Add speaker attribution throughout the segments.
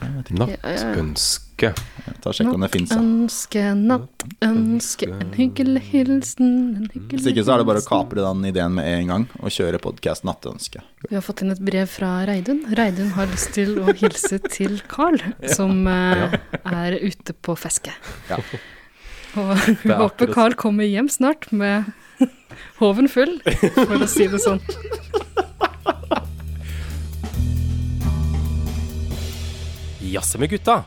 Speaker 1: vet ikke.
Speaker 2: Eh.
Speaker 3: Nattsønske.
Speaker 1: Ta og Sjekk om det fins.
Speaker 2: Ønske, natt, ønske, en hyggelig hilsen en hyggelig
Speaker 1: Mm. Hvis ikke så er det bare å
Speaker 2: hilsen.
Speaker 1: kapre den ideen med en gang og kjøre podkast Nattønske.
Speaker 2: Vi har fått inn et brev fra Reidun. Reidun har lyst til å hilse til Carl, som eh, er ute på feske.
Speaker 1: Ja.
Speaker 2: Og hun
Speaker 3: er
Speaker 2: håper
Speaker 3: akkurat-
Speaker 2: Carl kommer hjem snart med hoven full, for å si det sånn.
Speaker 4: Jazze med gutta.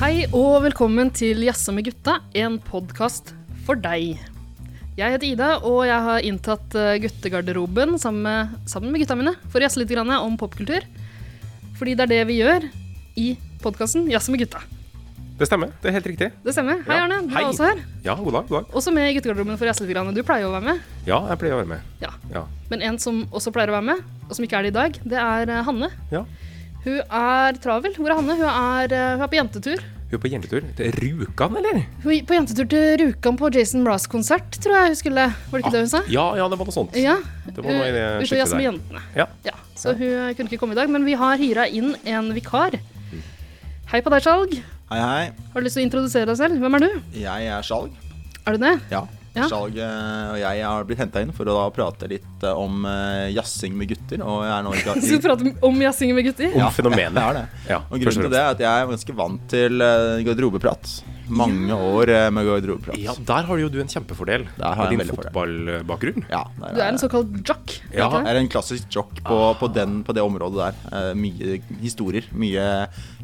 Speaker 2: Hei og velkommen til Jazze med gutta, en podkast for deg. Jeg heter Ida, og jeg har inntatt eh, guttegarderoben sammen med, sammen med gutta mine for å jazze litt grann om popkultur. Fordi det er det vi gjør i podkasten Jazze med gutta.
Speaker 4: Det stemmer. Det er helt riktig.
Speaker 2: Det stemmer. Hei,
Speaker 4: Ja.
Speaker 2: Arne. Du
Speaker 4: Hei.
Speaker 2: er også her.
Speaker 4: Ja, god dag. god dag.
Speaker 2: Også med i guttegarderoben for å jazze litt grann. Du pleier jo å være med.
Speaker 4: Ja, jeg pleier å være med.
Speaker 2: Ja.
Speaker 4: Ja.
Speaker 2: Men en som også pleier å være med, og som ikke er det i dag, det er eh, Hanne.
Speaker 4: Ja.
Speaker 2: Hun er travel. Hvor er Hanne? Hun er, eh, hun er på jentetur.
Speaker 4: Hun er på jentetur. Det er Rjukan, eller?
Speaker 2: Hun gikk på jentetur til Rjukan på Jason Mraz-konsert, tror jeg hun skulle. Var det ikke det hun sa?
Speaker 4: Ja, ja, det var noe sånt.
Speaker 2: Ja.
Speaker 4: Ah. Det var noe i det
Speaker 2: Hun- Ute og
Speaker 4: sjiktet
Speaker 2: jazze med
Speaker 4: der.
Speaker 2: jentene.
Speaker 4: Ja.
Speaker 2: Så hun eh, kunne ikke komme i dag, men vi har hyra inn en vikar. Hei på deg, Skjalg.
Speaker 1: Hei, hei.
Speaker 2: Har du lyst til å introdusere deg selv? Hvem er du?
Speaker 1: Jeg er Skjalg.
Speaker 2: Er du det?
Speaker 1: Ja.
Speaker 2: Ja.
Speaker 1: Skjalg eh, og jeg har blitt henta inn for å da prate litt eh, om eh, jazzing med gutter. Og jeg er nå ikke
Speaker 2: Skal vi prate om jazzing med gutter?
Speaker 4: Om fenomenet.
Speaker 1: Jeg er det.
Speaker 4: Ja,
Speaker 1: Og
Speaker 4: først
Speaker 1: grunnen til
Speaker 4: fremst.
Speaker 1: det er at jeg er ganske vant til eh, garderobeprat. Mange år eh, med garderobeprat.
Speaker 4: Ja, der har jo du en kjempefordel
Speaker 1: Der har jeg
Speaker 4: med din
Speaker 1: en veldig fordel.
Speaker 4: fotballbakgrunn.
Speaker 1: Ja, der
Speaker 2: Du er
Speaker 1: jeg.
Speaker 2: en såkalt jock. er
Speaker 4: Ja.
Speaker 2: ikke det?
Speaker 1: Jeg er en klassisk jock på, på, den, på det området der. Eh, mye historier, mye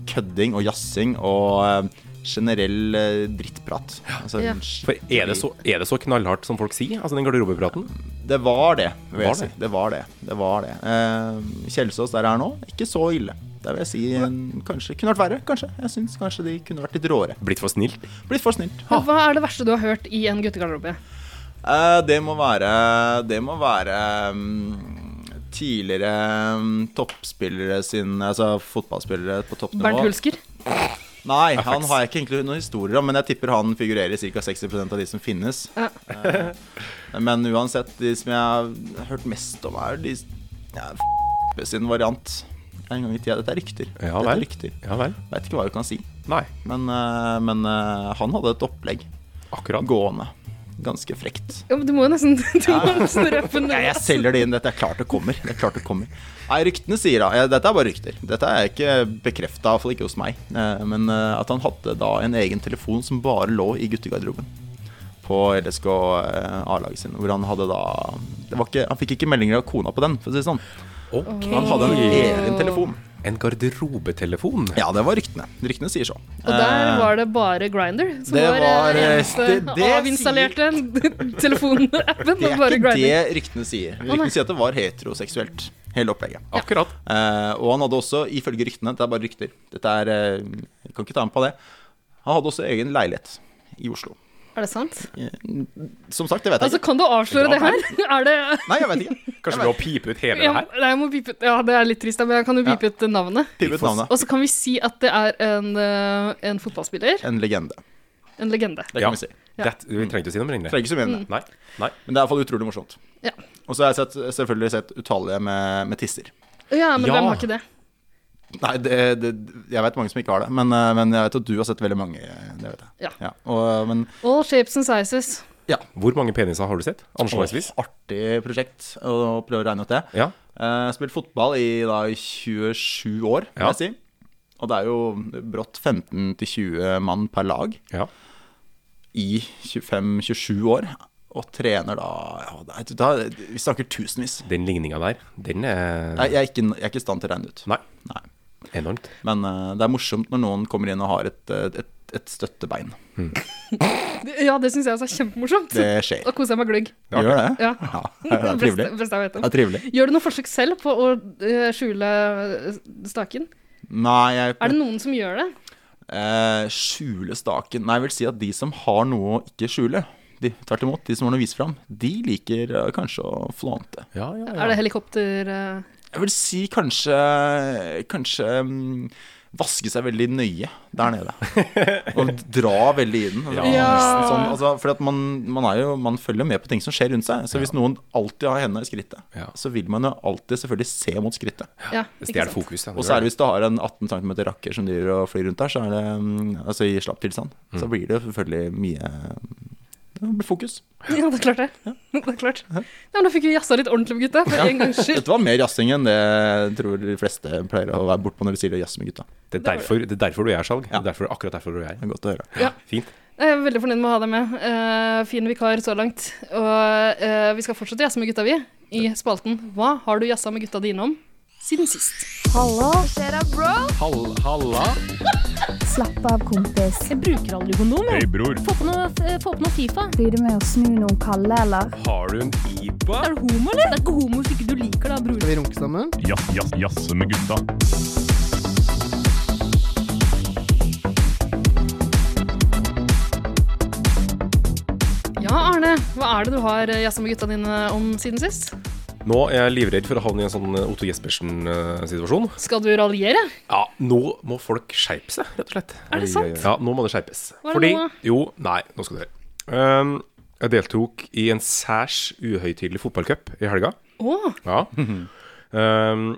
Speaker 1: kødding og jazzing og eh, generell eh, drittprat. Altså,
Speaker 2: Ja.
Speaker 1: skikkelig-
Speaker 4: For er det, så, er det så knallhardt som folk sier? Altså den garderobepraten?
Speaker 1: Det var det, vil
Speaker 4: Var
Speaker 1: jeg si.
Speaker 4: det?
Speaker 1: Det var det. det, var det. Eh, Kjelsås der er nå, ikke så ille. Der vil jeg si en, kanskje kunne vært verre. Kanskje. Jeg syns kanskje de kunne vært litt råere.
Speaker 4: Blitt for snill?
Speaker 1: Blitt for snilt.
Speaker 2: Men Hva er det verste du har hørt i en guttegarderobe?
Speaker 1: Eh, det må være Det må være mm, tidligere mm, toppspillere sin Altså fotballspillere på toppnivå.
Speaker 2: Bernt Hulsker?
Speaker 1: Nei, han har jeg ikke egentlig noen historier om, men jeg tipper han figurerer i ca. 60 av de som finnes.
Speaker 2: Ja.
Speaker 1: Eh, Men uansett, de som jeg har hørt mest om, er de ja, f- sin variant. En gang i tida. Dette er rykter.
Speaker 4: Ja
Speaker 1: Dette
Speaker 4: vel.
Speaker 1: er rykter.
Speaker 4: Ja vel.
Speaker 1: Veit ikke hva du kan si.
Speaker 4: Nei,
Speaker 1: Men, eh, men eh, han hadde et opplegg
Speaker 4: akkurat.
Speaker 1: gående. Ganske frekt.
Speaker 2: Ja, men du må jo nesten Du må nesten altså. røpe
Speaker 1: Ja, jeg
Speaker 2: noe.
Speaker 1: selger det inn. Dette er klart det kommer. Det er klart det kommer. Nei, ryktene sier da ja, Dette er bare rykter. Dette er ikke bekrefta, iallfall ikke hos meg. Eh, Men eh, at han hadde da en egen telefon som bare lå i guttegarderoben. På LSK eh, A-laget sin. Hvor han hadde da det var ikke, Han fikk ikke meldinger av kona på den, for å si det sånn.
Speaker 4: Ok.
Speaker 1: Han hadde en egen telefon.
Speaker 4: En garderobetelefon?
Speaker 1: Ja, det var ryktene. Ryktene sier så. Eh,
Speaker 2: Og der var det bare Grinder som
Speaker 1: det
Speaker 2: var,
Speaker 1: var,
Speaker 2: var
Speaker 1: eh,
Speaker 2: eneste
Speaker 1: det- det sier-
Speaker 2: avinstallerte telefonappen.
Speaker 1: Det
Speaker 2: Det
Speaker 1: er
Speaker 2: bare
Speaker 1: ikke
Speaker 2: Grindr.
Speaker 1: det ryktene sier. Ryktene sier at det var heteroseksuelt, hele opplegget.
Speaker 4: Akkurat.
Speaker 1: Eh, og han hadde også, ifølge ryktene Dette er bare rykter. Dette er, eh, jeg kan ikke ta med på det. Han hadde også egen leilighet i Oslo.
Speaker 2: Er det sant?
Speaker 1: Eh, Som sagt, det vet jeg
Speaker 2: Altså,
Speaker 1: ikke.
Speaker 2: kan du avsløre det her? Er det
Speaker 1: Nei, jeg vet ikke.
Speaker 4: Kanskje vi må pipe ut hele det
Speaker 2: jeg,
Speaker 4: her?
Speaker 2: nei, jeg må pipe ut Ja, det er litt trist, da, men jeg kan jo pipe ut navnet.
Speaker 1: Piv ut navnet.
Speaker 2: Og så kan vi si at det er en, eh, en fotballspiller.
Speaker 1: En legende.
Speaker 2: En legende.
Speaker 1: Det kan
Speaker 4: Ja.
Speaker 1: vi si.
Speaker 2: Ja.
Speaker 4: Det, vi trenger ikke å si noe om det.
Speaker 1: Trenger ikke så mye om
Speaker 2: Mm.
Speaker 1: det.
Speaker 4: Nei. Nei.
Speaker 1: Men det er iallfall utrolig morsomt.
Speaker 2: Ja.
Speaker 1: Og så har jeg sett, selvfølgelig sett utallige med, med tisser.
Speaker 2: Ja, men
Speaker 4: Ja.
Speaker 2: hvem har ikke det?
Speaker 1: Nei, det, det, jeg vet mange som ikke har det, men, eh, men jeg vet at du har sett veldig mange. eh, Det vet jeg.
Speaker 2: Ja.
Speaker 1: og, men
Speaker 2: All shapes and sizes.
Speaker 4: Hvor mange peniser har du sett? Anslagsvis?
Speaker 1: Åh, artig prosjekt å prøve å regne ut det.
Speaker 4: Ja.
Speaker 1: Uh, spilt fotball i da, i 27 år, vil
Speaker 4: Ja.
Speaker 1: jeg si. Og det er jo brått 15-20 mann per lag
Speaker 4: ja.
Speaker 1: i 25-27 år. Og trener da, ja, det er- da Vi snakker tusenvis.
Speaker 4: Den ligninga der, den er
Speaker 1: Jeg, jeg, er ikke, jeg er ikke i stand til å regne ut.
Speaker 4: Nei.
Speaker 1: Nei.
Speaker 4: Enormt.
Speaker 1: Men eh, det er morsomt når noen kommer inn og har et, eh, et, et støttebein.
Speaker 2: Det- Ja, det syns jeg også er kjempemorsomt.
Speaker 1: Det skjer.
Speaker 2: Da koser jeg meg gløgg.
Speaker 1: Du gjør det?
Speaker 2: Ja.
Speaker 1: det er
Speaker 2: Beste-
Speaker 1: trivelig.
Speaker 2: beste jeg vet om.
Speaker 1: Det er trivelig.
Speaker 2: Gjør du noe forsøk selv på å eh, skjule eh, staken?
Speaker 1: Nei, jeg
Speaker 2: Er det noen som gjør det?
Speaker 1: Eh, skjule staken Nei, jeg vil si at de som har noe å ikke skjule, de, tvert imot, de som har noe å vise fram, de liker eh, kanskje å flante.
Speaker 4: Ja, ja, ja.
Speaker 2: Er det helikopter eh,
Speaker 1: Jeg vil si kanskje Kanskje mm, vaske seg veldig nøye der nede. Og dra veldig i den. Altså,
Speaker 2: Ja.
Speaker 1: nesten Sånn, altså, fordi at man, man, er jo, man følger med på ting som skjer rundt seg. Så hvis noen alltid har hendene i skrittet,
Speaker 4: Ja.
Speaker 1: så vil man jo alltid selvfølgelig se mot skrittet.
Speaker 2: Ja,
Speaker 4: Det
Speaker 2: ikke
Speaker 4: stjeler
Speaker 2: sant?
Speaker 4: fokus. ja, det
Speaker 1: Og
Speaker 4: gjør
Speaker 1: særlig
Speaker 4: det.
Speaker 1: hvis du har en 18 cm rakker som driver og flyr rundt der, så er det mm, altså i slapp tilstand.
Speaker 4: Mm.
Speaker 1: Så blir det jo selvfølgelig mye det blir fokus.
Speaker 2: Ja, det er klart det. Det er klart. Ja, men da fikk vi jazza litt ordentlig med gutta, for en gangs skyld.
Speaker 1: Dette var mer jazzing enn det jeg tror de fleste pleier å være bortpå når de sier det jazz med gutta.
Speaker 4: Det er derfor, det er derfor du gjør salg.
Speaker 1: Ja.
Speaker 4: Det er derfor, akkurat derfor du gjør.
Speaker 1: Det er godt å høre.
Speaker 2: Ja.
Speaker 4: Fint.
Speaker 2: Jeg er veldig fornøyd med å ha deg med. Eh, fin vikar så langt. Og eh, vi skal fortsette å jazze med gutta, vi, i spalten Hva har du jazza med gutta dine om siden sist?
Speaker 3: Hallo,
Speaker 4: halla.
Speaker 3: slapp av kompis.
Speaker 5: Jeg bruker aldri kondom. jeg.
Speaker 4: bror.
Speaker 5: Få på noe, eh, få på noe Fifa.
Speaker 3: Blir det med å snu noen kalde, eller?
Speaker 4: Har du en IPA?
Speaker 5: Er du homo, eller? Det er ikke homo hvis ikke du liker det, bror.
Speaker 6: Skal vi runke sammen?
Speaker 7: Jazz, jazz, jazz med gutta.
Speaker 2: Ja, Arne, hva er det du har eh, jazza med gutta dine om siden sist?
Speaker 4: Nå er jeg livredd for å havne i en sånn eh, Otto Jespersen-situasjon.
Speaker 2: Skal du raljere?
Speaker 4: Ja, nå må folk skjerpe seg, rett og slett.
Speaker 2: Er det sant?
Speaker 4: Ja, nå må det skjerpes.
Speaker 2: Hva er det
Speaker 4: Fordi
Speaker 2: nå, da?
Speaker 4: Jo, nei, nå skal du høre. Um, jeg deltok i en særs uhøytidelig fotballcup i helga.
Speaker 2: Å,
Speaker 4: Ja. Um,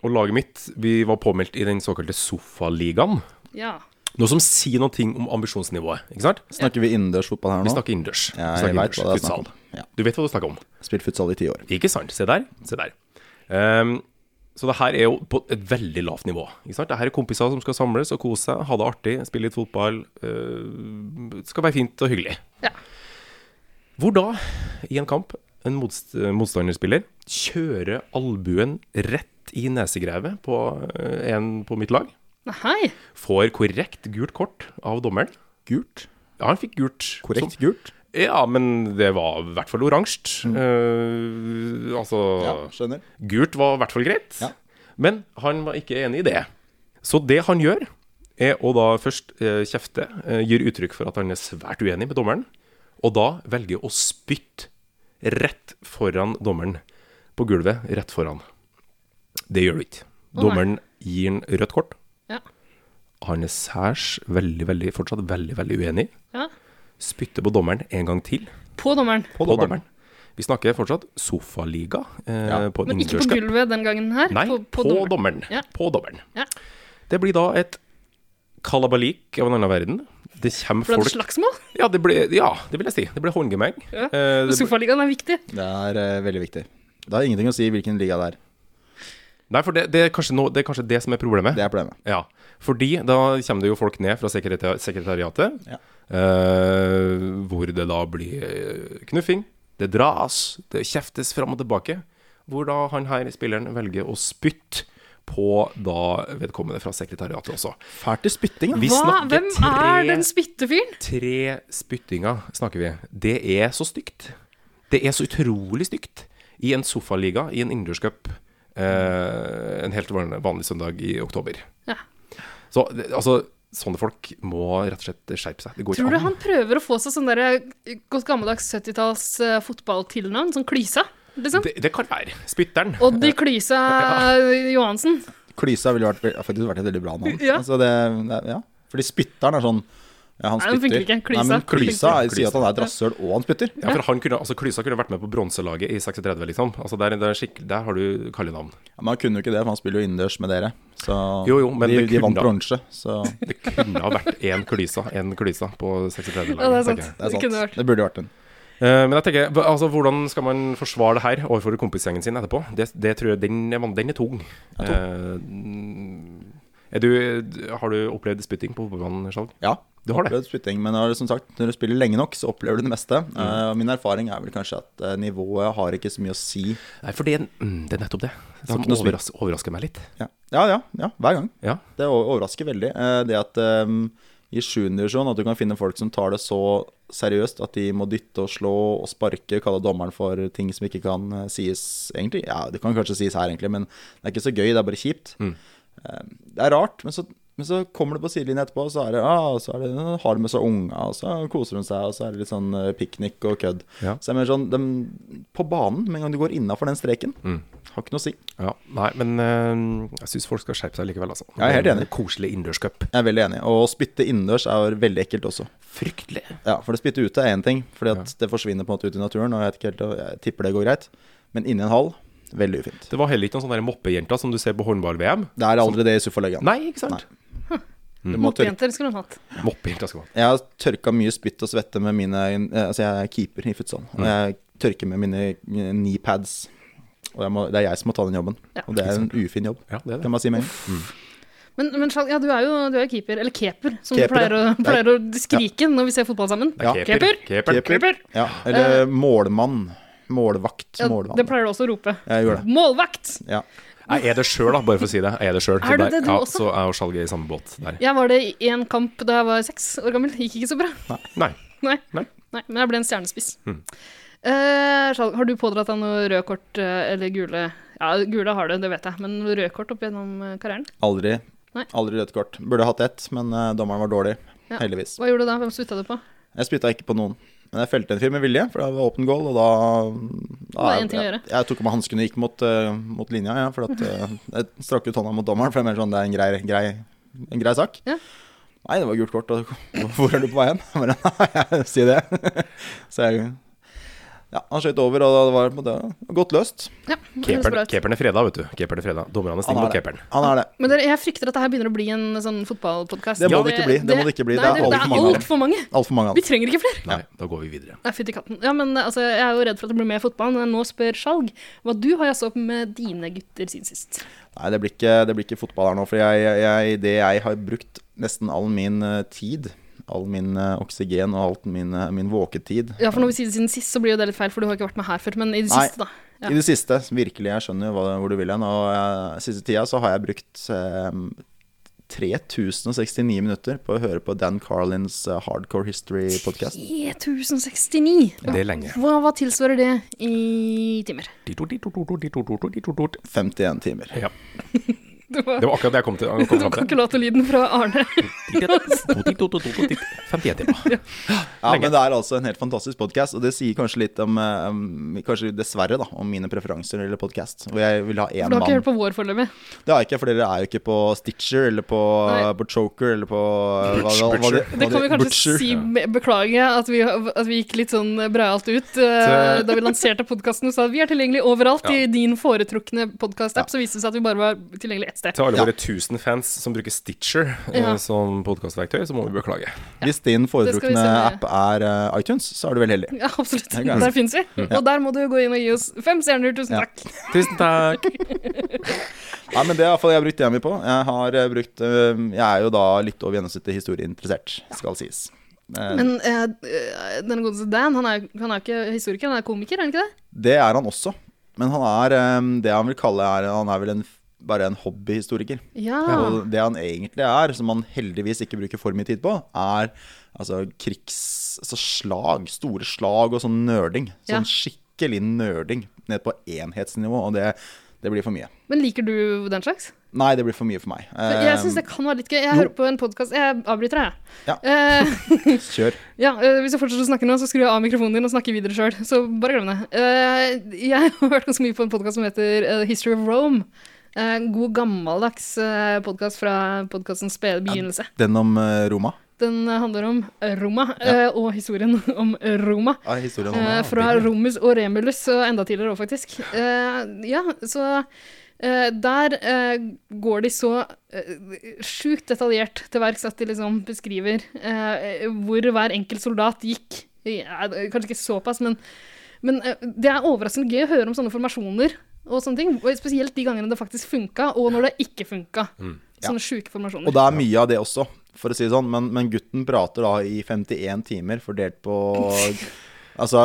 Speaker 4: og laget mitt, vi var påmeldt i den såkalte Sofaligaen.
Speaker 2: ja.
Speaker 4: Noe som sier noe ting om ambisjonsnivået, ikke sant?
Speaker 1: Snakker vi innendørs fotball her nå?
Speaker 4: Vi snakker innendørs. Vi
Speaker 1: Ja, jeg
Speaker 4: snakker
Speaker 1: vet
Speaker 4: innendørs.
Speaker 1: hva det er snakk om.
Speaker 4: Futsal.
Speaker 1: Ja.
Speaker 4: Du vet hva du snakker om.
Speaker 1: Spilt futsal i ti år.
Speaker 4: Ikke sant. Se der. Se der. Ehm, så det her er jo på et veldig lavt nivå. Ikke sant? Det her er kompiser som skal samles og kose seg, ha det artig, spille litt fotball. eh, Det skal være fint og hyggelig.
Speaker 2: Ja.
Speaker 4: Hvor da, i en kamp, en motst motstanderspiller kjører albuen rett i nesegrevet på eh, en på mitt lag,
Speaker 2: Nei, hei.
Speaker 4: får korrekt gult kort av dommeren.
Speaker 1: Gult.
Speaker 4: Ja, han fikk gult.
Speaker 1: Korrekt
Speaker 4: Som-
Speaker 1: gult.
Speaker 4: Ja, men det var i hvert fall oransje. Eh, altså
Speaker 1: Mm. Ja, skjønner.
Speaker 4: Gult var i hvert fall greit,
Speaker 1: Ja.
Speaker 4: men han var ikke enig i det. Så det han gjør, er å da først eh, kjefte, eh, gir uttrykk for at han er svært uenig med dommeren, og da velger å spytte rett foran dommeren. På gulvet, rett foran. Det gjør du ikke.
Speaker 2: nei.
Speaker 4: Dommeren gir han rødt kort.
Speaker 2: Ja.
Speaker 4: Han er særs veldig, veldig, fortsatt veldig, veldig uenig.
Speaker 2: ja.
Speaker 4: Spytter på dommeren en gang til.
Speaker 2: På dommeren.
Speaker 4: På dommeren. Vi snakker fortsatt sofaliga eh,
Speaker 1: Ja.
Speaker 4: på
Speaker 2: Men ikke på
Speaker 4: innendørscup.
Speaker 2: gulvet den gangen her.
Speaker 4: Nei,
Speaker 2: på, på
Speaker 4: dommeren.
Speaker 2: dommeren. Ja.
Speaker 4: På dommeren.
Speaker 2: Ja.
Speaker 4: Det blir da et kalabalik av en annen verden. Det kommer
Speaker 2: Ble det
Speaker 4: folk
Speaker 2: slagsmål?
Speaker 4: ja det, ble, ja, det vil jeg si. Det ble håndgemeng.
Speaker 2: Ja.
Speaker 4: Eh, det ble-
Speaker 2: Sofaligaen er viktig.
Speaker 1: Det er eh, veldig viktig. Det har ingenting å si hvilken liga det er.
Speaker 4: Nei, for det, det, er kanskje noe- det er kanskje det som er problemet.
Speaker 1: Det er problemet.
Speaker 4: Ja, fordi da kommer det jo folk ned fra sekretari- sekretariatet,
Speaker 1: Ja.
Speaker 4: eh, hvor det da blir eh, knuffing, det dras, det kjeftes fram og tilbake, hvor da han her spilleren velger å spytte på da vedkommende fra sekretariatet også.
Speaker 1: Fælt i spytting, da.
Speaker 4: Vi
Speaker 2: Hva?
Speaker 4: snakker
Speaker 2: Hvem er
Speaker 4: tre-
Speaker 2: den spyttefyren?
Speaker 4: Tre spyttinger snakker vi. Det er så stygt. Det er så utrolig stygt. I en sofaliga, i en innendørscup, eh, en helt vanlig, vanlig søndag i oktober.
Speaker 2: Ja.
Speaker 4: Så det- altså, sånne folk må rett og slett skjerpe seg. Det går
Speaker 2: Tror du
Speaker 4: ikke an.
Speaker 2: han prøver å få seg sånn der eh, godt gammeldags 70-talls eh, fotballtilnavn? Sånn Klysa? Liksom?
Speaker 4: Det, det kan være. Spytteren.
Speaker 2: Oddi Klysa eh, Johansen.
Speaker 1: Klysa ville vært, faktisk vært et veldig bra navn.
Speaker 2: Ja.
Speaker 1: Altså det, det, ja. Fordi spytteren er sånn ja, han
Speaker 2: Nei, den
Speaker 1: spytter.
Speaker 2: funker ikke. Klysa.
Speaker 1: Nei, men klysa
Speaker 4: Funker ikke.
Speaker 1: sier at han er et rasshøl, og han spytter.
Speaker 4: Ja, for han kunne, altså, Klysa kunne vært med på bronselaget i 36, liksom. Altså, der, der, er skikk- der har du kallenavn.
Speaker 1: Ja, men han kunne jo ikke det, for han spiller jo innendørs med dere. Så
Speaker 4: Jo, jo, men
Speaker 1: de,
Speaker 4: det
Speaker 1: de
Speaker 4: kunne
Speaker 1: vant
Speaker 4: da.
Speaker 1: bronse, så det
Speaker 4: Det kunne ha vært én Klysa, én Klysa på 36-laget.
Speaker 2: Ja, det er
Speaker 4: tenker
Speaker 2: sant.
Speaker 4: jeg.
Speaker 1: er
Speaker 2: Det
Speaker 1: sant.
Speaker 2: kunne vært.
Speaker 1: Det burde vært en.
Speaker 4: Eh, Men jeg tenker, hva- altså, hvordan skal man forsvare det her overfor kompisgjengen sin etterpå? Det, det tror jeg, Den, er van- den er tung. Eh, er du, har du opplevd spytting på fotballbanen, Skjalg?
Speaker 1: Ja.
Speaker 4: Du har det.
Speaker 1: opplevd Spytting, men når, som sagt, når du spiller lenge nok, så opplever du det meste.
Speaker 4: Mm.
Speaker 1: Eh, og min erfaring er vel kanskje at eh, nivået har ikke så mye å si.
Speaker 4: Nei, for det, er- mm, det er nettopp det som
Speaker 1: ikke noe spill.
Speaker 4: overras, overrasker meg litt.
Speaker 1: Ja, ja, ja, ja hver gang.
Speaker 4: Ja.
Speaker 1: Det o- overrasker veldig. eh, Det at um, i sjuende divisjon at du kan finne folk som tar det så seriøst at de må dytte og slå og sparke, kalle dommeren for ting som ikke kan eh, sies egentlig. Ja, det kan kanskje sies her egentlig, men det er ikke så gøy, det er bare kjipt. Eh, Det er rart, men så, men så kommer du på sidelinjen etterpå, og så er det, ah, så er det nå har de med seg unga, og så koser de seg, og så er det litt sånn eh, piknik og kødd.
Speaker 4: Ja.
Speaker 1: Så jeg mener sånn, dem- på banen, med en gang du går innafor den streken, Har ikke noe å si. Jeg
Speaker 4: Ja, nei, men eh, jeg syns folk skal skjerpe seg likevel, altså.
Speaker 1: Jeg er helt enig.
Speaker 4: Koselig innendørscup.
Speaker 1: er veldig enig. Og å spytte innendørs er veldig ekkelt også.
Speaker 4: Fryktelig.
Speaker 1: Ja, for det spytte ute er én ting, fordi at det forsvinner på en måte ut i naturen, og jeg, vet ikke helt, jeg tipper det går greit. Men inni en hall, veldig ufint.
Speaker 4: Det var heller ikke noen sånne der moppejenter som du ser på håndball-VM.
Speaker 1: Det er aldri det i Suffalegaen.
Speaker 4: Nei, ikke sant?
Speaker 2: Hm.
Speaker 1: Du må tørke-
Speaker 2: Moppejenter skulle hun hatt.
Speaker 4: Moppejenter skal man.
Speaker 1: Jeg har tørka mye spytt og svette med mine eh, Altså, jeg er keeper i futsal.
Speaker 4: Mm.
Speaker 1: Og jeg tørker med mine eh, kneepads. Og jeg må, det er jeg som må ta den jobben.
Speaker 2: Ja.
Speaker 1: Og det er en ufin jobb,
Speaker 4: Ja, det er
Speaker 1: kan
Speaker 4: det.
Speaker 1: man si med en gang.
Speaker 2: Men, men Skjalg, ja, du er jo du er jo keeper, eller keper, som
Speaker 1: Keper,
Speaker 2: du pleier å,
Speaker 1: ja.
Speaker 2: pleier å skrike når vi ser fotball sammen.
Speaker 4: Det er
Speaker 1: Ja.
Speaker 4: Keper. Keper.
Speaker 2: Keeper.
Speaker 1: Ja, eller målmann. Målvakt.
Speaker 2: Eh. Ja, det
Speaker 1: Målmann.
Speaker 2: pleier Mm. du også å rope.
Speaker 1: Jeg gjør det.
Speaker 2: Målvakt!
Speaker 1: Ja.
Speaker 4: Jeg er det sjøl, da, bare for å si det. Jeg er det sjøl.
Speaker 2: Er du det, du
Speaker 4: ja,
Speaker 2: også?
Speaker 4: Så er jo Skjalg i samme båt der.
Speaker 2: Jeg var det i én kamp da jeg var seks år gammel. Gikk ikke så bra.
Speaker 4: Nei.
Speaker 2: Nei.
Speaker 4: Nei.
Speaker 2: Nei, men jeg ble en stjernespiss.
Speaker 1: Mm.
Speaker 2: Eh, Skjalg, har du pådratt deg noe rød kort eh, eller gule? Ja, gule har du, det vet jeg, men noe rød kort opp gjennom eh, karrieren?
Speaker 1: Aldri.
Speaker 2: Nei.
Speaker 1: Aldri rødt kort. Burde hatt ett, men eh, dommeren var dårlig.
Speaker 2: Ja.
Speaker 1: Heldigvis.
Speaker 2: Hva gjorde du da? Hvem slutta du på?
Speaker 1: Jeg spytta ikke på noen. Men jeg felte en fyr med vilje, for det var åpen goal, og da, da
Speaker 2: Det var en ting å
Speaker 1: jeg,
Speaker 2: gjøre.
Speaker 1: jeg tok av meg hanskene og gikk mot, eh, mot linja, ja, for at, eh, jeg strakk ut hånda mot dommeren, for jeg mener sånn, det er en grei, grei, en grei sak.
Speaker 2: Ja.
Speaker 1: Nei, det var gult kort, og hvor er du på vei hen? Jeg bare, Nei, jeg si det. Så jeg Ja, han skøyt over, og det var på en måte godt løst.
Speaker 2: Ja, det høres bra
Speaker 4: Keeperen,
Speaker 2: ut.
Speaker 4: keeperen er freda, vet du. Keeperen er freda. Dommerne er
Speaker 1: Han
Speaker 4: snille mot
Speaker 1: er det.
Speaker 4: keeperen.
Speaker 1: Han er det.
Speaker 2: Men dere, jeg frykter at det her begynner å bli en sånn fotballpodkast.
Speaker 1: Det må det ikke bli, det må det ikke bli.
Speaker 2: Nei,
Speaker 1: Det er alt
Speaker 2: det
Speaker 1: for
Speaker 2: er
Speaker 1: mange av dem.
Speaker 2: altfor mange.
Speaker 1: Altfor mange altså. av
Speaker 2: Vi
Speaker 1: dem.
Speaker 2: trenger ikke flere.
Speaker 4: Nei, da går vi videre.
Speaker 2: Nei, fytti katten. Ja, men altså, jeg er jo redd for at det blir mer fotball, men nå spør Skjalg hva du har jazza opp med dine gutter siden sist.
Speaker 1: Nei, det blir ikke, det blir ikke fotball her nå. For jeg, jeg, det jeg har brukt nesten all min eh, tid, all min eh, oksygen og all min, eh, min våketid
Speaker 2: Ja, for når vi sier det siden sist, så blir jo det litt feil, for du har ikke vært med her før, men i det
Speaker 1: Nei.
Speaker 2: siste, da. Ja.
Speaker 1: I det siste, virkelig, jeg skjønner jo hva, hvor du vil hen. Og eh, siste tida så har jeg brukt eh, 3069 minutter på å høre på Dan Carlins eh, Hardcore History Podcast.
Speaker 2: 1069.
Speaker 4: Det er lenge.
Speaker 2: Hva, hva tilsvarer det i timer?
Speaker 4: Ditort, ditort, ditort, ditort, ditort, ditort.
Speaker 1: 51 timer.
Speaker 4: Ja,
Speaker 2: Det var,
Speaker 4: det var akkurat det jeg kom til. Kom fram til.
Speaker 2: kalkulatorlyden fra Arne.
Speaker 4: 51 timer.
Speaker 1: Ja, men det er altså en helt fantastisk podkast, og det sier kanskje litt om, eh, om Kanskje dessverre, da, om mine preferanser eller podkast. Hvor jeg vil ha én
Speaker 2: For du har ikke
Speaker 1: mann
Speaker 2: hørt på vår foreløpig.
Speaker 1: Det har jeg ikke, for dere er jo ikke på Stitcher eller på,
Speaker 2: Nei.
Speaker 1: på Choker eller på eh, hva- hva- hva-
Speaker 4: Butcher.
Speaker 1: hva-
Speaker 2: Det kan vi kanskje
Speaker 1: Butcher.
Speaker 2: si med- beklage, at vi, at vi gikk litt sånn breialt ut eh, da vi lanserte podkasten og sa at vi er tilgjengelig overalt i din foretrukne podkast-app, så viste det seg at vi bare var tilgjengelig ett sted.
Speaker 4: Til alle
Speaker 1: Ja.
Speaker 4: våre 1000 fans som bruker Stitcher eh,
Speaker 2: Ja.
Speaker 4: som podkastverktøy, så må vi beklage.
Speaker 1: Hvis din
Speaker 2: Det skal vi
Speaker 1: foretrukne
Speaker 2: se.
Speaker 1: app er eh, iTunes, så er du veldig heldig.
Speaker 2: Ja, absolutt.
Speaker 1: er gærent.
Speaker 2: Der fins vi. Og der må du gå inn og gi oss fem stjerner. Tusen
Speaker 1: Ja.
Speaker 2: takk.
Speaker 4: Tusen takk.
Speaker 1: Nei, men det er iallfall jeg har brukt tida mi på. Jeg, har eh, brukt, eh, jeg er jo da litt over gjennomsnittet historieinteressert, skal sies. Eh,
Speaker 2: Men eh, eh, denne godeste Dan, han er, han er jo ikke historiker, han er komiker, er han ikke det?
Speaker 1: Det er han også. Men han er eh, det han vil kalle er, Han er vel en, bare en hobbyhistoriker.
Speaker 2: Ja.
Speaker 1: Og det han egentlig er, som han heldigvis ikke bruker for mye tid på, er altså krigs... Altså slag, store slag og sånn nerding.
Speaker 2: Ja.
Speaker 1: Sånn skikkelig nerding ned på enhetsnivå, og det, det blir for mye.
Speaker 2: Men liker du den slags?
Speaker 1: Nei, det blir for mye for meg.
Speaker 2: For Jeg syns det
Speaker 1: Eh,
Speaker 2: kan være litt gøy. Jeg hører på en podkast Jeg avbryter deg, jeg.
Speaker 1: Ja.
Speaker 2: Eh,
Speaker 1: Ehm, Kjør.
Speaker 2: ja, eh, hvis jeg fortsetter å snakke nå, så skrur jeg av mikrofonen din og snakker videre sjøl. Så bare glem det. Eh, jeg har hørt ganske mye på en podkast som heter eh, History of Rome. Eh, En god gammeldags uh, podkast fra podkastens spede begynnelse.
Speaker 1: Den om eh, Roma.
Speaker 2: Den eh, handler om Roma, eh, og historien om Roma.
Speaker 1: Ja, historien om
Speaker 2: Eh,
Speaker 1: Roma.
Speaker 2: fra Romus og Remulus, og enda tidligere òg, faktisk. Eh, ja, så eh, Der eh, går de så eh, sjukt detaljert til verks at de liksom beskriver eh, hvor hver enkelt soldat gikk. Ja, kanskje ikke såpass, men, men eh, det er overraskende gøy å høre om sånne formasjoner. Og sånne ting, og Spesielt de gangene det faktisk funka, og når det ikke funka. Sånne sjuke
Speaker 1: Mm,
Speaker 2: formasjoner.
Speaker 1: Og det er mye av det også, for å si det sånn. Men, men gutten prater da i 51 timer fordelt på Altså,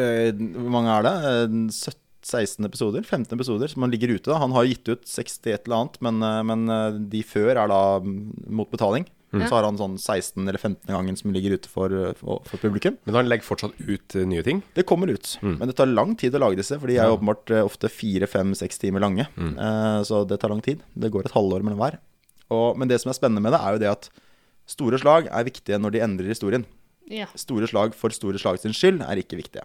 Speaker 1: eh, hvor mange er det? Eh, 17 16 episoder? 15 episoder som han ligger ute. da Han har gitt ut 60 et eller annet, men, eh, men eh, de før er da mm, mot betaling. Så har han sånn 16 eller 15 gangen som ligger ute for, for, for publikum.
Speaker 4: Men han legger fortsatt ut eh, nye ting.
Speaker 1: Det kommer ut,
Speaker 4: Mm.
Speaker 1: men det tar lang tid å lage disse, for de er jo åpenbart eh, ofte fire, fem, seks timer lange.
Speaker 4: Mm.
Speaker 1: Eh, Så det tar lang tid. Det går et halvår mellom hver. Og, men det som er spennende med det, er jo det at store slag er viktige når de endrer historien.
Speaker 2: Ja.
Speaker 1: Store slag for store slag sin skyld er ikke viktige.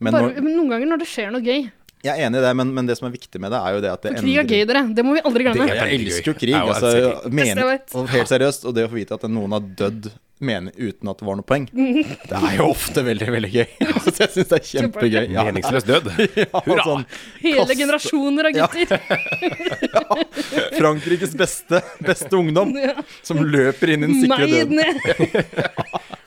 Speaker 1: Men
Speaker 2: Bare,
Speaker 1: når,
Speaker 2: men noen ganger når det skjer noe gøy.
Speaker 1: Jeg er enig i det, men, men det som er viktig med det, er jo det at det
Speaker 2: For krig er gøy, dere. Det må vi aldri
Speaker 4: Det
Speaker 2: glemme.
Speaker 4: er-
Speaker 1: Jeg elsker jo
Speaker 4: Veldig gøy.
Speaker 1: krig.
Speaker 4: Ja, jeg
Speaker 1: Altså,
Speaker 4: elsker
Speaker 1: mener,
Speaker 2: Beste jeg vet.
Speaker 1: og helt seriøst, og det å få vite at noen har dødd mener, uten at det var noe poeng, det er jo ofte veldig, veldig gøy. Så jeg syns det er kjempegøy. Ja,
Speaker 4: Meningsløs død.
Speaker 1: ja, sånn,
Speaker 2: Hele
Speaker 1: kaste-
Speaker 2: generasjoner av gutter.
Speaker 1: Frankrikes beste, beste ungdom
Speaker 2: Ja.
Speaker 1: som løper inn i den sikre
Speaker 2: Meid
Speaker 1: døden.
Speaker 2: ned.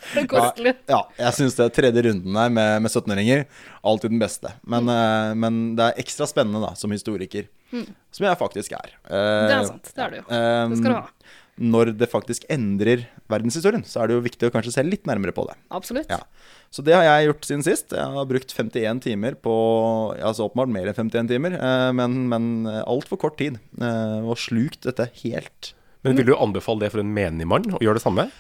Speaker 2: Det er kostelig.
Speaker 1: Ja, jeg syns det er tredje runden her med, med 17-åringer alltid den beste. Men, eh, men det er ekstra spennende da, som historiker, som jeg faktisk er.
Speaker 2: Mm. Det er sant. Det er det jo.
Speaker 1: Det
Speaker 2: Det skal du ha.
Speaker 1: Når det faktisk endrer verdenshistorien, så er det jo viktig å kanskje se litt nærmere på det.
Speaker 2: Absolutt.
Speaker 1: Ja. Så det har jeg gjort siden sist. Jeg har brukt 51 timer på Altså åpenbart mer enn 51 timer, eh, men, men altfor kort tid. eh, Og slukt dette helt
Speaker 4: Men vil du anbefale det for en menig mann å gjøre det samme?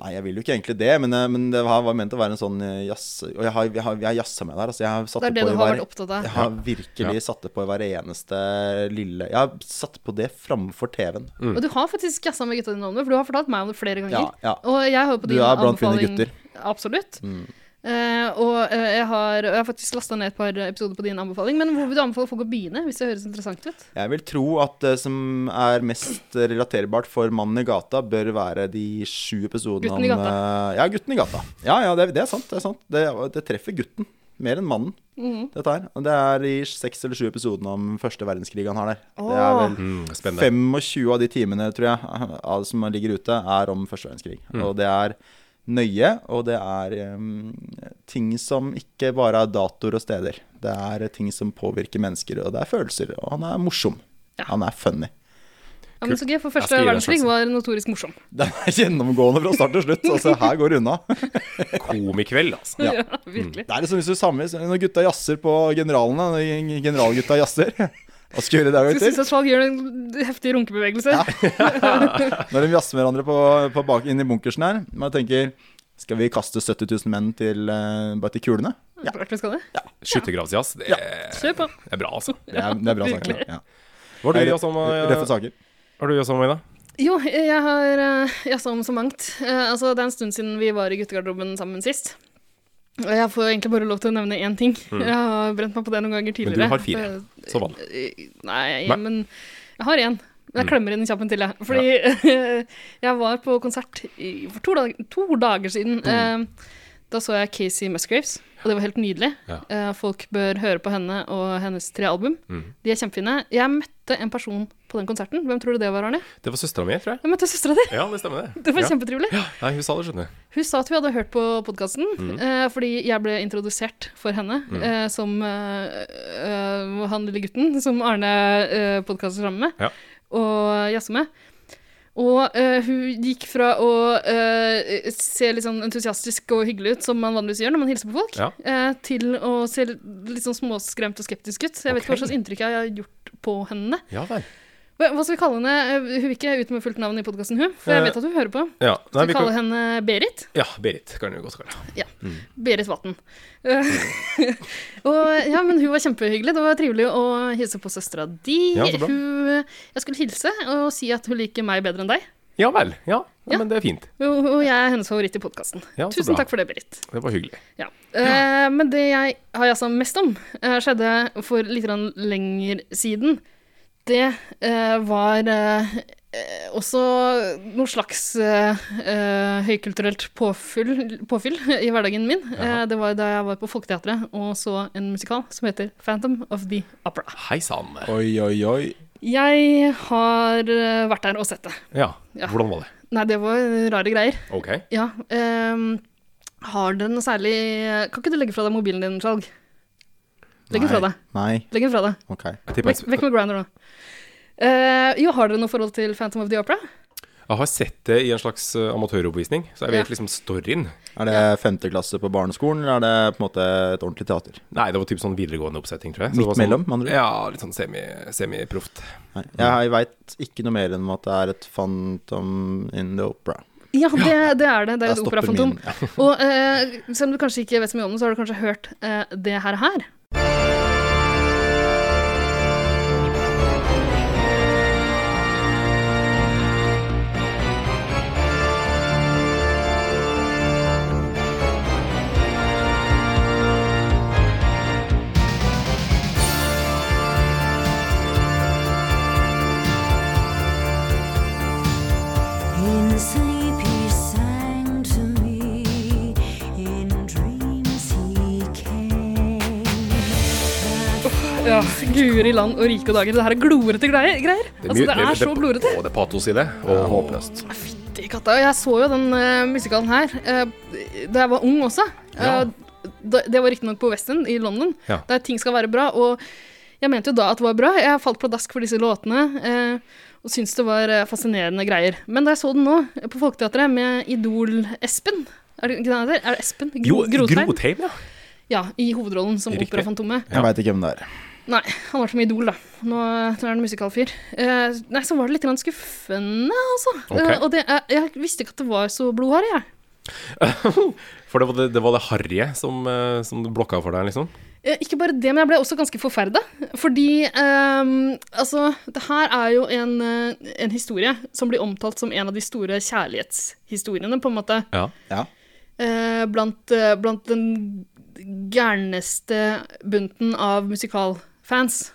Speaker 1: Nei, jeg vil jo ikke egentlig det, men, eh, men det var var ment å være en sånn eh, jazz... Og jeg har, jeg har, jeg har jazza med der. Altså, jeg har satt
Speaker 2: Det er det
Speaker 1: på i
Speaker 2: du har
Speaker 1: hver-
Speaker 2: vært opptatt av.
Speaker 1: Jeg har virkelig satt det på i hver eneste lille Jeg har satt på det framfor TV-en.
Speaker 2: Og du har faktisk jazza med gutta dine om det, for du har fortalt meg om det flere ganger.
Speaker 1: Ja, ja.
Speaker 2: Og jeg hører på
Speaker 1: Du
Speaker 2: din
Speaker 1: er blant mine
Speaker 2: anbefaling-
Speaker 1: gutter. Mm.
Speaker 2: Absolutt. Eh, og eh, jeg, har, og jeg har faktisk lasta ned et par episoder på din anbefaling. Men hvor vil du anbefale folk å begynne, hvis det høres interessant ut?
Speaker 1: Jeg vil tro at det som er mest relaterbart for mannen i gata, bør være de sju episodene
Speaker 2: Gutten i
Speaker 1: om, eh, Ja, gutten i gata. Ja, ja, det, det er sant. Det er sant. Det, det treffer gutten mer enn mannen,
Speaker 2: Mhm.
Speaker 1: dette her. Og det er i seks eller sju episodene om første verdenskrig han har der. Det er vel
Speaker 4: Mm, spennende.
Speaker 1: 25 av de timene, tror jeg, av- som ligger ute, er om første verdenskrig.
Speaker 2: Mm.
Speaker 1: Og det er nøye, og det er eh, ting som ikke bare er datoer og steder. Det er ting som påvirker mennesker, og det er følelser. Og han er morsom.
Speaker 2: Ja.
Speaker 1: Han er funny.
Speaker 2: Ja, men så gøy, for
Speaker 4: Jeg
Speaker 2: Første
Speaker 4: skal gi deg en
Speaker 2: verdenskrig
Speaker 4: sjanse.
Speaker 2: var notorisk morsom.
Speaker 1: Den er gjennomgående fra start til slutt. Altså, her går det unna.
Speaker 4: Komikveld, altså.
Speaker 1: Ja.
Speaker 2: Ja, virkelig.
Speaker 1: Det er liksom hvis du samler når gutta jazzer på generalene, når generalgutta jazzer Hva skal vi gjøre i dag,
Speaker 2: Skal
Speaker 1: gutter?
Speaker 2: synes at folk gjør en heftig runkebevegelse.
Speaker 1: Når de jazzer med hverandre på, på bak, inn i bunkersen her, man tenker Skal vi kaste 70 000 menn til, eh, bare til kulene? Ja.
Speaker 2: Klart vi skal det.
Speaker 4: Skyttergravsjazz. Det, er-
Speaker 2: Kjør på.
Speaker 4: det er bra, altså.
Speaker 1: Det er, det er bra saker.
Speaker 2: Virkelig.
Speaker 1: Ja.
Speaker 4: Hva har du eh, jazza
Speaker 1: Røffe
Speaker 4: om,
Speaker 1: saker.
Speaker 4: Ida?
Speaker 2: Jo, jeg har uh, jazza om så mangt. Eh, altså, det er en stund siden vi var i guttegarderoben sammen sist. Og jeg får egentlig bare lov til å nevne én ting. Jeg har brent meg på det noen ganger
Speaker 4: Mm. Men
Speaker 2: tidligere.
Speaker 4: du har fire, som vanlig.
Speaker 2: Eh, Nei,
Speaker 4: Nei.
Speaker 2: men jeg har én.
Speaker 4: Mm.
Speaker 2: Jeg klemmer inn kjappen til, jeg. Fordi jeg var på konsert i, for to, dag, to dager siden.
Speaker 4: Mm.
Speaker 2: Eh, da så jeg Casey Musgraves, og det var helt nydelig.
Speaker 4: Ja.
Speaker 2: Eh, folk bør høre på henne og hennes tre album.
Speaker 4: Mm.
Speaker 2: De er kjempefine. Jeg møtte en person på den konserten. Hvem tror du det var, Arne?
Speaker 4: Det var søstera mi, tror jeg.
Speaker 2: Jeg møtte søstera di!
Speaker 4: Ja, det stemmer, det.
Speaker 2: Det var
Speaker 4: Ja. Mm.
Speaker 2: kjempetrivelig.
Speaker 4: Nei, hun sa det, skjønner jeg.
Speaker 2: Hun sa at hun hadde hørt på podkasten, eh, fordi jeg ble introdusert for henne
Speaker 4: Mm.
Speaker 2: eh, som eh, eh, han lille gutten som Arne eh, podkaster sammen med,
Speaker 4: Ja.
Speaker 2: og jazzer med. Og eh, hun gikk fra å eh, se litt sånn entusiastisk og hyggelig ut, som man vanligvis gjør når man hilser på folk,
Speaker 4: Ja.
Speaker 2: eh, til å se litt sånn småskremt og skeptisk ut. Så jeg vet ikke hva
Speaker 4: Ok.
Speaker 2: slags inntrykk jeg har gjort på henne.
Speaker 4: Ja vel.
Speaker 2: Hva hva skal vi kalle henne? Eh, Hun vil ikke ut med fullt navn i podkasten, hun, for
Speaker 4: Eh,
Speaker 2: jeg vet at hun hører på.
Speaker 4: Ja,
Speaker 2: Skal
Speaker 4: Nei, vi
Speaker 2: vi kalle
Speaker 4: kan...
Speaker 2: henne Berit?
Speaker 4: ja Berit kan du godt kalle henne.
Speaker 2: Berit Vatn. Eh, og ja, men hun var kjempehyggelig. Det var trivelig å hilse på søstera di.
Speaker 4: Ja, så bra.
Speaker 2: hun, jeg skulle hilse og si at hun liker meg bedre enn deg.
Speaker 4: Ja vel. Ja. ja,
Speaker 2: Ja.
Speaker 4: men det er fint.
Speaker 2: Og, og jeg er hennes favoritt i podkasten.
Speaker 4: Ja, så
Speaker 2: Tusen
Speaker 4: bra.
Speaker 2: takk for det, Berit.
Speaker 4: Det var hyggelig.
Speaker 2: Ja. Eh, men det jeg har jazza mest om, eh, skjedde for litt grann lenger siden. Det eh, var eh, eh, også noe slags eh, eh, høykulturelt påfyll, påfyll i hverdagen min. Eh, det var da jeg var på Folketeatret og så en musikal som heter Phantom of the Opera.
Speaker 4: Hei sann.
Speaker 1: Oi, oi, oi.
Speaker 2: Jeg har eh, vært der og sett det.
Speaker 4: Ja.
Speaker 2: Ja.
Speaker 4: Hvordan var det?
Speaker 2: Nei, det var rare greier.
Speaker 4: Ok.
Speaker 2: Ja. ehm, har dere noe særlig Kan ikke du legge fra deg mobilen din, Skjalg? Legg den fra deg.
Speaker 1: Nei.
Speaker 2: Legg den fra deg.
Speaker 1: Ok.
Speaker 4: Jeg, tipper
Speaker 2: Vekk,
Speaker 4: jeg,
Speaker 2: vekk med Grinder nå. Eh, jo, har dere noe forhold til Phantom of the Opera?
Speaker 4: jeg har sett det i en slags eh, amatøroppvisning, så jeg
Speaker 2: Ja.
Speaker 4: vet liksom storyen.
Speaker 1: Er det femte klasse på barneskolen, eller er det på en måte et ordentlig teater?
Speaker 4: Nei, det var typ sånn videregående oppsetting, tror jeg. Så det
Speaker 1: Midt
Speaker 4: var sånn,
Speaker 1: mellom, med andre ord?
Speaker 4: Ja, litt sånn semi- semiproft.
Speaker 1: Nei. Jeg veit ikke noe mer enn at det er et Phantom in the Opera.
Speaker 2: Ja, det, det er det. Det er
Speaker 1: Jeg
Speaker 2: et
Speaker 1: stopper
Speaker 2: operafantom.
Speaker 1: min, ja.
Speaker 2: Og eh, selv om du kanskje ikke vet så mye om det, så har du kanskje hørt eh, det her her. Ja, Guri land og rike og dager. Det her er glorete greier. greier. Altså, det er så glorete.
Speaker 4: Å, det er patos i det. Og håpløst.
Speaker 2: Fytti katta. Jeg så jo den eh, musikalen her eh, da jeg var ung også.
Speaker 4: Ja.
Speaker 2: Eh, da- det var riktignok på West End i London,
Speaker 4: Ja.
Speaker 2: der ting skal være bra. Og jeg mente jo da at det var bra. Jeg falt pladask for disse låtene. eh, og syntes det var eh, fascinerende greier. Men da jeg så den nå, eh, på Folketeatret, med Idol-Espen Er det ikke det han heter? Er det Espen?
Speaker 4: Jo,
Speaker 2: Gro Grotheim?
Speaker 4: Grotheim, ja.
Speaker 2: Ja, i hovedrollen som
Speaker 4: Riktig.
Speaker 2: Operafantomet.
Speaker 1: Jeg veit ikke hvem det er.
Speaker 2: Nei, han var som idol, da. Nå, nå er han musikalfyr. Eh, nei, så var det litt grann skuffende, altså.
Speaker 4: Ok.
Speaker 2: Eh, og det, er- jeg visste ikke at det var så blodharry, jeg.
Speaker 4: For det var det, det, var det harrige som, eh, som blokka for deg, liksom?
Speaker 2: Eh, Ikke bare det, men jeg ble også ganske forferda. Fordi ehm, altså, det her er jo en, eh, en historie som blir omtalt som en av de store kjærlighetshistoriene, på en måte.
Speaker 4: Ja.
Speaker 1: Ja.
Speaker 2: Eh, blant, eh, blant den gærneste bunten av musikalfans.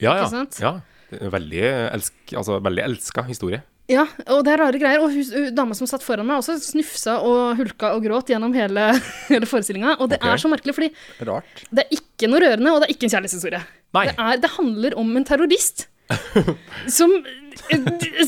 Speaker 4: Ja,
Speaker 2: Ikke
Speaker 4: ja.
Speaker 2: sant?
Speaker 4: ja. Det er en Veldig, elsk, altså, veldig elska historie.
Speaker 2: Ja, og det er rare greier. Og hun, hun dama som satt foran meg, også snufsa og hulka og gråt gjennom hele, hele forestillinga. Og det
Speaker 4: Ok.
Speaker 2: er så merkelig, fordi
Speaker 1: Rart.
Speaker 2: det er ikke noe rørende, og det er ikke en kjærlighetshistorie.
Speaker 4: Nei.
Speaker 2: Det, er, det handler om en terrorist som,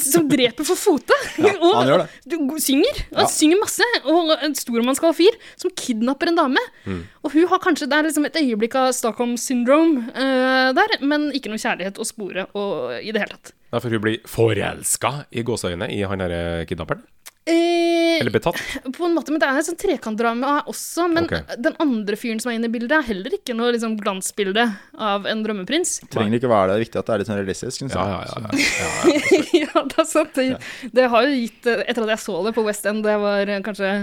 Speaker 2: som dreper for fote. og
Speaker 1: han gjør det.
Speaker 2: Du, synger. Han
Speaker 1: Ja.
Speaker 2: synger masse. Og en stormannsgal fyr som kidnapper en dame.
Speaker 1: Mm.
Speaker 2: Og hun har kanskje Det er liksom et øyeblikk av Stockholm syndrome eh, der, men ikke noe kjærlighet å spore og, i det hele tatt.
Speaker 4: Ja, for hun blir forelska i gåseøyne i han derre kidnapperen.
Speaker 2: Eh,
Speaker 4: Eller betatt.
Speaker 2: På en måte, men Det er et sånt trekantdrama også, men
Speaker 4: Ok.
Speaker 2: den andre fyren som er inne i bildet, er heller ikke noe liksom, glansbilde av en drømmeprins.
Speaker 1: Trenger ikke være det. Det er viktig at det er litt sånn realistisk. synes jeg.
Speaker 4: Ja, ja, ja. ja.
Speaker 2: ja, det er sant. Det, det har jo gitt eh, Etter at jeg så det på West End, det var eh, kanskje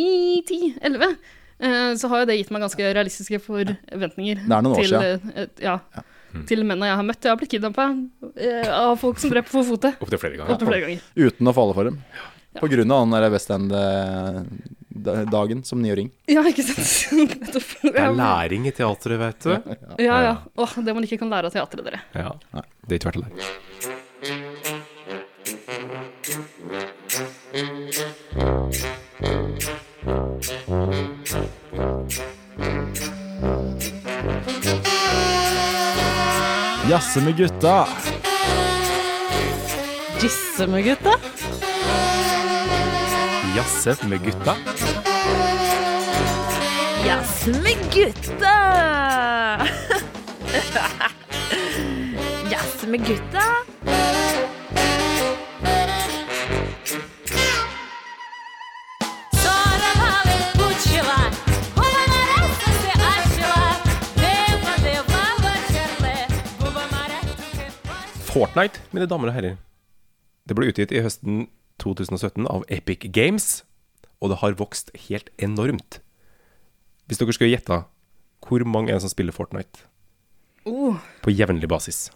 Speaker 2: 9-10-11, eh, så har jo det gitt meg ganske realistiske forventninger
Speaker 1: er noen år
Speaker 2: til,
Speaker 1: siden.
Speaker 2: eh, et- ja, til mennene jeg har møtt. Jeg har blitt kidnappa av folk som dreper for fote.
Speaker 4: Opptil flere ganger.
Speaker 2: Opptil flere ganger.
Speaker 1: Uten å falle for dem. På grunn av den der West End-dagen som niåring.
Speaker 2: Ja, ikke sant? Nettopp.
Speaker 4: Det er læring i teatret, vet du.
Speaker 2: Ja, ja. Åh, det man ikke kan lære av teatret, dere.
Speaker 4: Ja. Det er ikke verdt å lære.
Speaker 1: Jazze med gutta.
Speaker 6: Jisse med gutta.
Speaker 4: Jazze med gutta.
Speaker 6: Jazz med gutta! Jazz med gutta.
Speaker 4: Fortnite, mine damer og herrer. Det ble utgitt i høsten 2017 av Epic Games, og det har vokst helt enormt. Hvis dere skulle gjette hvor mange er det som spiller Fortnite
Speaker 2: Oh,
Speaker 4: på jevnlig basis?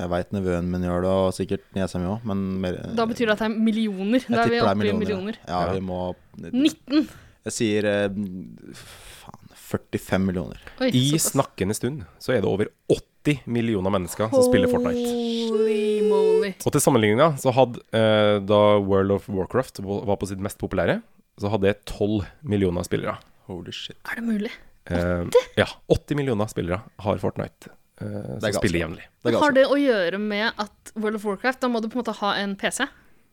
Speaker 1: Jeg veit nevøen min gjør det, og sikkert niesa mi òg, men mer,
Speaker 2: da betyr det at det er millioner. Da
Speaker 1: jeg
Speaker 2: er vi
Speaker 1: tipper det
Speaker 2: oppe i millioner.
Speaker 1: Ja, vi må
Speaker 2: 19!
Speaker 1: Jeg sier eh, faen 45 millioner.
Speaker 2: Oi,
Speaker 4: I
Speaker 2: såpass.
Speaker 4: snakkende stund så er det over 80 millioner mennesker som spiller Fortnite.
Speaker 2: Holy moly.
Speaker 4: Og til sammenligninga så hadde eh, da World of Warcraft var på sitt mest populære, så hadde det 12 millioner spillere.
Speaker 1: Holy shit.
Speaker 2: Er det mulig?
Speaker 4: Eh, ja, 80 millioner spillere har Fortnite, eh, som
Speaker 1: galskap.
Speaker 4: spiller jevnlig.
Speaker 1: Det er
Speaker 2: Har
Speaker 1: ganske
Speaker 2: det å gjøre med at World of Warcraft, da må du på en måte ha en PC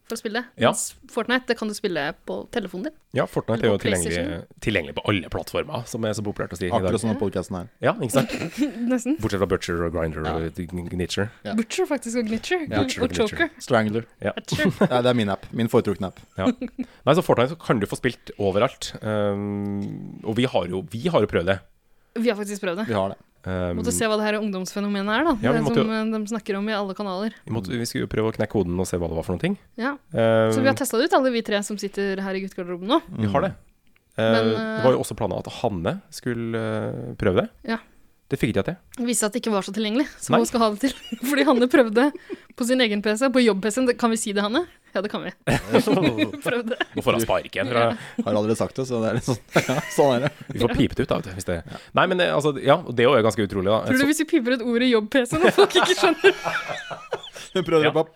Speaker 2: for å spille?
Speaker 4: Ja.
Speaker 2: Mens Fortnite, det kan du spille på telefonen din.
Speaker 4: Ja, Fortnite er jo
Speaker 2: Og
Speaker 4: tilgjengelig,
Speaker 2: PlayStation.
Speaker 4: tilgjengelig på alle plattformer, som er så populært å si i dag.
Speaker 1: Akkurat som denne podkasten her.
Speaker 4: Ja, ikke sant?
Speaker 2: Nesten.
Speaker 4: Bortsett fra Butcher og Grinder og Gnitcher.
Speaker 1: Ja.
Speaker 2: Butcher faktisk, og Glitcher.
Speaker 4: Butcher og
Speaker 2: og Choker.
Speaker 1: Strangler.
Speaker 4: Ja.
Speaker 2: Butcher.
Speaker 1: Ja, det er min app. Min foretrukne app.
Speaker 4: Ja. Nei, så Fortnite kan du få spilt overalt. Um, og vi har jo, vi har jo prøvd det.
Speaker 2: Vi har faktisk prøvd det.
Speaker 1: Vi har det.
Speaker 4: Um,
Speaker 2: Måtte se hva det her ungdomsfenomenet er, da.
Speaker 4: Ja, vi
Speaker 2: det
Speaker 4: måtte
Speaker 2: som
Speaker 4: jo-
Speaker 2: eh, de snakker om i alle kanaler.
Speaker 4: vi, måtte, vi skulle jo prøve å knekke koden og se hva det var for noen ting.
Speaker 2: Ja.
Speaker 4: Um,
Speaker 2: Så vi har testa det ut, alle vi tre som sitter her i guttegarderoben nå.
Speaker 4: Vi har det. Eh,
Speaker 2: Men,
Speaker 4: det var jo også planen at Hanne skulle eh, prøve det.
Speaker 2: Ja.
Speaker 4: Det fikk ikke jeg til.
Speaker 2: Det viste seg at det ikke var så tilgjengelig, som
Speaker 4: Nei.
Speaker 2: hun skal ha det til. Fordi Hanne prøvde på sin egen PC, på jobb-PC-en. Kan vi si det, Hanne? Ja, det kan vi. prøvde.
Speaker 4: Nå får hun sparken. Fra,
Speaker 1: Mm. Har allerede sagt det, så det er litt sånn. Ja, sånn er det.
Speaker 4: vi får pipet ut, da. vet du, Hvis det, nei, men eh, altså, ja, og det er jo ganske utrolig, da.
Speaker 2: Tror du
Speaker 4: Så,
Speaker 2: hvis vi piper ut ordet jobb-PC når folk ikke skjønner
Speaker 1: Hun prøvde å
Speaker 4: Ja.
Speaker 1: rappe opp.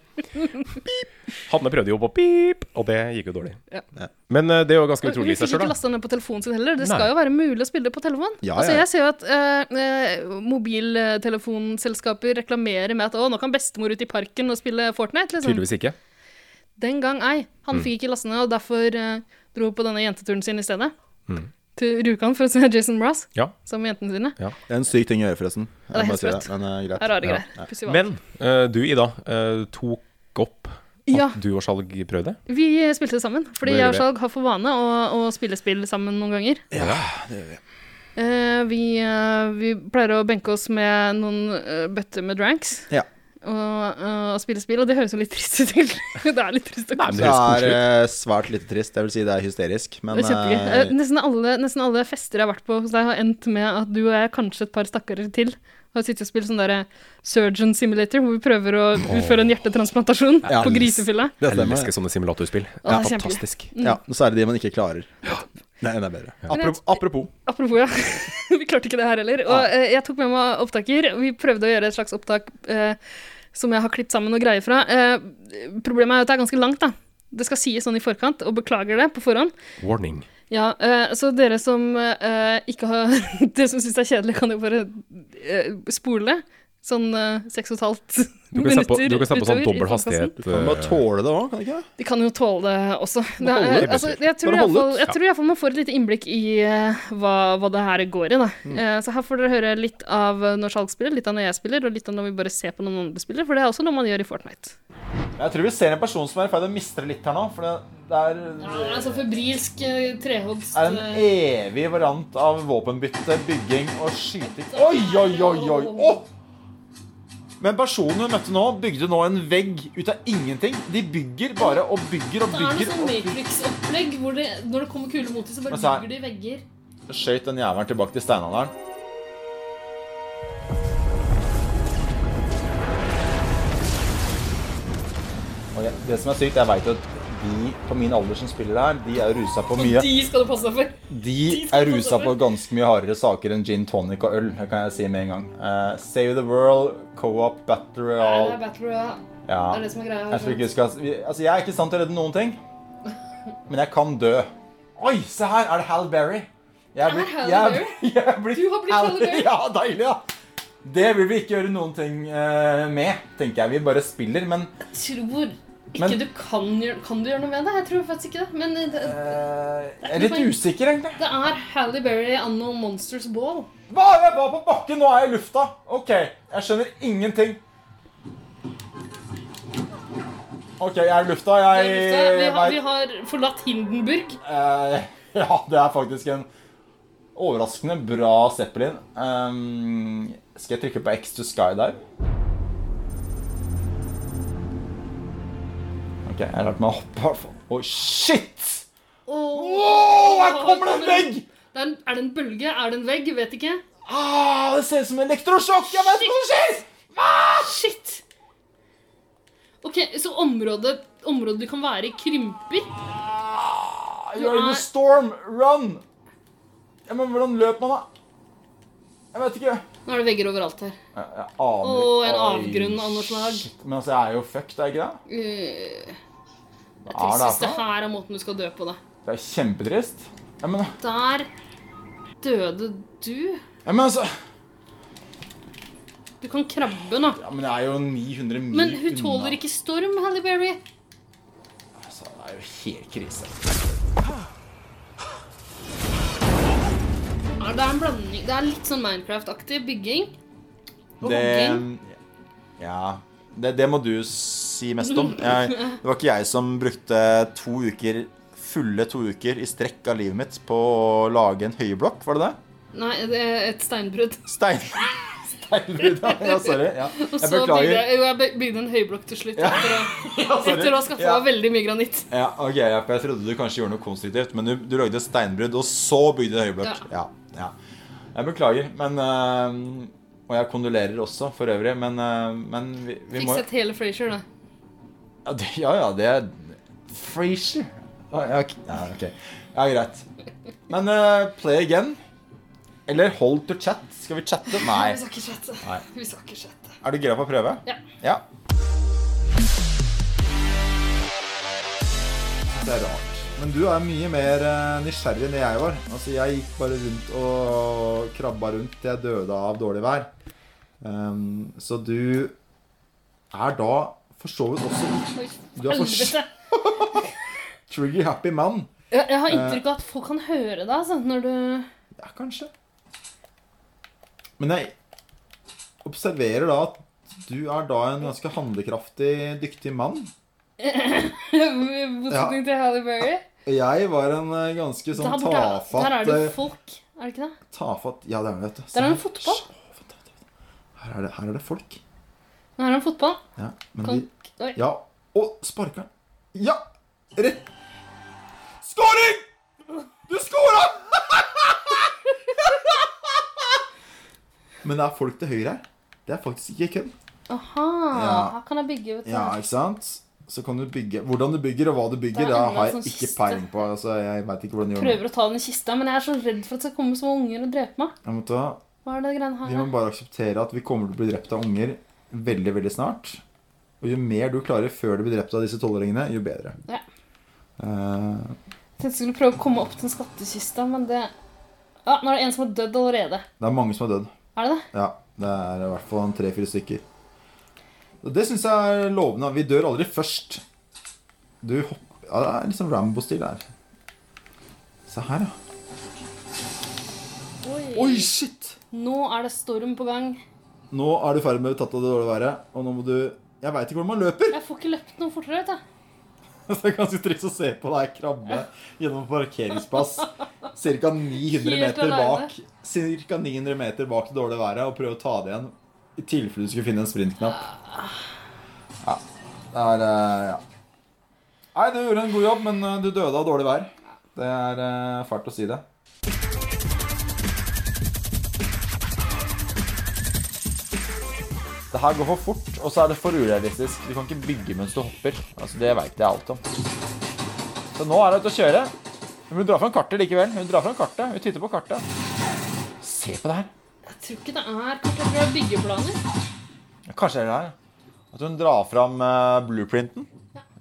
Speaker 4: Hanne prøvde jo på pip, og det gikk jo dårlig.
Speaker 2: Ja.
Speaker 1: Ja.
Speaker 4: Men eh, det er jo ganske
Speaker 2: Hun
Speaker 4: utrolig i
Speaker 2: fikk
Speaker 4: seg
Speaker 2: ikke
Speaker 4: sjøl, da.
Speaker 2: lasta ned på telefonen sin heller. Det
Speaker 4: Nei.
Speaker 2: skal jo være mulig å spille det på telefon.
Speaker 1: Ja,
Speaker 2: altså,
Speaker 1: ja.
Speaker 2: jeg ser jo at eh, eh, mobiltelefonselskaper reklamerer med at å, nå kan bestemor ut i parken og spille Fortnite. Liksom.
Speaker 4: Tydeligvis Mm. ikke.
Speaker 2: Den gang ei. Han fikk ikke lasta ned, og derfor eh, dro på denne jenteturen sin i stedet.
Speaker 4: Mm.
Speaker 2: Til Rjukan for å se Jason Mraz
Speaker 4: Ja.
Speaker 2: sammen med jentene sine.
Speaker 1: Det er en syk ting å gjøre, forresten. Jeg
Speaker 2: det er
Speaker 1: må
Speaker 2: helt
Speaker 1: si
Speaker 2: sprøtt.
Speaker 1: Men, eh, greit.
Speaker 2: Det er rare
Speaker 1: Ja.
Speaker 2: greier. Pussig valg.
Speaker 4: Men eh, du, Ida, eh, tok opp at
Speaker 2: Ja.
Speaker 4: du og Skjalg prøvde.
Speaker 2: Vi spilte det sammen, fordi
Speaker 4: Det
Speaker 2: jeg og
Speaker 4: gjorde
Speaker 2: Skjalg har for vane å, å spille spill sammen noen ganger.
Speaker 4: Ja.
Speaker 2: Eh, vi, eh, vi pleier å benke oss med noen eh, bøtter med dranks.
Speaker 1: Ja.
Speaker 2: Og, eh, og spille spill, og det høres jo litt trist ut, egentlig. det er litt trist. å
Speaker 4: Nei, men
Speaker 1: Så
Speaker 4: det
Speaker 1: det
Speaker 4: høres koselig ut.
Speaker 1: er eh, svært lite trist. Jeg vil si det er hysterisk, men
Speaker 2: det er kjempegøy.
Speaker 1: eh,
Speaker 2: Eh, Nesten alle, nesten alle fester jeg har vært på hos deg, har endt med at du og jeg, kanskje et par stakkarer til, har sittet og spilt sånn derre Surgeon Simulator, hvor vi prøver å utføre en hjertetransplantasjon
Speaker 1: Ja.
Speaker 2: på grisefylla.
Speaker 1: det
Speaker 4: Jeg
Speaker 1: stemmer.
Speaker 4: elsker sånne simulatorspill.
Speaker 2: Ja, det er kjempegøy.
Speaker 4: Fantastisk.
Speaker 1: Ja, og så er det de man ikke klarer. Det er enda bedre.
Speaker 2: Men
Speaker 1: Apropos,
Speaker 2: jeg-
Speaker 1: apropos
Speaker 2: Apropos, ja. vi klarte ikke det her heller. Og eh, jeg tok med meg opptaker. Vi prøvde å gjøre et slags opptak eh, som jeg har klippet sammen og greier fra. Eh, problemet er jo at det er ganske langt, da. Det skal sies sånn i forkant, og beklager det på forhånd.
Speaker 4: Warning.
Speaker 2: Ja, eh, så dere som eh, ikke har Dere som syns det er kjedelig, kan jo bare eh, spole det. Sånn eh, seks og et halvt
Speaker 4: Du kan sette på,
Speaker 2: minutter
Speaker 4: du kan sette på sånn
Speaker 2: utover i
Speaker 4: dobbel
Speaker 2: podcasten.
Speaker 4: hastighet.
Speaker 1: Du kan bare tåle det òg, kan du ikke? det?
Speaker 2: De kan jo tåle det også. Det
Speaker 1: holde
Speaker 2: er,
Speaker 1: ut.
Speaker 2: altså, jeg tror
Speaker 1: Bare holde
Speaker 2: iallfall
Speaker 1: ut.
Speaker 2: jeg tror i hvert fall man får et lite innblikk i eh, hva, hva det her går i. Da.
Speaker 1: Mm.
Speaker 2: Eh, så her får dere høre litt av eh, når Skjalg spiller, litt av når jeg spiller, og litt av når vi bare ser på noen andre spiller, for det er også noe man gjør i Fortnite.
Speaker 1: Jeg tror vi ser en person som er i ferd med å miste det litt her nå. For det, det er,
Speaker 2: altså febrilsk eh, trehogst
Speaker 1: er en evig variant av våpenbytte, bygging og skyting. Oi, oi, oi, oi! Å! Men personen hun møtte nå, bygde nå en vegg ut av ingenting. De bygger bare og bygger og bygger. og bygger.
Speaker 2: sånn Matrix-opplegg hvor når det kommer kuler mot dem, så
Speaker 1: Men så er- bygger
Speaker 2: de vegger.
Speaker 1: Skjøt den jævelen tilbake til steinalderen. Og jeg, det som er sykt, jeg veit at de på min alder som spiller her, de er rusa på mye.
Speaker 2: skal du passe deg for.
Speaker 1: De
Speaker 2: skal
Speaker 1: er rusa
Speaker 2: få
Speaker 1: på ganske mye hardere saker enn gin tonic og øl, det kan jeg si med en gang. Eh, Save the World, Co-op, Battle Royale
Speaker 2: Battle Royale.
Speaker 1: ja.
Speaker 2: som er greia.
Speaker 1: Jeg tror ikke vi skal vi- Altså, jeg er ikke i stand til å redde noen ting, men jeg kan dø. Oi, se her! Er det Hal Berry? Jeg er
Speaker 2: Halle
Speaker 1: jeg, jeg er blitt
Speaker 2: Du har blitt Halle Berry.
Speaker 1: Ja, deilig, da! Det vil vi ikke gjøre noen ting eh, med, tenker jeg. Vi bare spiller, men
Speaker 2: tror ikke
Speaker 1: Men-
Speaker 2: du kan gjøre Kan du gjøre noe med det? Jeg tror faktisk ikke det. Men det,
Speaker 1: eh, jeg er litt usikker, egentlig.
Speaker 2: det er Halle Berry anno Monsters Ball.
Speaker 1: Hva? Jeg var på bakken, nå er jeg i lufta! OK, jeg skjønner ingenting. OK, jeg er i lufta. Jeg
Speaker 2: Vi har,
Speaker 1: vet-
Speaker 2: vi har forlatt Hindenburg.
Speaker 1: Eh, ja, det er faktisk en overraskende bra Zeppelin. Ehm, skal jeg trykke på X to skydive? Ok, jeg lærte meg å hoppe i hvert fall. Å, shit! Wow, her kommer det en vegg!
Speaker 2: Det er, en- er det en bølge? Er det en vegg? Vet ikke.
Speaker 1: Ah, det ser ut som elektrosjokk! Jeg vet hva som skjer!
Speaker 2: Shit! Ok, Så området, området du kan være i, krymper?
Speaker 1: Ah, You're in a storm, run! Ja, men hvordan løp man da? Jeg vet ikke.
Speaker 2: Nå er det vegger overalt her.
Speaker 1: Jeg, jeg aner
Speaker 2: Åh, en
Speaker 1: Oi,
Speaker 2: avgrunn av noe slag.
Speaker 1: shit. Men altså, jeg er jo fucked, er jeg ikke det?
Speaker 2: Uh, jeg
Speaker 1: Hva er det her
Speaker 2: syns
Speaker 1: for
Speaker 2: det
Speaker 1: noe?
Speaker 2: her er måten du skal dø på, da.
Speaker 1: Det er kjempetrist. Ja, men,
Speaker 2: Der døde du.
Speaker 1: ja, men altså
Speaker 2: Du kan krabbe nå.
Speaker 1: ja, Men jeg er jo 900 mil
Speaker 2: Men hun tåler ikke storm, Halle Berry.
Speaker 1: Altså, det er jo helt krise.
Speaker 2: Ja, det er en blanding. Det er litt sånn Minecraft-aktig bygging. Og hogging.
Speaker 1: Det Ja. Det, det må du si mest om. Jeg, det var ikke jeg som brukte to uker fulle to uker i strekk av livet mitt på å lage en høyblokk, var det det?
Speaker 2: Nei, det er et steinbrudd.
Speaker 1: Stein... Steinbrudd, ja. ja. Sorry. Ja.
Speaker 2: Og
Speaker 1: Jeg
Speaker 2: så bygde
Speaker 1: beklager.
Speaker 2: jeg, jo, jeg by- bygde en høyblokk til slutt. Etter å,
Speaker 1: Ja, sorry.
Speaker 2: etter å ha skaffa
Speaker 1: Ja.
Speaker 2: veldig mye granitt.
Speaker 1: Ja, ok, ja, for Jeg trodde du kanskje gjorde noe konstruktivt, men du, du lagde et steinbrudd, og så bygde du en høyblokk. Ja. Ja, Jeg beklager, men eh, Og jeg kondolerer også, for øvrig, men, eh, men vi, vi
Speaker 2: Fikk
Speaker 1: må
Speaker 2: sett hele Frasier, da.
Speaker 1: Ja, det- Ja ja, det er Frasier. Ja, ja, ok. ja, ok. Ja, greit. Men eh, play again. Eller hold to chat. Skal vi chatte? Nei.
Speaker 2: Vi skal ikke chatte.
Speaker 1: Nei.
Speaker 2: Vi skal ikke chatte.
Speaker 1: Er du gira på å prøve?
Speaker 2: Ja.
Speaker 1: ja. Det er rart. Men du er mye mer eh, nysgjerrig enn det jeg var. Altså, jeg gikk bare rundt og krabba rundt til jeg døde av dårlig vær. Um, så du er da for så vidt også Du er for
Speaker 2: Helvete.
Speaker 1: trigger happy mann.
Speaker 2: Jeg, jeg
Speaker 1: Eh.
Speaker 2: har inntrykk av at folk kan høre deg altså, når du
Speaker 1: Ja, kanskje. Men jeg observerer da at du er da en ganske handlekraftig, dyktig mann.
Speaker 2: I motsetning til Halle Berry.
Speaker 1: Jeg var en eh, ganske sånn
Speaker 2: Der, borte, der er
Speaker 1: tafatt
Speaker 2: det
Speaker 1: eh,
Speaker 2: folk, er det ikke det?
Speaker 1: Tafatt Ja, det er det, vet du. Sånn
Speaker 2: Der er det en
Speaker 1: Se.
Speaker 2: fotball.
Speaker 1: Sj, å, vent, vent, vent. Her er det, her er det folk.
Speaker 2: Nå er det en fotball.
Speaker 1: Ja, men
Speaker 2: Kan...
Speaker 1: de
Speaker 2: Oi.
Speaker 1: Ja. Å, sparker han. Ja! Rett Skåring! Du skåra! Men det er folk til høyre her. Det er faktisk ikke kødd.
Speaker 2: Aha,
Speaker 1: Ja.
Speaker 2: her kan jeg bygge, vet du.
Speaker 1: Ja, ikke sant? Så kan du bygge Hvordan du bygger, og hva du bygger,
Speaker 2: Det Sånn.
Speaker 1: det
Speaker 2: er enda
Speaker 1: har jeg
Speaker 2: en sånn
Speaker 1: ikke
Speaker 2: kiste.
Speaker 1: peiling på. Altså, jeg vet ikke hvordan du gjør det.
Speaker 2: Prøver å ta den i kista, men jeg er så redd for at det skal komme små unger og drepe meg.
Speaker 1: Jeg må ta
Speaker 2: Hva er det greiene her?
Speaker 1: Vi må bare akseptere at vi kommer til å bli drept av unger veldig, veldig snart. Og jo mer du klarer før du blir drept av disse tolvåringene, jo bedre.
Speaker 2: Ja.
Speaker 1: Eh,
Speaker 2: Jeg tenkte jeg skulle prøve å komme opp til en skattkista, men det Ja, nå er det en som har dødd allerede.
Speaker 1: det er mange som har dødd.
Speaker 2: Er det det?
Speaker 1: Ja, det er i hvert fall en tre-fire stykker. Og det syns jeg er lovende. Vi dør aldri først. Du hopper Ja, det er liksom Rambo-stil her. Se her, ja. Oi, shit!
Speaker 2: Nå er det storm på gang.
Speaker 1: Nå er du i ferd med å bli tatt av det dårlige været, og nå må du Jeg veit ikke hvordan man løper!
Speaker 2: Jeg får ikke løpt noe fortere, vet jeg.
Speaker 1: Det er ganske trist å se på deg krabbe gjennom parkeringsplass ca. 900
Speaker 2: Helt
Speaker 1: meter
Speaker 2: alene.
Speaker 1: bak Cirka 900 meter bak det dårlige været og prøve å ta det igjen i tilfelle du skulle finne en sprintknapp. Ja, det er eh, Ja. Nei, du gjorde en god jobb, men eh, du døde av dårlig vær. Det er eh, fælt å si det. Det her går for fort, og så er det for urealistisk. Du kan ikke bygge mens du hopper. Altså, Det veit jeg alt om. Så nå er hun ute å kjøre. Men hun drar fram kartet likevel. Hun drar fram kartet. Hun titter på kartet. Se på det her.
Speaker 2: Jeg tror ikke det er Kanskje jeg tror det er byggeplaner?
Speaker 1: Kanskje det er det her. At hun drar fram eh, blueprinten.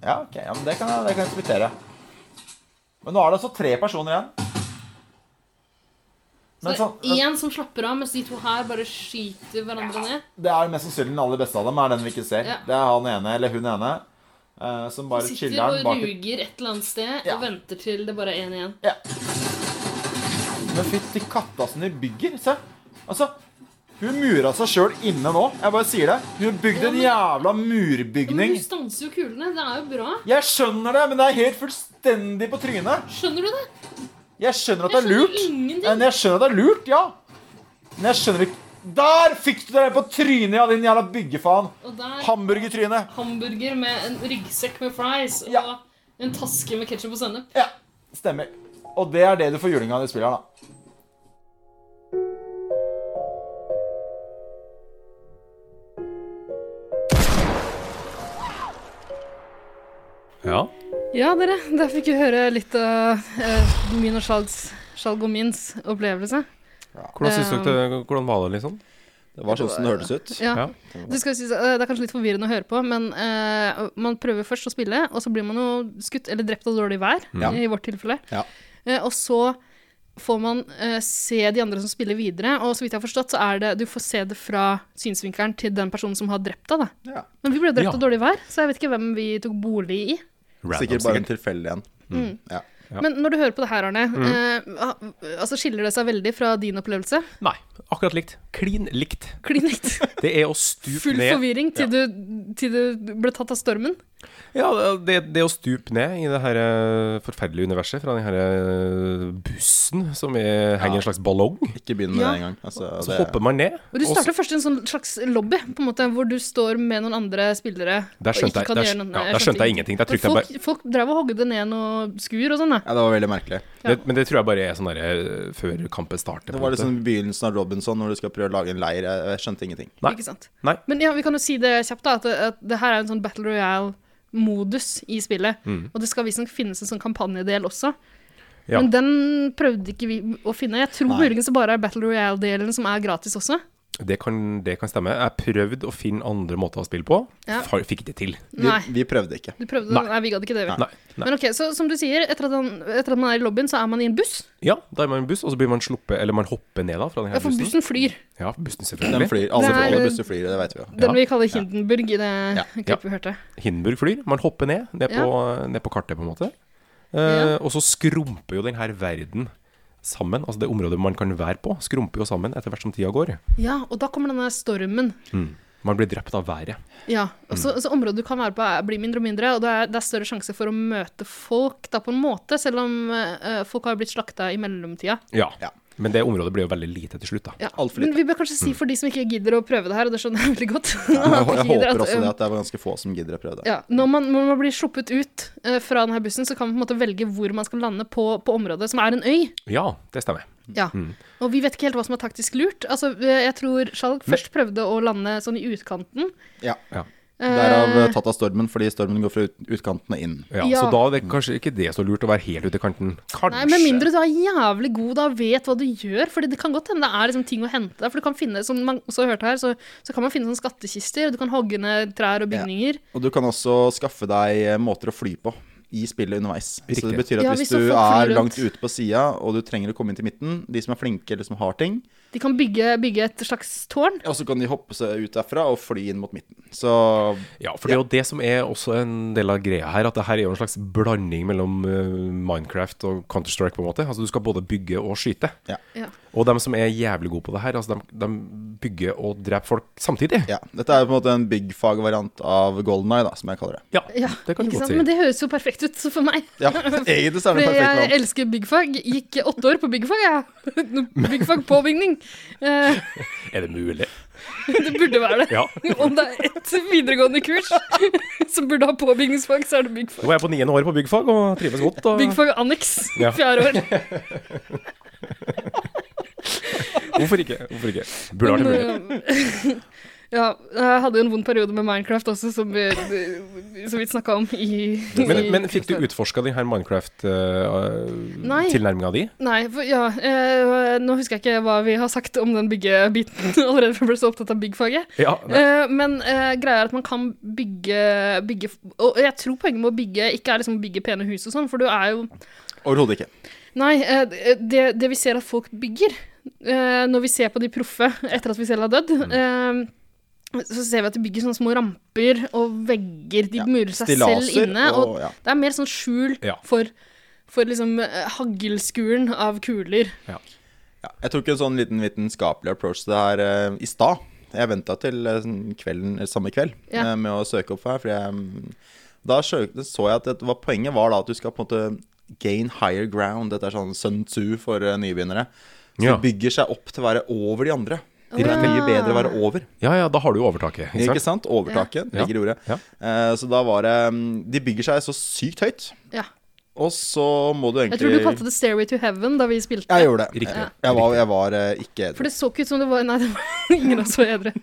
Speaker 1: Ja, ok. Ja, men det kan jeg, det kan jeg respektere. Men nå er det altså tre personer igjen. Men
Speaker 2: Så
Speaker 1: sånn,
Speaker 2: det er én som slapper av, mens de to her bare skyter hverandre ned.
Speaker 1: det er mest sannsynlig den aller beste av dem er den vi ikke ser.
Speaker 2: Ja.
Speaker 1: Det er han ene eller hun ene eh, som bare
Speaker 2: Sitter
Speaker 1: chiller'n
Speaker 2: og
Speaker 1: bak et
Speaker 2: ruger et eller annet sted
Speaker 1: Ja.
Speaker 2: og venter til det bare er én igjen.
Speaker 1: Men fytti katta som de bygger. Se. Altså, hun mura seg sjøl inne nå. Jeg bare sier det. Hun bygde en jævla
Speaker 2: Men
Speaker 1: murbygning.
Speaker 2: du stanser jo kulene. Det er jo bra.
Speaker 1: Jeg skjønner det, men det er helt fullstendig på trynet.
Speaker 2: Skjønner du det?
Speaker 1: Jeg skjønner at det
Speaker 2: Jeg
Speaker 1: er lurt.
Speaker 2: skjønner ingenting.
Speaker 1: Men jeg skjønner at det er lurt, ja. Men jeg skjønner ikke Der fikk du deg på trynet, ja, din jævla byggefaen.
Speaker 2: Og der
Speaker 1: Hamburgertryne.
Speaker 2: hamburger med en ryggsekk med fries og
Speaker 1: Ja.
Speaker 2: en taske med ketsjup og sennep.
Speaker 1: Ja, stemmer. Og det er det du får juling av i spillet her, da.
Speaker 4: eh, Ja.
Speaker 2: Ja, dere. Der fikk vi høre litt av eh, min og Sjalgomins opplevelse.
Speaker 4: Hvordan, synes dere, det- hvordan var det, liksom?
Speaker 7: Det var sånn som det hørtes ut.
Speaker 2: Um, Ja.
Speaker 4: Ja.
Speaker 2: Det, skal sies, eh, det er kanskje litt forvirrende å høre på, men eh, man prøver først å spille, og så blir man jo skutt eller drept av dårlig vær,
Speaker 7: Ja.
Speaker 2: i vårt tilfelle.
Speaker 7: Ja.
Speaker 2: Eh, og så får man eh, se de andre som spiller videre, og så vidt jeg har forstått, så er det Du får se det fra synsvinkelen til den personen som har drept deg, da.
Speaker 7: Ja.
Speaker 2: Men vi ble drept
Speaker 4: Ja.
Speaker 2: av dårlig vær, så jeg vet ikke hvem vi tok bolig i.
Speaker 7: Sikkert bare en tilfeldig en. Ja. Mm.
Speaker 4: Ja.
Speaker 2: Men når du hører på det her, Arne, eh, ah, altså skiller det seg veldig fra din opplevelse?
Speaker 4: Nei, akkurat likt. Klin likt.
Speaker 2: Klin likt.
Speaker 4: Det er å stupe
Speaker 2: Full
Speaker 4: ned
Speaker 2: forvirring til, du, til du ble tatt av stormen.
Speaker 4: Ja, det, det å stupe ned i det her eh, forferdelige universet fra den her eh, bussen som er, henger i en slags ballong.
Speaker 7: Ikke begynn med
Speaker 2: Ja.
Speaker 7: det engang. Altså,
Speaker 4: Så
Speaker 7: det,
Speaker 4: hopper man ned.
Speaker 2: Og Du
Speaker 4: og så-
Speaker 2: starter først i en sånn slags lobby, på en måte, hvor du står med noen andre spillere.
Speaker 4: Der skjønte jeg, der, skj- ja, der skjønte jeg ingenting. Der trykte jeg
Speaker 2: folk,
Speaker 4: bare,
Speaker 2: folk drev og hogde ned noe skur og sånn, da.
Speaker 7: ja, det var veldig merkelig.
Speaker 4: det, men det tror jeg bare er sånn derre eh, før kampen starter. på
Speaker 7: Det var
Speaker 4: en måte.
Speaker 7: liksom begynnelsen av Robinson når du skal prøve å lage en leir. Jeg, jeg skjønte ingenting.
Speaker 4: Nei.
Speaker 2: Ikke sant?
Speaker 4: Nei.
Speaker 2: Men ja, vi kan jo si det kjapt, da, at det, at det her er en sånn Battle Royale-modus i spillet. Og det skal visstnok finnes en sånn kampanjedel også.
Speaker 4: Mm. Ja.
Speaker 2: Men den prøvde ikke vi å finne. Jeg tror muligens det bare er Battle Royale-delen som er gratis også.
Speaker 4: Det kan, det kan stemme. Jeg prøvde å finne andre måter å spille på.
Speaker 2: Ja.
Speaker 4: Fa- Fikk det til.
Speaker 8: Vi,
Speaker 2: Nei,
Speaker 8: vi prøvde ikke.
Speaker 2: du prøvde
Speaker 4: Nei.
Speaker 2: Nei, vi gadd ikke det. vi.
Speaker 4: Nei. Nei.
Speaker 2: Men ok, så som du sier, etter at, han, etter at man er i lobbyen, så er man i en buss.
Speaker 4: Ja, da er man i en buss, og så blir man sluppet, eller man hopper ned da fra den
Speaker 2: Ja,
Speaker 4: her
Speaker 2: for
Speaker 4: bussen.
Speaker 2: bussen flyr.
Speaker 4: Ja, bussen
Speaker 8: Den
Speaker 4: selvfølgelig.
Speaker 8: flyr, alle,
Speaker 2: Det er-
Speaker 8: alle busser flyr, det vet vi jo.
Speaker 2: Den
Speaker 4: Ja.
Speaker 2: vi kaller Hindenburg i det
Speaker 4: Ja.
Speaker 2: klippet vi hørte.
Speaker 4: Hindenburg flyr. Man hopper ned, ned,
Speaker 2: Ja.
Speaker 4: på, ned på kartet, på en måte. Eh,
Speaker 2: Ja.
Speaker 4: Og så skrumper jo den her verden sammen. Altså det området man kan være på, skrumper jo sammen etter hvert som tida går.
Speaker 2: Ja, og da kommer denne stormen.
Speaker 4: Man blir drept av været.
Speaker 2: Ja, og
Speaker 8: Mm.
Speaker 2: så, så området du kan være på er, blir mindre og mindre, og det er, det er større sjanse for å møte folk da på en måte, selv om eh, folk har blitt slakta i mellomtida.
Speaker 4: Ja.
Speaker 8: Ja.
Speaker 4: Men det området blir jo veldig lite til slutt, da.
Speaker 2: Ja.
Speaker 8: Alt for
Speaker 2: Men
Speaker 8: lite.
Speaker 2: vi bør kanskje si for de som ikke gidder å prøve det her, og det skjønner jeg veldig godt
Speaker 8: Mm. Jeg,
Speaker 2: at de
Speaker 8: jeg
Speaker 2: gidder
Speaker 8: håper
Speaker 2: at,
Speaker 8: også
Speaker 2: eh,
Speaker 8: det at det var ganske få som gidder å prøve det.
Speaker 2: ja, når, man, når man blir sluppet ut eh, fra denne bussen, så kan man på en måte velge hvor man skal lande på, på området, som er en øy.
Speaker 4: Ja, det stemmer.
Speaker 2: Ja.
Speaker 4: Mm.
Speaker 2: Og vi vet ikke helt hva som er taktisk lurt. Altså, eh, jeg tror Skjalg først prøvde å lande sånn i utkanten.
Speaker 8: Ja.
Speaker 4: Ja.
Speaker 8: Derav eh, tatt av stormen, fordi stormen går fra ut, utkanten og inn.
Speaker 4: Ja,
Speaker 2: Ja.
Speaker 4: Så da er det kanskje ikke det så lurt å være helt ute i kanten. Kanskje.
Speaker 2: Nei, Med mindre du er jævlig god da og vet hva du gjør. Fordi det kan godt hende det er liksom ting å hente der. For du kan finne, som man også hørte her, så, så kan man finne sånne skattkister. og Du kan hogge ned trær og bygninger.
Speaker 8: Og du kan også skaffe deg eh, måter å fly på i spillet underveis. Så
Speaker 4: Riktig.
Speaker 8: det betyr at
Speaker 2: Ja, hvis
Speaker 8: hvis
Speaker 2: du
Speaker 8: du
Speaker 2: får fly
Speaker 8: er
Speaker 2: rundt.
Speaker 8: langt ute på sida, og du trenger å komme inn til midten, de som er flinke eller som har ting,
Speaker 2: De kan bygge, bygge et slags tårn.
Speaker 8: og så kan de hoppe seg ut derfra og fly inn mot midten. Så
Speaker 4: Ja, for det er jo det som er også en del av greia her, at det her er jo en slags blanding mellom eh, Minecraft og Counter-Strike, på en måte. Altså du skal både bygge og skyte.
Speaker 8: ja.
Speaker 2: Ja.
Speaker 4: Og dem som er jævlig gode på det her, altså de, bygger og dreper folk samtidig.
Speaker 8: ja. Dette er jo på en måte en byggfagvariant av Golden Eye, da, som jeg kaller det.
Speaker 4: Ja,
Speaker 2: Ja,
Speaker 4: det kan du
Speaker 2: ikke
Speaker 4: godt
Speaker 2: sant?
Speaker 4: si.
Speaker 2: Men det høres jo perfekt ut for meg.
Speaker 8: Ja, egentlig
Speaker 2: Fordi
Speaker 8: så er det perfekt
Speaker 2: jeg
Speaker 8: land.
Speaker 2: elsker byggfag. Gikk åtte år på byggfag, jeg. Byggfag på bygning. Eh,
Speaker 4: Er det mulig?
Speaker 2: Det burde være det.
Speaker 4: Ja.
Speaker 2: Om det er ett videregående kurs som burde ha påbygningsfag, så er det byggfag.
Speaker 4: Nå er jeg på niende året på byggfag og trives godt. Og...
Speaker 2: Byggfag anneks,
Speaker 4: Ja.
Speaker 2: fjerde år.
Speaker 4: Hvorfor ikke? Hvorfor ikke? Burde vært
Speaker 2: eh,
Speaker 4: mulig.
Speaker 2: Ja, jeg hadde jo en vond periode med Minecraft også, som vi så vidt snakka om i
Speaker 4: Men,
Speaker 2: i-
Speaker 4: men fikk du utforska den her
Speaker 2: Nei.
Speaker 4: Minecraft-tilnærminga di?
Speaker 2: Nei, for, ja, eh, nå husker jeg ikke hva vi har sagt om den byggebiten allerede, for jeg ble så opptatt av byggfaget.
Speaker 4: Ja, nei.
Speaker 2: Eh, men eh, greia er at man kan bygge, bygge Og jeg tror poenget med å bygge ikke er liksom å bygge pene hus og sånn, for du er jo
Speaker 8: Overhodet ikke.
Speaker 2: Nei, eh, det, det vi ser at folk bygger eh, når vi ser på de proffe etter at vi selv har dødd,
Speaker 8: Mm.
Speaker 2: eh, så ser vi at de bygger sånne små ramper og vegger. De
Speaker 8: Ja,
Speaker 2: murer seg selv
Speaker 8: stillaser
Speaker 2: inne. Og,
Speaker 8: og- ja.
Speaker 2: Det er mer sånn skjul
Speaker 4: Ja.
Speaker 2: for, for liksom eh, haglskuren av kuler.
Speaker 8: Ja, jeg tok en sånn liten vitenskapelig approach til det her eh, i stad. Jeg venta til eh, sånn kvelden, eller samme kveld
Speaker 2: Ja.
Speaker 8: eh, med å søke opp her. For jeg, mm, da søkte, så jeg at det var, poenget var da at du skal på en måte gain higher ground. Dette er sånn Sun Tzu for eh, nybegynnere. Så
Speaker 4: Ja.
Speaker 8: det bygger seg opp til å være over de andre. Det er mye bedre å være over.
Speaker 4: ja, ja, da har du jo overtaket. Ikke
Speaker 8: Ikke
Speaker 4: sant?
Speaker 8: sant? Overtaket
Speaker 4: Ja.
Speaker 8: ligger i ordet.
Speaker 4: Ja.
Speaker 8: Eh, så da var det mm, De bygger seg så sykt høyt,
Speaker 2: Ja.
Speaker 8: og så må du
Speaker 2: Jeg
Speaker 8: egentlig
Speaker 2: tror du kalte det Stairway to Heaven da vi spilte.
Speaker 8: Jeg gjorde det.
Speaker 4: Riktig.
Speaker 8: Jeg var, jeg var eh, ikke edru.
Speaker 2: For det så ikke ut som det var Nei, det var ingen av oss var edre.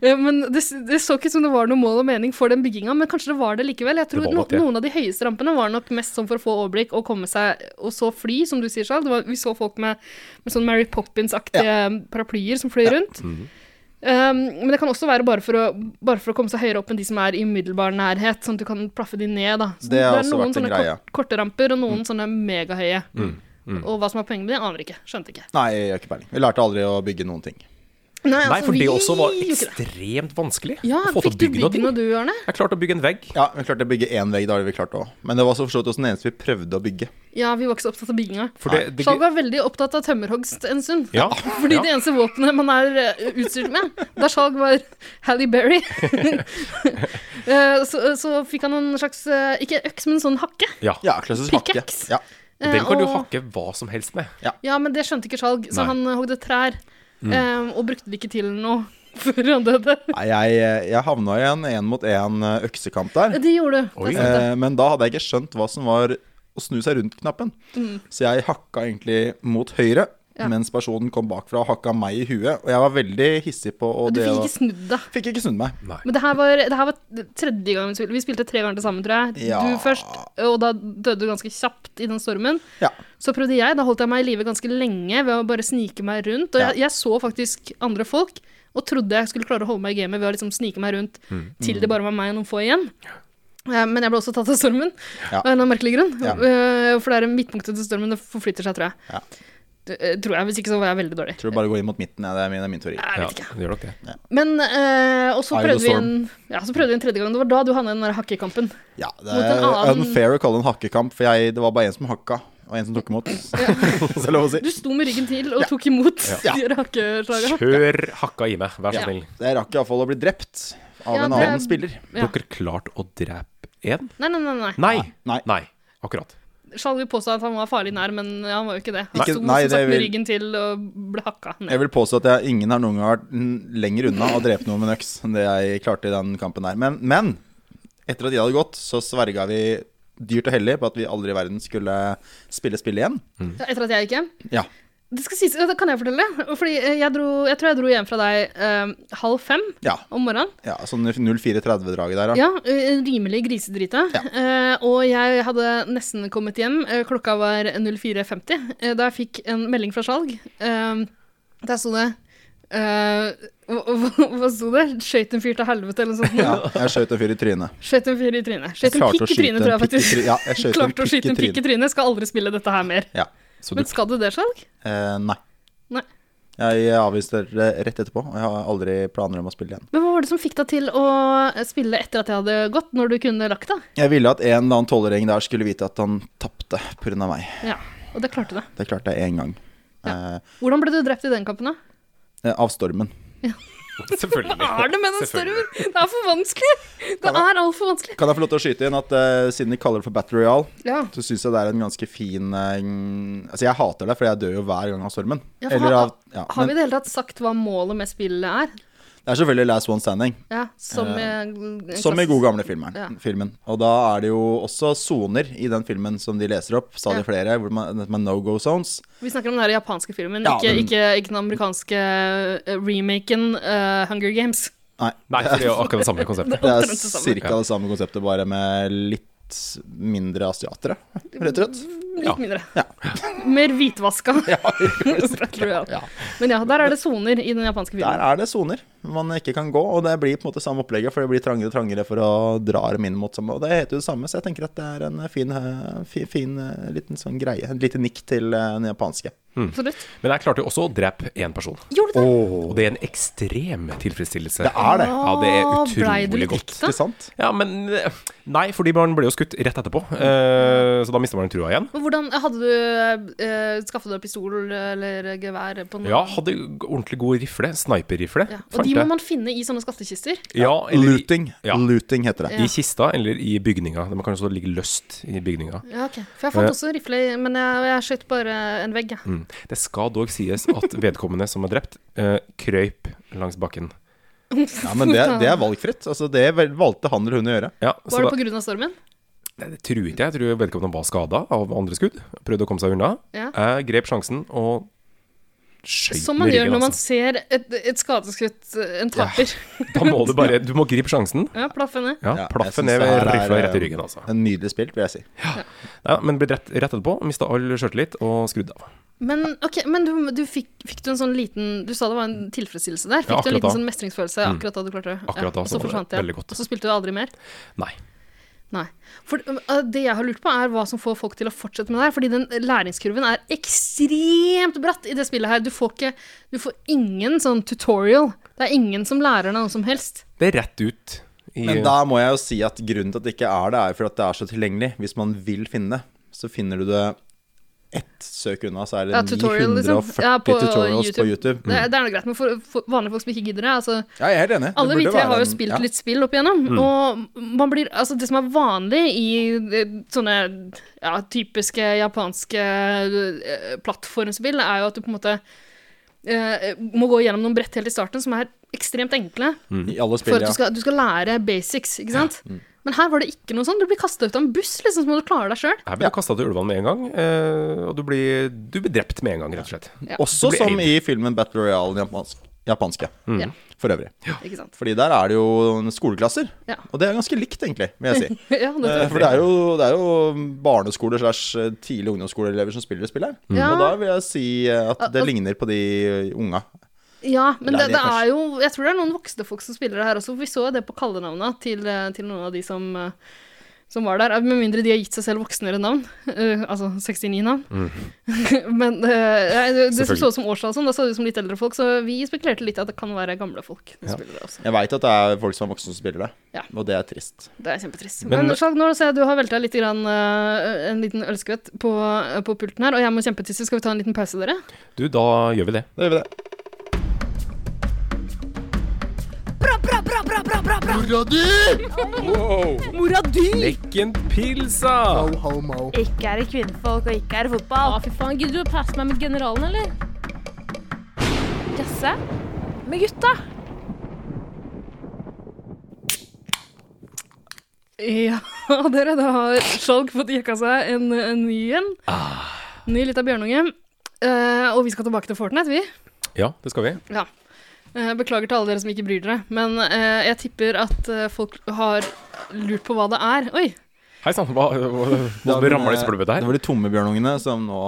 Speaker 2: Eh, Men det, det så ikke ut som det var noe mål og mening for den bygginga, men kanskje det var det likevel. Jeg tror
Speaker 4: Det var
Speaker 2: no,
Speaker 4: nok det.
Speaker 2: noen av de høyeste rampene var nok mest sånn for å få overblikk og komme seg Og så fly, som du sier, Sjal. Det var- Vi så folk med, med sånn Mary Poppins-aktige paraplyer som fløy rundt.
Speaker 8: Mhm.
Speaker 2: Um, men det kan også være bare for, å, bare for å komme seg høyere opp enn de som er i umiddelbar nærhet, sånn at du kan plaffe de ned. Da. Så
Speaker 8: Det har også
Speaker 2: noen
Speaker 8: vært en
Speaker 2: sånne
Speaker 8: greie. Mm.
Speaker 2: kort, korte ramper og noen sånne megahøye. Og hva som er poenget med det, aner ikke. Skjønte ikke.
Speaker 8: Nei, jeg har ikke peiling. Vi lærte aldri å bygge noen ting.
Speaker 4: Nei, for
Speaker 2: altså, vi
Speaker 4: det også var
Speaker 2: gjorde ikke det.
Speaker 4: ekstremt vanskelig
Speaker 2: Ja,
Speaker 4: å få til
Speaker 2: fikk
Speaker 4: å
Speaker 2: du
Speaker 4: bygge noe.
Speaker 2: bygd noe
Speaker 4: ting.
Speaker 2: du, Arne?
Speaker 4: Jeg klarte å bygge en vegg.
Speaker 8: Ja, vi klarte å bygge én vegg, det har vi klart òg. Men det var så forstått også den eneste vi prøvde å bygge.
Speaker 2: Ja, vi var ikke så opptatt av bygginga.
Speaker 4: For det, det,
Speaker 2: Skjalg var veldig opptatt av tømmerhogst en stund.
Speaker 4: Ja.
Speaker 2: Fordi
Speaker 4: Ja.
Speaker 2: det eneste våpenet man er eh, utstyrt med, da Skjalg var Hally Berry, eh, så, så fikk han en slags eh, Ikke øks, men en sånn hakke.
Speaker 4: ja.
Speaker 8: Ja, klassisk hakke.
Speaker 2: Pickaxe.
Speaker 8: Ja.
Speaker 2: Eh,
Speaker 4: Den kan du
Speaker 2: og-
Speaker 4: hakke hva som helst med.
Speaker 2: Ja, men det skjønte ikke Skjalg, så
Speaker 4: Nei. Mm.
Speaker 2: han eh, hogde trær. eh, og brukte det ikke til noe før han døde.
Speaker 8: Nei, jeg, jeg havna i en én mot én øksekamp der.
Speaker 2: Det gjorde du.
Speaker 4: Oi.
Speaker 2: Det er sant, det.
Speaker 8: Eh, men da hadde jeg ikke skjønt hva som var å snu seg rundt-knappen. Så jeg hakka egentlig mot høyre,
Speaker 2: Ja.
Speaker 8: mens personen kom bakfra og hakka meg i huet. Og jeg var veldig hissig på og
Speaker 2: Du
Speaker 8: det
Speaker 2: fikk
Speaker 8: å-
Speaker 2: ikke snudd deg.
Speaker 8: Fikk ikke snudd meg.
Speaker 2: Men det her var, det her var tredje gang vi spilte. Vi spilte tre ganger til sammen, tror jeg.
Speaker 8: Ja.
Speaker 2: Du først, og da døde du ganske kjapt i den stormen.
Speaker 8: Ja.
Speaker 2: Så prøvde jeg, da holdt jeg meg i live ganske lenge ved å bare snike meg rundt. Og
Speaker 8: Ja.
Speaker 2: jeg, jeg så faktisk andre folk, og trodde jeg skulle klare å holde meg i gamet ved å liksom snike meg rundt
Speaker 8: Mm.
Speaker 2: til det bare var meg og noen få igjen. Eh, Men jeg ble også tatt av stormen,
Speaker 8: Ja.
Speaker 2: av en eller annen merkelig grunn.
Speaker 8: Ja.
Speaker 2: Eh, For det er midtpunktet til stormen, det forflytter seg, tror jeg.
Speaker 8: Ja.
Speaker 2: Det, eh, Tror jeg, Hvis ikke så var jeg veldig dårlig.
Speaker 8: Tror du bare går inn mot midten. Ja, det er min, det er min teori.
Speaker 2: Jeg vet ikke.
Speaker 4: Ja, det gjør nok det.
Speaker 2: Men eh, Og så
Speaker 8: Eye of
Speaker 2: prøvde vi
Speaker 8: the storm.
Speaker 2: en, ja, så prøvde vi en tredje gang. Det var da du havna i den der hakkekampen.
Speaker 8: Eh, Ja, det
Speaker 2: Mot en
Speaker 8: er
Speaker 2: annen-
Speaker 8: unfair å kalle det en hakkekamp, for jeg, det var bare én som hakka, og én som tok imot. Hvis det er lov å si.
Speaker 2: Du sto med ryggen til og tok imot
Speaker 8: Ja.
Speaker 2: de der hakkeslagene.
Speaker 4: Kjør hakka i meg, vær så
Speaker 2: Ja.
Speaker 4: snill.
Speaker 8: Jeg rakk iallfall å bli drept av
Speaker 2: Ja,
Speaker 8: en
Speaker 2: det-
Speaker 8: annen spiller.
Speaker 2: Ja.
Speaker 4: Dere klarte å drepe én?
Speaker 2: Nei, nei, nei. nei.
Speaker 4: Nei.
Speaker 8: Nei.
Speaker 4: Nei. Akkurat.
Speaker 2: Skal vi påstå at han var farlig nær, men han var jo ikke det. Han
Speaker 8: Ikke-
Speaker 2: sto
Speaker 8: nei,
Speaker 2: som sagt
Speaker 8: det
Speaker 2: med
Speaker 8: vil-
Speaker 2: ryggen til og ble hakka
Speaker 8: Jeg
Speaker 2: ned.
Speaker 8: vil påstå at jeg, ingen har noen gang vært n- lenger unna å drepe noen med en øks enn det jeg klarte i den kampen her. Men, men etter at de hadde gått, så sverga vi dyrt og hellig på at vi aldri i verden skulle spille spill igjen.
Speaker 2: Etter at jeg gikk hjem.
Speaker 8: Ja.
Speaker 2: Det skal sies, det kan jeg fortelle. Fordi eh, jeg, dro, jeg tror jeg dro hjem fra deg eh, halv fem
Speaker 8: Ja.
Speaker 2: om morgenen.
Speaker 8: ja sånn 0430-draget der, da.
Speaker 2: Ja, eh, rimelig grisedrita. Eh, og jeg hadde nesten kommet hjem. Eh, klokka var 04.50 eh, da jeg fikk en melding fra salg. Eh, der sto det eh, hva, hva- hva sto det? Skøyt en fyr til helvete, eller noe sånt.
Speaker 8: Ja, jeg skjøt en fyr i trynet.
Speaker 2: Skjøt en fyr i trynet.
Speaker 8: Jeg
Speaker 2: Skjøt en
Speaker 8: klarte å
Speaker 2: pikk i trynet, tror
Speaker 8: skyte en
Speaker 2: jeg
Speaker 8: pikk i
Speaker 2: faktisk.
Speaker 8: trynet. Ja, jeg skjøt en
Speaker 2: Klarte å
Speaker 8: pikk
Speaker 2: skyte
Speaker 8: i
Speaker 2: en pikk i
Speaker 8: trynet.
Speaker 2: trynet. Skal aldri spille dette her mer.
Speaker 8: Ja.
Speaker 4: Så du
Speaker 2: Men skal du det, Skjalg?
Speaker 8: Eh, nei.
Speaker 2: Nei.
Speaker 8: Jeg avviste det rett etterpå, og jeg har aldri planer om å spille igjen.
Speaker 2: Men hva var det som fikk deg til å eh, spille etter at jeg hadde gått, når du kunne lagt deg?
Speaker 8: Jeg ville at en eller annen tolvåring der skulle vite at han tapte pga. meg.
Speaker 2: Ja, og det klarte du.
Speaker 8: Det klarte jeg én gang. Eh,
Speaker 2: Hvordan ble du drept i den kampen, da?
Speaker 8: eh, av stormen.
Speaker 4: Selvfølgelig.
Speaker 2: Hva er det med den
Speaker 4: Selvfølgelig.
Speaker 2: stormen? Det er for vanskelig! Det er altfor vanskelig.
Speaker 8: Kan jeg få lov til å skyte inn at eh, siden de kaller det for Battle Royale,
Speaker 2: Ja.
Speaker 8: så syns jeg det er en ganske fin eh, mm, Altså, jeg hater det, for jeg dør jo hver gang av stormen.
Speaker 2: Ja, for
Speaker 8: Eller
Speaker 2: har-
Speaker 8: av ja,
Speaker 2: Har vi
Speaker 8: men
Speaker 2: i det hele tatt sagt hva målet med spillet er?
Speaker 8: Det er selvfølgelig Last One Standing,
Speaker 2: Ja, som i
Speaker 8: Eh, som i god gamle filmen.
Speaker 2: Ja.
Speaker 8: filmen. Og da er det jo også soner i den filmen som de leser opp, stadig
Speaker 2: Ja.
Speaker 8: flere, hvor man, dette med no go zones.
Speaker 2: Vi snakker om den der japanske filmen,
Speaker 8: Ja,
Speaker 2: ikke,
Speaker 8: den-
Speaker 2: ikke, ikke den amerikanske eh, remaken eh, Hunger Games.
Speaker 8: Nei,
Speaker 4: Nei, for det er jo akkurat det samme konseptet.
Speaker 8: det
Speaker 2: omtrent
Speaker 8: er
Speaker 2: det samme.
Speaker 8: cirka det samme konseptet, bare med litt mindre asiatere, rett og slett.
Speaker 2: Litt
Speaker 4: Ja.
Speaker 2: mindre.
Speaker 8: Ja.
Speaker 2: Mer hvitvaska. Battle Royale.
Speaker 8: Ja.
Speaker 2: Men ja, der er det soner i den japanske filmen.
Speaker 8: Der er det soner man ikke kan gå, og det blir på en måte samme opplegget, for det blir trangere og trangere for å dra dem inn mot samme. Og det heter jo det samme, så jeg tenker at det er en fin, eh, fi- fin eh, liten sånn greie. Et lite nikk til eh, den japanske.
Speaker 2: Absolutt.
Speaker 4: Men jeg klarte jo også å drepe én person.
Speaker 2: Gjorde du det?
Speaker 4: Og det er en ekstrem tilfredsstillelse.
Speaker 8: Det er det,
Speaker 4: Ja, det er
Speaker 2: Åh, blei du
Speaker 4: utrolig
Speaker 2: litt
Speaker 4: godt.
Speaker 8: ikke sant?
Speaker 4: Ja, men eh, Nei, fordi man ble jo skutt rett etterpå, eh, så da mister man trua igjen.
Speaker 2: Men hvordan hadde du eh, Skaffet deg pistol eller gevær på noe?
Speaker 4: Ja, hadde ordentlig god rifle. Sniperrifle.
Speaker 2: Ja, Og
Speaker 4: fant
Speaker 2: de
Speaker 4: jeg.
Speaker 2: må man finne i sånne skattkister.
Speaker 4: ja, eller i-
Speaker 8: Looting.
Speaker 4: Ja.
Speaker 8: Looting heter det.
Speaker 4: I kista eller i bygninga. De kan jo også ligge løst i bygninga.
Speaker 2: Ja, ok. For jeg fant
Speaker 4: Ja.
Speaker 2: også rifle, i- men jeg, jeg skjøt bare en vegg. jeg.
Speaker 4: Mm. Det skal dog sies at vedkommende som er drept, eh, krøyp langs bakken.
Speaker 8: Ja, men det, det er valgfritt. Altså, det vel- valgte han eller hun å gjøre.
Speaker 4: Ja, så
Speaker 2: Var det
Speaker 4: da,
Speaker 2: på grunn av stormen?
Speaker 4: det, det tror ikke jeg. Jeg tror vedkommende var skada av andre skudd. Prøvde å komme seg unna.
Speaker 2: Ja.
Speaker 4: Jeg grep sjansen og skøyt
Speaker 2: Som man
Speaker 4: med
Speaker 2: gjør
Speaker 4: ryggen.
Speaker 2: når man
Speaker 4: altså.
Speaker 2: ser et, et skadeskutt, en taper.
Speaker 4: Da må du bare Du må gripe sjansen.
Speaker 2: Ja, plaff henne.
Speaker 4: Ja,
Speaker 8: Ja, jeg
Speaker 4: plaffe
Speaker 8: synes
Speaker 4: ned
Speaker 8: det
Speaker 4: ved
Speaker 8: her er,
Speaker 4: rifla rett i
Speaker 8: eh,
Speaker 4: ryggen, altså.
Speaker 8: En nydelig spilt, vil jeg si.
Speaker 4: Ja, men ble drept rett etterpå, mista all sjøltillit og skrudd av.
Speaker 2: Men, ok, men du, du fikk, fikk du en sånn liten Du sa det var en tilfredsstillelse der. Fikk
Speaker 4: Ja,
Speaker 2: du en
Speaker 4: akkurat
Speaker 2: liten
Speaker 4: da. Mm.
Speaker 2: sånn mestringsfølelse akkurat da du klarte det?
Speaker 4: Akkurat da
Speaker 2: og
Speaker 4: så
Speaker 2: så
Speaker 4: var det
Speaker 2: forsvant det.
Speaker 4: veldig godt.
Speaker 2: Og så spilte du aldri mer?
Speaker 4: Nei.
Speaker 2: Nei. For øh, det jeg har lurt på, er hva som får folk til å fortsette med det her. Fordi den læringskurven er ekstremt bratt i det spillet her. Du får ikke Du får ingen sånn tutorial. Det er ingen som lærer deg noe som helst.
Speaker 4: Det er rett ut i
Speaker 8: Men da må jeg jo si at grunnen til at det ikke er det, er jo fordi at det er så tilgjengelig. Hvis man vil finne det, så finner du det ett søk unna, så er det
Speaker 2: Ja, tutorial,
Speaker 8: 940
Speaker 2: liksom. Ja, på
Speaker 8: tutorials på
Speaker 2: YouTube.
Speaker 8: YouTube.
Speaker 2: Det, det er noe greit, men for, for vanlige folk som ikke gidder det altså,
Speaker 8: Mm. Ja, jeg er helt enig. Det
Speaker 2: Alle vi
Speaker 8: burde
Speaker 2: tre
Speaker 8: være
Speaker 2: har jo
Speaker 8: en-
Speaker 2: spilt
Speaker 8: ja. Mm.
Speaker 2: litt spill opp igjennom, og man blir Altså, det som er vanlig i eh, sånne ja, typiske japanske eh, plattformspill, er jo at du på en måte eh, må gå gjennom noen brett helt i starten som er ekstremt enkle,
Speaker 4: Mhm.
Speaker 8: I alle
Speaker 2: for
Speaker 8: spill,
Speaker 2: at
Speaker 8: Mm. ja. Mm.
Speaker 2: du skal, du skal lære basics, ikke sant? Men her var det ikke noe sånn. Du blir kasta ut av en buss, liksom, så må du klare deg sjøl.
Speaker 4: Her blir du kasta til ulvene med en gang, eh, og du blir, du blir drept med en gang, rett og slett.
Speaker 1: Også
Speaker 4: Du blir
Speaker 1: som
Speaker 4: aid.
Speaker 1: i filmen Battle Royale den japansk, japanske,
Speaker 2: Ja,
Speaker 1: for øvrig.
Speaker 2: ikke sant.
Speaker 1: Fordi der er det jo skoleklasser.
Speaker 2: Ja.
Speaker 1: Og det er ganske likt, egentlig, vil jeg si.
Speaker 2: Ja, det
Speaker 1: Eh, For det er jo, det er jo barneskoler slash eh, tidlig ungdomsskoleelever som spiller det spillet her.
Speaker 2: Ja.
Speaker 1: Og da vil jeg si eh, at det
Speaker 2: Al-
Speaker 1: ligner på de eh, unga.
Speaker 2: Ja, men
Speaker 1: Eller
Speaker 2: det,
Speaker 1: er
Speaker 2: det
Speaker 1: det
Speaker 2: er jo Jeg tror det er noen voksne folk som spiller det her også. for Vi så jo det på kallenavna til, eh, til noen av de som, eh, som var der. Eh, Med mindre de har gitt seg selv voksnere navn. eh, altså 69-navn. men eh, nei, det, det som
Speaker 4: Selvfølgelig.
Speaker 2: så ut som årstall og sånn, da så det ut som litt eldre folk, så vi spekulerte litt i at det kan være gamle folk som spiller det også.
Speaker 1: Jeg veit at det er folk som er voksne som spiller det,
Speaker 2: Ja.
Speaker 1: og det er trist.
Speaker 2: Det er kjempetrist.
Speaker 4: Men-
Speaker 2: Men, Skjalg, nå ser jeg du har velta litt grann, eh, en liten ølskvett på, eh, på pulten her, og jeg må kjempetisse. Skal vi ta en liten pause, dere?
Speaker 4: Du, da gjør vi det.
Speaker 1: Da gjør vi det.
Speaker 6: Mora di!
Speaker 4: Lekken pilsa!
Speaker 6: Ikke er det kvinnfolk, og ikke er
Speaker 5: Å,
Speaker 6: det fotball.
Speaker 5: fy faen. Gidder du å passe meg med generalen, eller?
Speaker 6: Jasse med gutta.
Speaker 2: Ja, dere, da har Skjalg fått jekka seg en, en ny en. Ny lita bjørnunge. Eh, og vi skal tilbake til Fortnite, vi.
Speaker 4: Ja, det skal vi.
Speaker 2: Ja. Eh, beklager til alle dere som ikke bryr dere, men eh, jeg tipper at eh, folk har lurt på hva det er. Oi!
Speaker 4: Hei sann, hva, hva, hva
Speaker 1: Den,
Speaker 4: rammer
Speaker 1: eh,
Speaker 4: disse blubber
Speaker 1: Det
Speaker 4: der?
Speaker 1: var de tomme bjørnungene som nå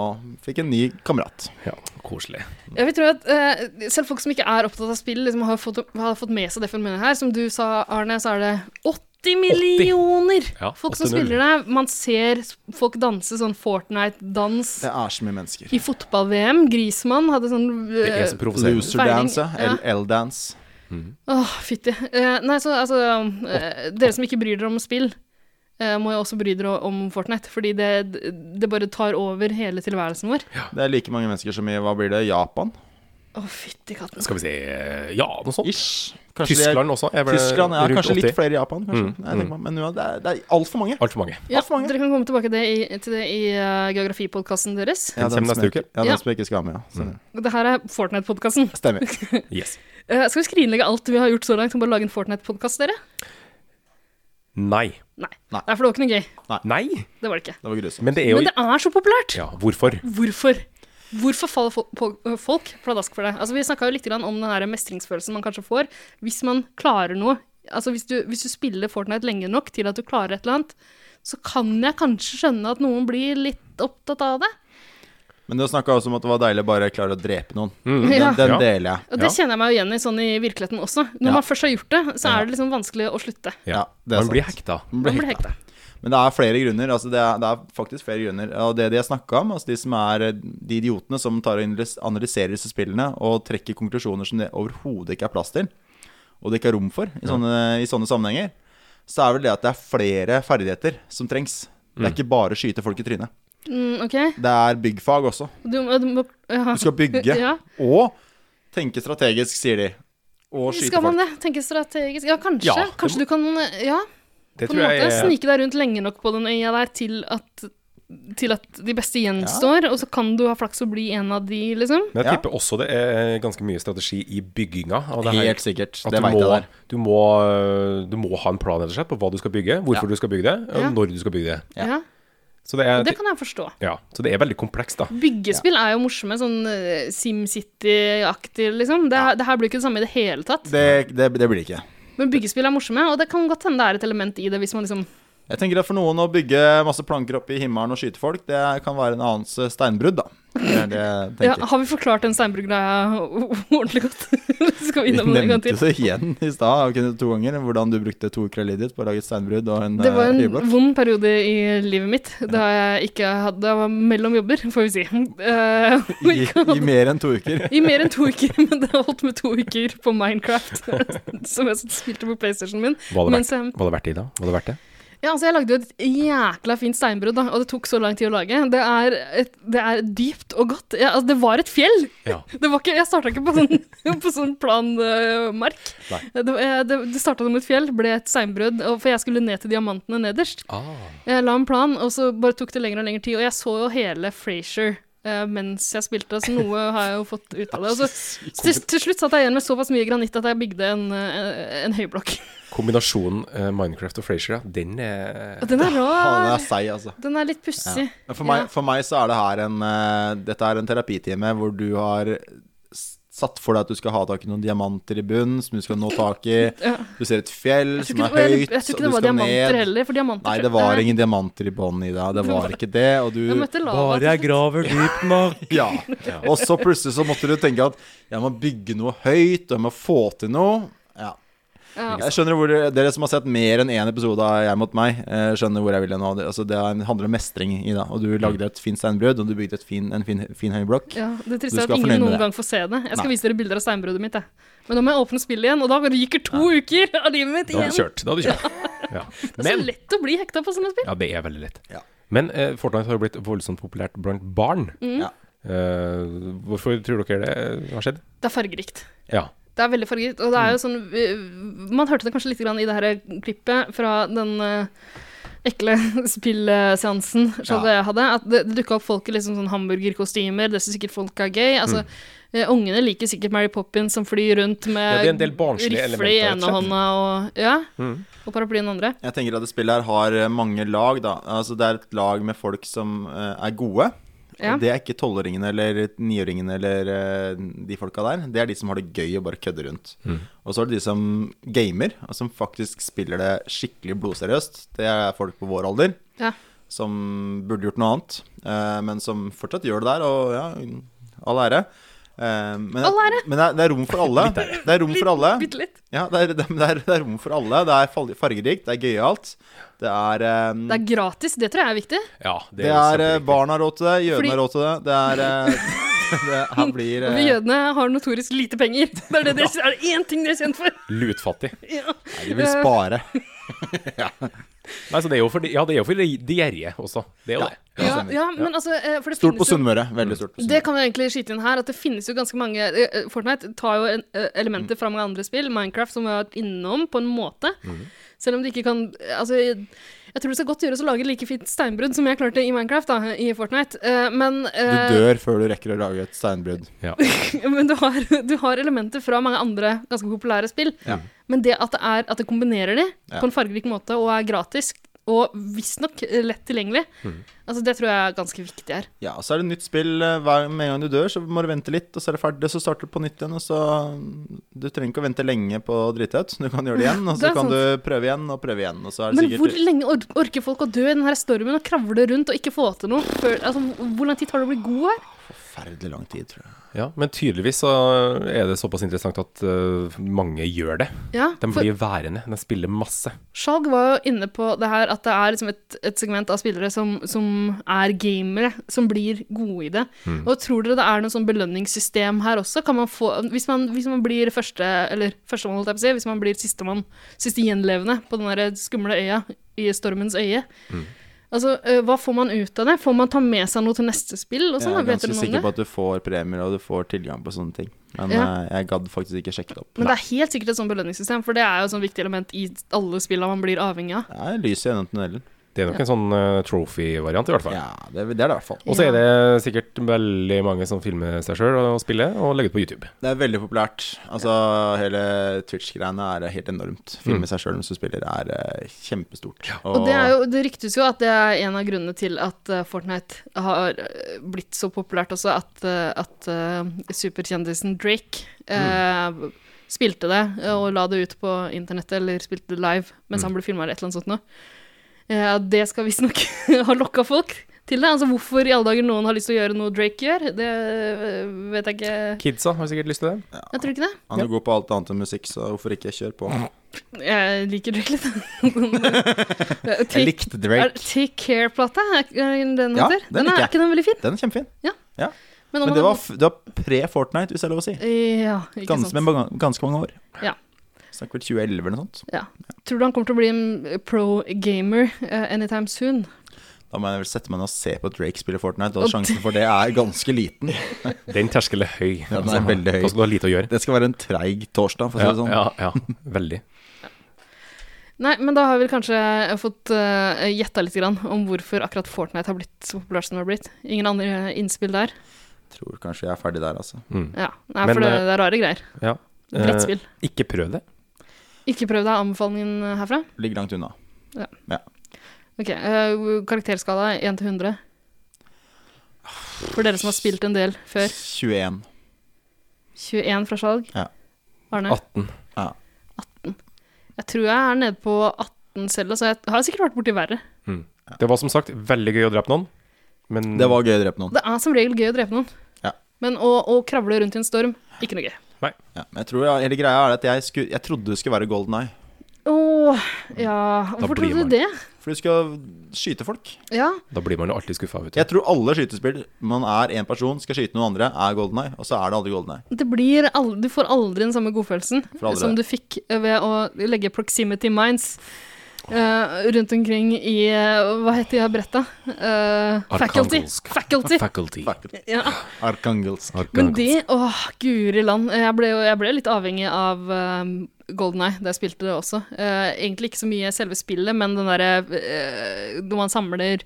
Speaker 1: fikk en ny kamerat.
Speaker 4: Ja, koselig.
Speaker 2: Jeg vil tro at eh, Selv folk som ikke er opptatt av spill, liksom, har, fått, har fått med seg det fenomenet her. Som du sa, Arne, så er det 80 millioner
Speaker 4: Ja,
Speaker 2: folk som
Speaker 4: 80-0.
Speaker 2: spiller det. Man ser s- folk danse sånn Fortnite-dans
Speaker 1: Det er så mye mennesker.
Speaker 2: i fotball-VM. Grismann hadde sånn
Speaker 4: Det
Speaker 2: eh,
Speaker 4: er så provoserende.
Speaker 1: Loserdance,
Speaker 2: Feiling, ja.
Speaker 1: ja. L-dance.
Speaker 2: Åh, fytti. Eh, nei, så altså eh, Dere som ikke bryr dere om spill, eh, må jo også bry dere om Fortnite. Fordi det, det bare tar over hele tilværelsen vår. Åh,
Speaker 1: Det er like mange mennesker som i hva blir det, Japan?
Speaker 2: fytti katten.
Speaker 4: Skal vi se Ja, noe sånt.
Speaker 1: Ish. Kanskje de er-
Speaker 4: Tyskland også. er vel
Speaker 1: Tyskland er
Speaker 4: rundt
Speaker 1: kanskje litt
Speaker 4: 80.
Speaker 1: flere i Japan, kanskje. Nei, jeg tenker meg. Men ja, det er, det er altfor mange.
Speaker 4: Altfor mange.
Speaker 2: Ja,
Speaker 1: for mange.
Speaker 2: dere kan komme tilbake det i, til det i uh, geografipodkasten deres.
Speaker 1: Ja, den
Speaker 4: Kommer
Speaker 1: som
Speaker 4: neste
Speaker 1: jeg ikke-
Speaker 4: uke.
Speaker 1: ja, den
Speaker 2: Ja.
Speaker 1: som jeg ikke skal ha med, ja. Stemmer.
Speaker 2: Det her er Fortnite-podkasten.
Speaker 1: Mm. Stemmer.
Speaker 4: Yes.
Speaker 2: Eh, skal vi skrinlegge alt vi har gjort så langt, og bare lage en Fortnite-podkast, dere?
Speaker 4: Nei.
Speaker 2: Nei.
Speaker 1: Nei.
Speaker 2: Nei, for det var ikke noe gøy.
Speaker 4: Nei,
Speaker 2: Det var det ikke.
Speaker 1: Det var grusomt.
Speaker 4: men det er jo
Speaker 2: Men det er så populært!
Speaker 4: Ja, hvorfor?
Speaker 2: Hvorfor? Hvorfor faller folk, på- øh, folk pladask for det? Altså, vi snakka jo litt grann om den her mestringsfølelsen man kanskje får hvis man klarer noe. Altså, hvis du, hvis du spiller Fortnite lenge nok til at du klarer et eller annet, så kan jeg kanskje skjønne at noen blir litt opptatt av det.
Speaker 1: Men du snakka også om at det var deilig bare å klare å drepe noen.
Speaker 2: Ja.
Speaker 1: Den, den
Speaker 4: Ja.
Speaker 1: deler jeg.
Speaker 2: Og det
Speaker 4: Ja.
Speaker 2: kjenner jeg meg jo igjen i sånn i virkeligheten også. Når
Speaker 1: Ja.
Speaker 2: man først har gjort det, så er det liksom vanskelig å slutte.
Speaker 1: Ja, det er
Speaker 4: Man blir
Speaker 1: sant.
Speaker 4: hekta.
Speaker 1: Den ble
Speaker 2: Man blir
Speaker 1: hekta.
Speaker 2: hekta.
Speaker 1: Men det er flere grunner. Altså det, er, det er faktisk flere grunner. Og det de har snakka om, altså de som er eh, de idiotene som tar og analys- analyserer disse spillene og trekker konklusjoner som det overhodet ikke er plass til, og det ikke er rom for i sånne, i sånne sammenhenger, så er vel det at det er flere ferdigheter som trengs. Det er ikke bare skyte folk i trynet.
Speaker 2: Mm, ok.
Speaker 1: Det er byggfag også.
Speaker 2: Du, må- du må ja.
Speaker 1: Du skal bygge
Speaker 2: Ja.
Speaker 1: og tenke strategisk, sier de. Og skyte
Speaker 2: Skal man
Speaker 1: folk.
Speaker 2: det? Tenke strategisk? Ja, kanskje.
Speaker 4: Ja, det
Speaker 2: kanskje
Speaker 4: må-
Speaker 2: du kan Ja.
Speaker 4: Det
Speaker 2: på en
Speaker 4: tror jeg
Speaker 2: måte
Speaker 4: er
Speaker 2: snike deg rundt lenge nok på den øya der til at, til at de beste gjenstår, og så kan du ha flaks og bli en av de, liksom.
Speaker 4: Men jeg
Speaker 1: Ja.
Speaker 4: tipper også det er ganske mye strategi i bygginga. av det her.
Speaker 1: Helt sikkert.
Speaker 4: At
Speaker 1: Det
Speaker 4: du
Speaker 1: veit jeg
Speaker 4: må,
Speaker 1: der.
Speaker 4: du, må, du må ha en plan rett og slett på hva du skal bygge, hvorfor du skal bygge det, og
Speaker 2: Ja.
Speaker 4: når du skal bygge det.
Speaker 1: Ja.
Speaker 2: Ja.
Speaker 4: Så det er,
Speaker 2: Det kan jeg forstå.
Speaker 4: ja, så det er veldig komplekst, da.
Speaker 2: Byggespill er jo morsomme, sånn eh, SimCity-aktig, liksom. Det, det her blir ikke det samme i det hele tatt.
Speaker 1: Det, det, det blir det ikke.
Speaker 2: Men byggespill er morsomme, og det kan godt hende det er et element i det hvis man liksom
Speaker 1: Jeg tenker at For noen å bygge masse planker opp i himmelen og skyte folk, det kan være en annens steinbrudd, da. Det er det jeg
Speaker 2: ja,
Speaker 1: tenker.
Speaker 2: Har vi forklart den steinbruggreia ordentlig godt? Skal vi
Speaker 1: Vi
Speaker 2: innom den en gang
Speaker 1: nevnte
Speaker 2: til?
Speaker 1: det igjen i stad, og kunne to ganger, hvordan du brukte to ukrellidiet ditt på å lage et steinbrudd og en
Speaker 2: Det var
Speaker 1: eh,
Speaker 2: en
Speaker 1: høyblokk.
Speaker 2: vond periode i livet mitt da jeg ikke hadde da jeg var mellom jobber, får vi si. Eh, og
Speaker 1: I,
Speaker 2: ikke hadde-
Speaker 1: I mer enn to uker.
Speaker 2: I mer enn to uker, men det har holdt med to uker på Minecraft, som jeg spilte på PlayStationen min.
Speaker 4: Hva hadde
Speaker 2: Mens
Speaker 4: vært,
Speaker 2: jeg,
Speaker 4: hva hadde vært i da? Hva hadde vært det?
Speaker 2: ja, altså jeg lagde jo et jækla fint steinbrudd, da, og det tok så lang tid å lage. Det er, et, det er dypt og godt. Ja, altså, det var et fjell!
Speaker 4: Ja.
Speaker 2: Det var ikke, jeg starta ikke på sånn, på sånn plan eh, mark.
Speaker 4: Nei.
Speaker 2: Det, eh, det, det starta som et fjell, ble et steinbrudd, og- for jeg skulle ned til diamantene nederst.
Speaker 1: Ah.
Speaker 2: Jeg la en plan, og så bare tok det lengre og lengre tid. Og jeg så jo hele Frasier eh, mens jeg spilte, så noe har jeg jo fått ut av det. Og så, til, til slutt satt jeg igjen med såpass mye granitt at jeg bygde en, eh, en høyblokk.
Speaker 4: Kombinasjonen eh, Minecraft og Frasier, ja, den er
Speaker 2: Og Den er
Speaker 1: Faen, den
Speaker 2: rar.
Speaker 1: er seig, altså.
Speaker 2: Den er litt pussig.
Speaker 1: Men For meg,
Speaker 2: Ja.
Speaker 1: for meg så er det her en eh, Dette er en terapitime hvor du har s- satt for deg at du skal ha tak i noen diamanter i bunnen som du skal nå tak i. Du ser et fjell
Speaker 2: Jeg
Speaker 1: som
Speaker 2: tror
Speaker 1: er
Speaker 2: ikke,
Speaker 1: høyt,
Speaker 2: jeg, jeg tror
Speaker 1: og
Speaker 2: ikke det
Speaker 1: du
Speaker 2: var
Speaker 1: skal
Speaker 2: diamanter
Speaker 1: ned.
Speaker 2: heller, for diamanter
Speaker 1: Nei, det var
Speaker 2: eh,
Speaker 1: ingen diamanter i bånn i deg. Det var ikke det. Og
Speaker 2: Jeg
Speaker 1: du
Speaker 2: møtte lava. til slutt.
Speaker 8: graver dypt nok.
Speaker 1: Ja. Og så plutselig så måtte du tenke at jeg må bygge noe høyt, og jeg må få til noe. Ja.
Speaker 2: Ja.
Speaker 1: Jeg skjønner hvor dere, dere som har sett mer enn én episode av Jeg mot meg, eh, skjønner hvor jeg vil nå. Det- Altså, det er- handler om mestring i det. Og
Speaker 2: Mm.
Speaker 1: du lagde et fint steinbrød, og du bygde et fin, en fin, fin høy blokk.
Speaker 2: Ja, det
Speaker 1: Du
Speaker 2: triste er
Speaker 1: skal
Speaker 2: at
Speaker 1: fornøyd
Speaker 2: ingen
Speaker 1: med
Speaker 2: noen
Speaker 1: det.
Speaker 2: gang får se det. Jeg skal
Speaker 1: Nei.
Speaker 2: vise dere bilder av steinbruddet mitt. Jeg. Men nå må jeg åpne spillet igjen, og da ryker to uker av livet
Speaker 4: Da
Speaker 2: mitt igjen.
Speaker 4: hadde du kjørt. Da hadde du kjørt. Ja.
Speaker 2: Det er
Speaker 4: Men
Speaker 2: så lett å bli hekta på sånne spill.
Speaker 4: Ja, det er veldig lett.
Speaker 1: Ja.
Speaker 4: Men eh, Fortnite har jo blitt voldsomt populært blant barn.
Speaker 1: Ja.
Speaker 4: Eh, hvorfor tror dere det har skjedd?
Speaker 2: Det er fargerikt.
Speaker 4: Ja.
Speaker 2: Det er veldig fargerikt. Og det
Speaker 4: Mm.
Speaker 2: er jo sånn eh, Man hørte det kanskje litt grann i det her eh, klippet fra den eh, ekle spillseansen som jeg hadde, at det, det dukka opp folk i liksom sånn hamburgerkostymer. Det syns sikkert folk er gøy.
Speaker 4: Mm.
Speaker 2: Altså, eh, Ungene liker sikkert Mary Poppins som flyr rundt
Speaker 4: Ja,
Speaker 2: med
Speaker 4: det er en del barnslige
Speaker 2: rifle i
Speaker 4: elementer, rett
Speaker 2: ene
Speaker 4: og slett. Mm.
Speaker 2: hånda og, ja, og paraply i den andre.
Speaker 1: Jeg tenker at det spillet her har eh, mange lag, da. Altså, det er et lag med folk som eh, er gode.
Speaker 2: Ja.
Speaker 1: Og det er ikke tolvåringene eller niåringene eller eh, de folka der. Det er de som har det gøy og bare kødder rundt.
Speaker 2: Mm.
Speaker 1: Og så er det de som gamer, og som faktisk spiller det skikkelig blodseriøst. Det er folk på vår alder
Speaker 2: Ja.
Speaker 1: som burde gjort noe annet, eh, men som fortsatt gjør det der. Og ja, all ære. Eh, men
Speaker 2: All ære.
Speaker 1: men det, er, det er rom for alle. Det er rom for alle.
Speaker 2: Bitte litt.
Speaker 1: Ja, det er, det, er- det, er, det er rom for alle. Det er fal- fargerikt, det er gøyalt. Det er, eh,
Speaker 2: Det er gratis, det tror jeg er viktig.
Speaker 4: ja
Speaker 1: det er eh,
Speaker 4: kjempeviktig.
Speaker 1: Barn har råd til det, jødene
Speaker 2: Fordi-
Speaker 1: har råd til det. Det er eh, det, Her blir
Speaker 2: Og
Speaker 1: eh,
Speaker 2: vi jødene har notorisk lite penger. Det er det dere, er det én ting dere er kjent for.
Speaker 4: Lutfattig.
Speaker 2: Ja.
Speaker 1: Nei, de vil spare.
Speaker 4: Nei, så det er jo for, de- ja, det er jo for de de gjerrige også. Det er jo
Speaker 1: Ja.
Speaker 4: det.
Speaker 2: Ja, ja, men altså eh, for det
Speaker 1: Stort på
Speaker 2: finnes jo-
Speaker 1: Sunnmøre. Veldig stort. på
Speaker 2: Det
Speaker 1: Sunnmøre.
Speaker 2: kan vi egentlig skyte inn her, at det finnes jo ganske mange eh, eh, Fortnite tar jo en- eh,
Speaker 1: Mm.
Speaker 2: elementer fra mange andre spill, Minecraft som vi har vært innom, på en måte.
Speaker 1: Mm.
Speaker 2: Selv om det ikke kan eh, Altså, jeg, jeg tror det skal godt gjøres å lage et like fint steinbrudd som jeg klarte i Minecraft, da, i Fortnite, Eh, men eh,
Speaker 1: Du dør før du rekker å lage et steinbrudd.
Speaker 4: Ja.
Speaker 2: Men du har, du har elementer fra mange andre ganske populære spill.
Speaker 1: Ja.
Speaker 2: Men det at det, er, at det kombinerer de
Speaker 1: Ja.
Speaker 2: på en fargerik måte og er gratis, og visstnok eh, lett tilgjengelig,
Speaker 1: Mm.
Speaker 2: altså det tror jeg er ganske viktig her.
Speaker 1: Ja, og så er det nytt spill eh, hver, med en gang du dør, så må du vente litt, og så er det ferdig, og så starter du på nytt igjen, og så mm, Du trenger ikke å vente lenge på å drite ut. Du kan gjøre det igjen, og
Speaker 2: Det
Speaker 1: så
Speaker 2: er
Speaker 1: kan
Speaker 2: sant.
Speaker 1: du prøve igjen, og prøve igjen, og så er det
Speaker 2: Men
Speaker 1: sikkert
Speaker 2: hvor lenge or orker folk å dø i den her stormen og kravle rundt og ikke få til noe? Før, altså, hvor- hvor lang tid tar det å bli god her?
Speaker 1: Forferdelig lang tid, tror jeg.
Speaker 4: ja, men tydeligvis så er det såpass interessant at eh, mange gjør det.
Speaker 2: Ja,
Speaker 4: De
Speaker 2: for
Speaker 4: blir værende. De spiller masse.
Speaker 2: Skjalg var jo inne på det her at det er liksom et, et segment av spillere som, som er gamere, som blir gode i det.
Speaker 1: Mm.
Speaker 2: Og tror dere det er noe sånn belønningssystem her også? Kan man få, hvis, man, hvis man blir første, eller førstemann, holdt jeg på å si, hvis man blir sistemann, siste gjenlevende på den der skumle øya i stormens øye,
Speaker 1: Mm.
Speaker 2: altså eh, hva får man ut av det? Får man ta med seg noe til neste spill og sånn?
Speaker 1: jeg er
Speaker 2: Vet dere
Speaker 1: ganske
Speaker 2: noe om
Speaker 1: sikker
Speaker 2: det?
Speaker 1: på at du får premier og du får tilgang på sånne ting. Men
Speaker 2: Ja.
Speaker 1: eh, jeg gadd faktisk ikke sjekke det opp.
Speaker 2: Men det er helt sikkert et sånn belønningssystem, for det er jo et sånn viktig element i alle spillene man blir avhengig av.
Speaker 1: Det er lys i enden av tunnelen.
Speaker 4: Det er nok en sånn eh, trophy-variant, i hvert fall.
Speaker 1: Ja, det, det er det i hvert fall.
Speaker 4: Og så er det sikkert veldig mange som filmer seg sjøl og spiller, og legger ut på YouTube.
Speaker 1: Det er veldig populært. Altså, hele Twitch-greiene er helt enormt. Filme seg sjøl mens du spiller er eh, kjempestort.
Speaker 2: Og det, er jo, det ryktes jo at det er en av grunnene til at eh, Fortnite har eh, blitt så populært også, at, eh, at eh, superkjendisen Drake eh,
Speaker 1: Mm.
Speaker 2: spilte det eh, og la det ut på internettet, eller spilte det live
Speaker 1: Mm.
Speaker 2: mens han ble filma eller et eller annet sånt noe. Eh, det skal visstnok ha lokka folk til det. Altså hvorfor i alle dager noen har lyst til å gjøre noe Drake gjør, det eh, vet jeg ikke.
Speaker 4: Kidsa har sikkert lyst til det.
Speaker 2: Jeg tror ikke det.
Speaker 1: Han er god på alt annet enn musikk, så hvorfor ikke? Kjør på.
Speaker 2: Jeg liker Drake litt. Eh,
Speaker 1: Jeg
Speaker 2: Take,
Speaker 1: likte
Speaker 2: er
Speaker 1: Drake.
Speaker 2: Take Care-plata, er er den
Speaker 1: Ja,
Speaker 2: heter?
Speaker 1: den liker
Speaker 2: Den er,
Speaker 1: jeg.
Speaker 2: er ikke den veldig fin?
Speaker 1: Den er kjempefin.
Speaker 2: Ja. om
Speaker 1: Men
Speaker 2: man
Speaker 1: det
Speaker 2: har-
Speaker 1: var, f- det var pre-Fortnite, hvis det er lov å si.
Speaker 2: Ja, ikke
Speaker 1: Ganske,
Speaker 2: sant.
Speaker 1: men ba- ganske mange år.
Speaker 2: Ja.
Speaker 1: Snakker vel 2011 eller noe sånt.
Speaker 2: Ja. Tror du han kommer til å bli en eh, pro gamer eh, anytime soon?
Speaker 1: Da må jeg vel sette meg ned og se på Drake spille Fortnite, og
Speaker 2: Og
Speaker 1: sjansen for det er ganske liten.
Speaker 4: Den terskelen er høy.
Speaker 1: Ja, den er veldig høy.
Speaker 4: Da skal du ha lite å gjøre.
Speaker 1: Det skal være en treig torsdag, for å si
Speaker 4: Ja,
Speaker 1: det sånn.
Speaker 4: ja, ja, veldig.
Speaker 2: Nei, men da har vi kanskje fått uh, gjetta litt grann om hvorfor akkurat Fortnite har blitt så populært som det har blitt. Ingen andre eh, innspill der?
Speaker 1: Tror kanskje jeg er ferdig der, altså.
Speaker 2: Ja, Nei,
Speaker 4: Men,
Speaker 2: for det,
Speaker 4: eh,
Speaker 2: det er rare greier.
Speaker 4: Ja. Eh,
Speaker 2: Brettspill.
Speaker 4: ikke prøv det.
Speaker 2: Ikke prøv deg anbefalingen eh, herfra.
Speaker 1: Ligger langt unna.
Speaker 2: Ok, eh, Karakterskala 1 til 100. For dere som har spilt en del før.
Speaker 1: 21.
Speaker 2: 21 fra salg.
Speaker 1: Ja.
Speaker 2: Arne,
Speaker 4: 18.
Speaker 2: jeg tror jeg er nede på 18 selv, så jeg har sikkert vært borti verre.
Speaker 4: Det var som sagt veldig gøy å drepe noen, men
Speaker 1: Det var gøy å drepe noen.
Speaker 2: Det er som regel gøy å drepe noen.
Speaker 1: Ja.
Speaker 2: Men å, å kravle rundt i en storm, ikke noe gøy.
Speaker 1: Ja, men jeg tror jeg, hele greia er at jeg, skulle, jeg trodde det skulle være Golden Eye.
Speaker 2: Åh, ja Hvorfor
Speaker 4: blir
Speaker 2: trodde
Speaker 4: man-
Speaker 2: du det?
Speaker 1: For du skal skyte folk.
Speaker 2: Ja,
Speaker 4: da blir man jo alltid skuffa.
Speaker 1: Jeg tror alle skytespill man er én person, skal skyte noen andre, er Golden Eye. Og så er det aldri Golden Eye.
Speaker 2: det blir al- Du får aldri den samme godfølelsen
Speaker 1: Får aldri
Speaker 2: som du fikk eh, ved å legge proximity minds eh, rundt omkring i eh, Hva heter de her bretta? Eh, faculty.
Speaker 4: Arkangelsk.
Speaker 2: faculty.
Speaker 4: Faculty.
Speaker 1: Fuck.
Speaker 2: Ja.
Speaker 1: Arkangelsk.
Speaker 2: Men de Åh, guri land. Jeg ble, jo- jeg ble litt avhengig av Golden Eye da jeg spilte det også. Eh, egentlig ikke så mye selve spillet, men den derre eh, når man samler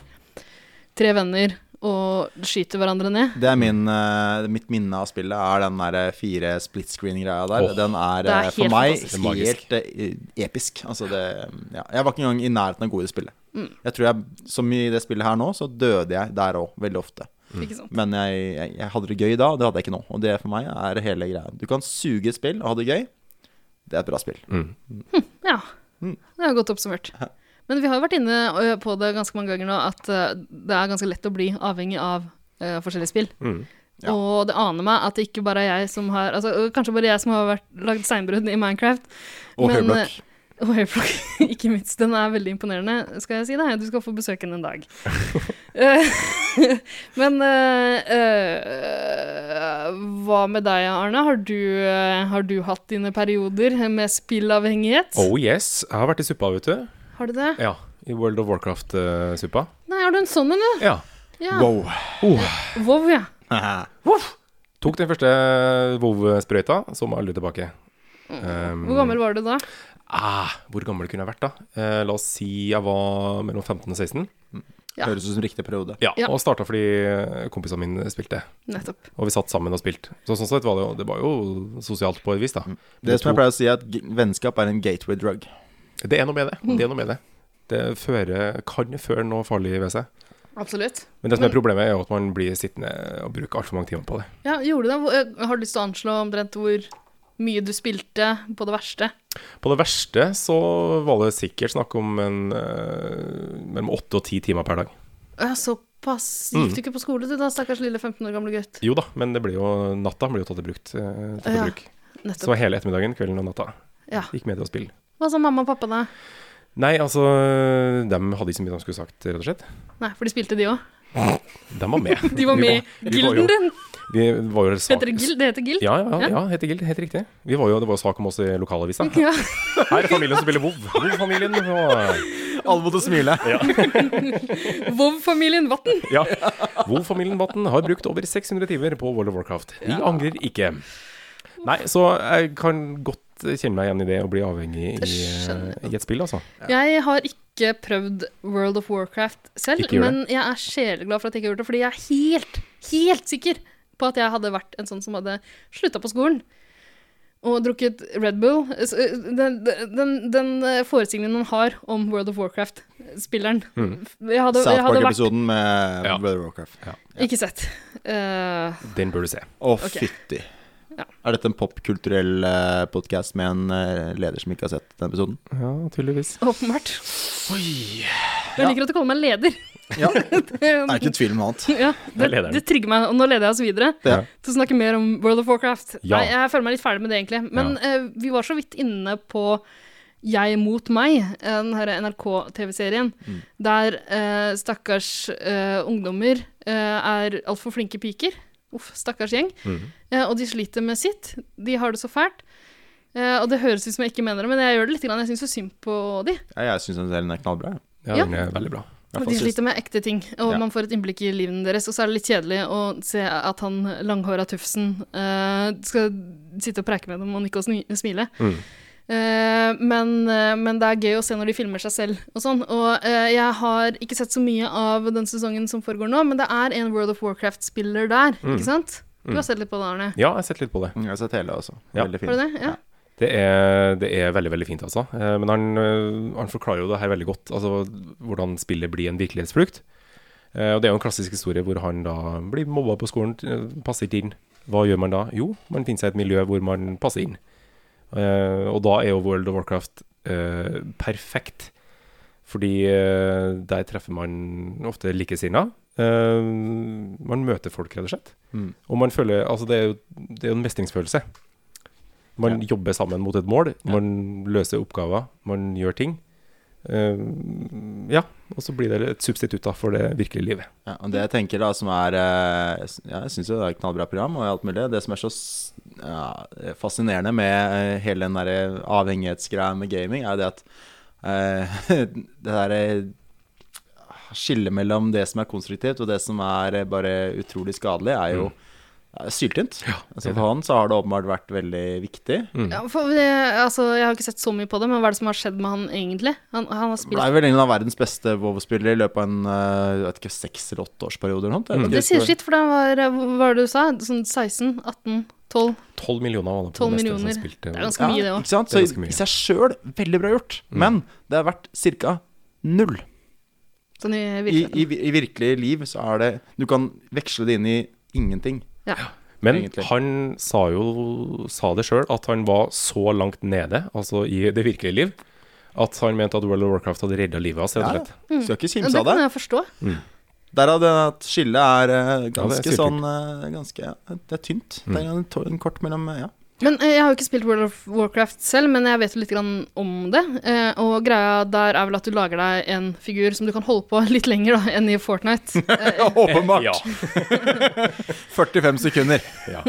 Speaker 2: tre venner og skyter hverandre ned.
Speaker 1: Det er min, eh, mitt minne av spillet, er den der eh, fire split screen-greia der.
Speaker 4: Åh.
Speaker 1: den er,
Speaker 2: Det er
Speaker 1: eh, for
Speaker 2: helt
Speaker 1: meg
Speaker 2: fantastisk.
Speaker 4: Det er magisk.
Speaker 1: helt eh, episk. Altså det, ja. Jeg var ikke engang i nærheten av god i spillet.
Speaker 2: Mm.
Speaker 1: Jeg tror jeg, Som i det spillet her nå, så døde jeg der òg, veldig ofte.
Speaker 2: Ikke sant?
Speaker 1: Men jeg, jeg, jeg hadde det gøy da, og det hadde jeg ikke nå. Og det for meg er hele greia. Du kan suge et spill og ha det gøy. Det er et bra spill.
Speaker 2: Ja.
Speaker 1: Mm.
Speaker 2: Det er godt oppsummert. Men vi har jo vært inne ø, på det ganske mange ganger nå, at ø, det er ganske lett å bli avhengig av ø, forskjellige spill.
Speaker 1: Mm. Ja.
Speaker 2: Og det aner meg at det ikke bare er jeg som har altså, ø, Kanskje bare jeg som har vært, lagd steinbrudd i Minecraft.
Speaker 1: Og
Speaker 2: men, eh,
Speaker 1: høyblock.
Speaker 2: ø, Og høyblock, ikke minst. Den er veldig imponerende, skal jeg si deg. Du skal få besøke den en dag. Eh, men ø, ø, hva med deg, Arne? Har du, ø, har du hatt dine perioder med spillavhengighet?
Speaker 4: Oh yes. Jeg har vært i suppa, vet du.
Speaker 2: Har du det?
Speaker 4: Ja, I World of Warcraft-suppa.
Speaker 2: Nei, har du en sånn en, du?
Speaker 4: Ja.
Speaker 2: Ja. Wow.
Speaker 1: Wow.
Speaker 4: Oh.
Speaker 2: ja.
Speaker 4: Tok den første WoW-sprøyta, så må aldri tilbake. Um,
Speaker 2: Hvor gammel var du da?
Speaker 4: Ah, hvor gammel kunne jeg vært, da? Eh, la oss si jeg var mellom 15 og 16.
Speaker 2: Ja.
Speaker 1: Høres ut som riktig periode.
Speaker 4: Ja,
Speaker 2: Ja.
Speaker 4: Og starta fordi kompisene mine spilte.
Speaker 2: Nettopp.
Speaker 4: Og vi satt sammen og spilte. Så sånn sett var det jo, det var jo sosialt på et vis, da.
Speaker 1: Det som jeg
Speaker 4: tok-
Speaker 1: pleier å si, er at g- vennskap er en gateway drug.
Speaker 4: det er noe med det. Det er noe med det. Det fører, kan føre noe farlig ved seg.
Speaker 2: Absolutt.
Speaker 4: Men det som er problemet, er jo at man blir sittende og bruker altfor mange timer på det.
Speaker 2: Ja, gjorde du det? Hvor- eh, Har du lyst til å anslå omtrent hvor mye du spilte på det verste?
Speaker 4: På det verste så var det sikkert snakk om en, eh, mellom åtte og ti timer per dag.
Speaker 2: Ja, såpass.
Speaker 4: Mm.
Speaker 2: Gikk du ikke på skole, du da, stakkars lille 15 år gamle gutt?
Speaker 4: Jo da, men det blir jo, natta blir jo tatt i brukt, eh, tatt i
Speaker 2: Ja,
Speaker 4: bruk. Så
Speaker 2: Nettopp.
Speaker 4: var hele ettermiddagen, kvelden og natta
Speaker 2: Ja.
Speaker 4: gikk med til å spille.
Speaker 2: Hva sa mamma og pappa da?
Speaker 4: Nei, altså, de hadde ikke så mye de skulle sagt, rett og slett.
Speaker 2: Nei, for de spilte de òg.
Speaker 4: De var med.
Speaker 2: De var
Speaker 4: Vi
Speaker 2: med i
Speaker 4: vi var jo-
Speaker 2: gilden din!
Speaker 4: Vi var jo sak-
Speaker 2: Heter det gild? Det heter gild?
Speaker 4: Ja, ja, ja, ja heter Gild. Helt riktig. Vi var jo, det var jo sak om oss i lokalavisa.
Speaker 2: Ja.
Speaker 4: Her er familien som spiller WoW. WoW-familien. og-
Speaker 1: Alle måtte smile.
Speaker 2: Vov-familien Vatn.
Speaker 4: Ja. WoW-familien Vatn har brukt over 600 timer på World of Warcraft. De angrer ikke. Nei, så jeg kan godt kjenne meg igjen i det å bli avhengig i,
Speaker 2: skjønner
Speaker 4: i et spill, altså.
Speaker 2: Jeg har ikke prøvd World of Warcraft selv,
Speaker 4: Ikke gjør det.
Speaker 2: men jeg er sjeleglad for at jeg ikke har gjort det, fordi jeg er helt, helt sikker på at jeg hadde vært en sånn som hadde slutta på skolen og drukket Red Bull. S- eh, Den, den, den eh, forestillingen man har om World of Warcraft-spilleren
Speaker 4: Hmm.
Speaker 2: Jeg hadde, jeg
Speaker 1: South
Speaker 2: hadde vært
Speaker 1: Park-episoden med
Speaker 4: Ja.
Speaker 1: Brother Warcraft. Å,
Speaker 2: Ikke sett. Eh,
Speaker 4: Den bør du se.
Speaker 2: Ok.
Speaker 1: fytti.
Speaker 2: Ja.
Speaker 1: Er dette en popkulturell uh, podkast med en eh, leder som ikke har sett den episoden?
Speaker 4: Ja, tydeligvis.
Speaker 2: åpenbart. Jeg liker at du kaller meg leder.
Speaker 1: Ja.
Speaker 2: Det- um,
Speaker 1: Det er ikke tvil om annet.
Speaker 2: Ja, det,
Speaker 4: er lederen.
Speaker 2: det trigger meg, og nå leder jeg oss videre
Speaker 1: Ja.
Speaker 2: til å snakke mer om World of Warcraft.
Speaker 4: Ja.
Speaker 2: Nei, jeg føler meg litt ferdig med det, egentlig. Men
Speaker 4: Ja.
Speaker 2: eh, vi var så vidt inne på Jeg mot meg, eh, den her NRK-TV-serien,
Speaker 4: Mm.
Speaker 2: der eh, stakkars eh, ungdommer eh, er altfor flinke piker. Uff, stakkars gjeng.
Speaker 4: Mm.
Speaker 2: Eh, og de sliter med sitt. De har det så fælt. Eh, og det høres ut som jeg ikke mener det, men jeg gjør det litt. Grann. Jeg syns så synd på de.
Speaker 1: Ja, jeg syns den serien er knallbra. jeg.
Speaker 4: Ja,
Speaker 2: Ja.
Speaker 4: den er veldig bra.
Speaker 2: Og de sliter med ekte ting, og
Speaker 1: Ja.
Speaker 2: man får et innblikk i livene deres. Og så er det litt kjedelig å se at han langhåra tufsen eh, skal sitte og preike med dem og nikke og sni- smile. Eh, men, eh, men det er gøy å se når de filmer seg selv og sånn. Og eh, jeg har ikke sett så mye av den sesongen som foregår nå, men det er en World of Warcraft-spiller der, ikke sant? Du har sett litt på det, Arne?
Speaker 4: Ja, jeg har sett litt på det.
Speaker 1: Jeg har sett hele, altså.
Speaker 4: Ja.
Speaker 1: Veldig fin.
Speaker 2: Har du det? Ja.
Speaker 4: Det er, det er veldig veldig fint, altså. Eh, Men han, eh, han forklarer jo det her veldig godt, altså hvordan spillet blir en virkelighetsflukt. Eh, Og Det er jo en klassisk historie hvor han da blir mobba på skolen, t- eh, passer ikke inn. Hva gjør man da? Jo, man finner seg et miljø hvor man passer inn. Eh, Og da er jo World of Warcraft eh, perfekt, fordi eh, der treffer man ofte likesinna. Eh, Man møter folk, rett og slett.
Speaker 1: Mm.
Speaker 4: Og man føler Altså, det er jo, det er jo en mestringsfølelse. Man jobber sammen mot et mål, man løser oppgaver, man gjør ting. Eh, ja, og så blir det et substitutt da for det virkelige livet.
Speaker 1: Ja, og det jeg tenker da, som er eh, jeg sy- ja, Jeg syns jo det er et knallbra program, og alt mulig. Det som er så s- ja, fascinerende med eh, hele den der avhengighetsgreia med gaming, er jo det at eh, det derre ah, skillet mellom det som er konstruktivt, og det som er eh, bare utrolig skadelig, er jo eh, syltynt. altså, for han så har det Mm. åpenbart vært veldig viktig.
Speaker 2: Ja, for det, altså, jeg har ikke sett så mye på det, men hva er det som har skjedd med han egentlig? Han, han har
Speaker 1: Blei
Speaker 2: spilt
Speaker 1: vel en av verdens beste WoW-spillere i løpet av en eh, jeg vet ikke, seks eller åtte årsperiode eller noe. sånt. Jeg vet
Speaker 2: Det
Speaker 1: ikke.
Speaker 2: sier sitt, for det var eh, Hva var det du sa? Sånn 16, 18, 12?
Speaker 4: 12 millioner var det på det neste
Speaker 2: 12 millioner.
Speaker 4: som spilte.
Speaker 2: Det er ganske mye, det òg.
Speaker 1: Ikke sant?
Speaker 4: Det
Speaker 1: Så
Speaker 4: er ganske
Speaker 1: i,
Speaker 4: mye.
Speaker 1: i seg sjøl, veldig bra gjort. Men det er verdt ca. null.
Speaker 2: Sånn i
Speaker 1: I,
Speaker 2: virkeligheten.
Speaker 1: i, I virkelig liv så er det Du kan veksle det inn i ingenting.
Speaker 4: Men
Speaker 1: egentlig.
Speaker 4: han sa jo sa det sjøl, at han var så langt nede, altså i det virkelige liv, at han mente at World of Warcraft hadde redda livet hans, rett og
Speaker 1: Skal
Speaker 4: slett.
Speaker 1: ikke
Speaker 2: Mm. Ja,
Speaker 1: kimse
Speaker 2: det
Speaker 1: av det.
Speaker 2: kan jeg forstå.
Speaker 1: Derav det at skillet er Mm. eh,
Speaker 4: Ja, det
Speaker 1: ganske
Speaker 4: er
Speaker 1: sånn eh, Ganske ja, Det er tynt. Det er en, to- en kort mellom eh, Ja.
Speaker 2: Men eh, jeg har jo ikke spilt World of Warcraft selv, men jeg vet jo litt grann om det. Eh, og greia der er vel at du lager deg en figur som du kan holde på litt lenger da, enn i Fortnite. Eh,
Speaker 1: Åpenbart.
Speaker 4: Ja,
Speaker 1: 45 sekunder.
Speaker 4: ja.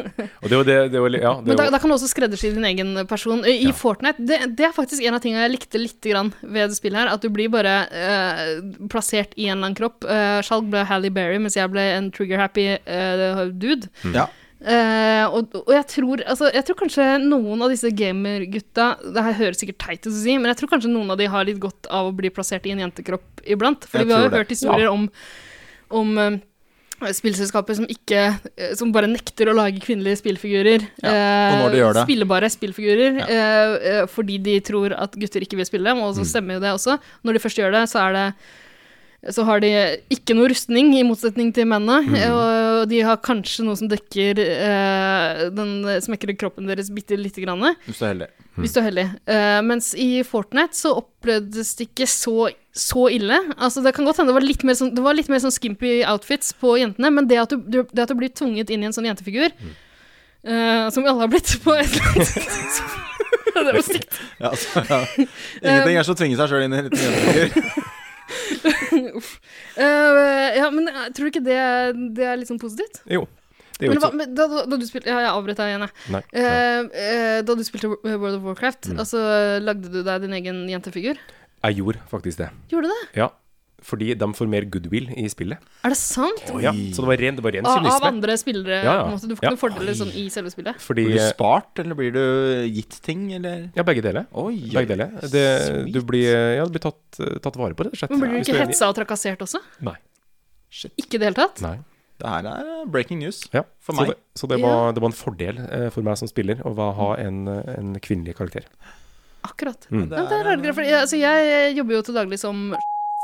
Speaker 4: Og det var det, det var, li- ja, det
Speaker 2: Men da,
Speaker 4: var,
Speaker 2: da kan du også skreddersy din egen person. I i Fortnite, det, det er faktisk en av tingene jeg likte litt grann ved det spillet her, at du blir bare eh, plassert i en eller annen kropp. Uh, Skjalg ble Hally Berry, mens jeg ble en trigger-happy eh, dude.
Speaker 1: Ja.
Speaker 2: Eh, og, og jeg tror altså, Jeg tror kanskje noen av disse gamergutta Det her høres sikkert teit ut å si, men jeg tror kanskje noen av de har litt godt av å bli plassert i en jentekropp iblant. Fordi
Speaker 1: Jeg
Speaker 2: vi har jo
Speaker 1: tror det.
Speaker 2: hørt historier om, om eh, spillselskaper som ikke eh, Som bare nekter å lage kvinnelige spillfigurer.
Speaker 1: og når de gjør det.
Speaker 2: Eh, Spillbare spillfigurer. eh, eh, fordi de tror at gutter ikke vil spille dem, og så
Speaker 1: Mm.
Speaker 2: stemmer jo det også. Når de først gjør det, så er det så har de ikke noe rustning, i motsetning til mennene.
Speaker 1: Mm.
Speaker 2: Og de har kanskje noe som dekker eh, den smekre kroppen deres bitte lite grann.
Speaker 1: Hvis du er heldig.
Speaker 2: Hvis du er heldig. Eh, mens i Fortnite så opplevdes det ikke så, så ille. Altså, det kan godt hende det var litt mer sånn, det var litt mer sånn skimpy outfits på jentene, men det at du, du, det at du blir tvunget inn i en sånn jentefigur,
Speaker 1: Mm.
Speaker 2: eh, som vi alle har blitt på et eller annet tidspunkt Det var stygt.
Speaker 1: Ja, altså, ja. Ingenting er som å tvinge seg sjøl inn i en liten jentefigur.
Speaker 2: Eh, ja, men eh, tror du ikke det, det er litt sånn positivt?
Speaker 4: jo. Det er jo
Speaker 2: Men,
Speaker 4: ikke
Speaker 2: hva,
Speaker 4: så
Speaker 2: men da, da, da du spilte Ja, jeg avbrøt deg igjen, jeg.
Speaker 4: Nei.
Speaker 2: Eh, eh, da du spilte World of Warcraft,
Speaker 1: Mm.
Speaker 2: altså, lagde du deg din egen jentefigur?
Speaker 4: Jeg gjorde faktisk det.
Speaker 2: Gjorde du det?
Speaker 4: Ja. Fordi de får mer goodwill i spillet.
Speaker 2: Er det sant?
Speaker 4: Ja, så det var ren, det var ren
Speaker 2: av, av
Speaker 4: kynisme.
Speaker 2: andre spillere?
Speaker 4: Ja, ja.
Speaker 2: på en måte. Du får ikke
Speaker 4: Ja.
Speaker 2: noen fordeler sånn i selve spillet?
Speaker 4: Fordi eh,
Speaker 1: Blir du spart, eller blir du gitt ting, eller
Speaker 4: Ja, begge deler.
Speaker 1: Oi, oi,
Speaker 4: Begge deler. Det, du
Speaker 1: sweet.
Speaker 4: blir, eh, ja, du blir tatt, tatt vare på, rett og slett.
Speaker 2: Men blir du
Speaker 4: Hvis
Speaker 2: ikke
Speaker 4: er enig.
Speaker 2: hetsa og trakassert også?
Speaker 4: Nei.
Speaker 2: Ikke i det hele tatt?
Speaker 4: Nei.
Speaker 1: Det her er eh, breaking news.
Speaker 4: Ja.
Speaker 1: For
Speaker 4: så
Speaker 1: meg.
Speaker 4: det, så det, var, det var en fordel eh, for meg som spiller å va- ha en, eh, en kvinnelig karakter.
Speaker 2: Akkurat.
Speaker 4: Mm.
Speaker 2: Ja, det er rare greier, for jeg, altså, jeg jobber jo til daglig som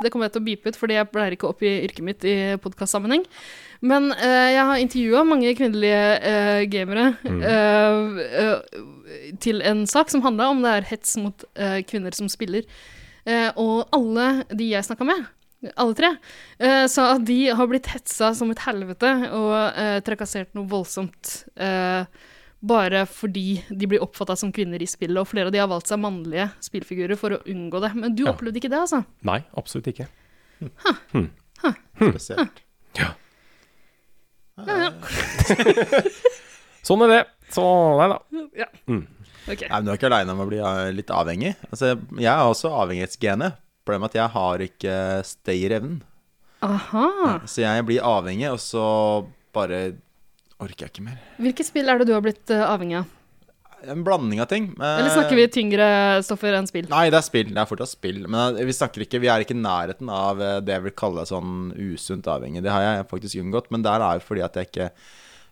Speaker 2: det kommer jeg til å beepe ut, fordi jeg pleier ikke å oppgi yrket mitt i podkastsammenheng. Men eh, jeg har intervjua mange kvinnelige eh, gamere eh, eh, til en sak som handla om det er hets mot eh, kvinner som spiller. Eh, og alle de jeg snakka med, alle tre, eh, sa at de har blitt hetsa som et helvete og eh, trakassert noe voldsomt. eh, bare fordi de blir oppfatta som kvinner i spillet, og flere av de har valgt seg mannlige spillfigurer for å unngå det. Men du
Speaker 4: Ja.
Speaker 2: opplevde ikke det, altså?
Speaker 4: Nei, absolutt ikke. Hmm.
Speaker 1: Spesielt. Eh.
Speaker 4: Sånn er det. Så, nei da.
Speaker 2: Ja.
Speaker 1: Mm.
Speaker 2: Ok.
Speaker 1: Nei, men Du er ikke aleine om å bli eh, litt avhengig. Altså, jeg har også avhengighetsgenet. Problemet er at jeg har ikke stayerevnen.
Speaker 2: Aha.
Speaker 1: Så jeg blir avhengig, og så bare orker jeg ikke mer.
Speaker 2: Hvilke spill er det du har blitt eh, avhengig av?
Speaker 1: En blanding av ting. eh,
Speaker 2: Eller snakker vi tyngre stoffer enn spill?
Speaker 1: Nei, det er spill. Det er fortsatt spill. Men eh, vi snakker ikke Vi er ikke i nærheten av eh, det jeg vil kalle sånn usunt avhengig. Det har jeg faktisk unngått, men der er jo fordi at jeg ikke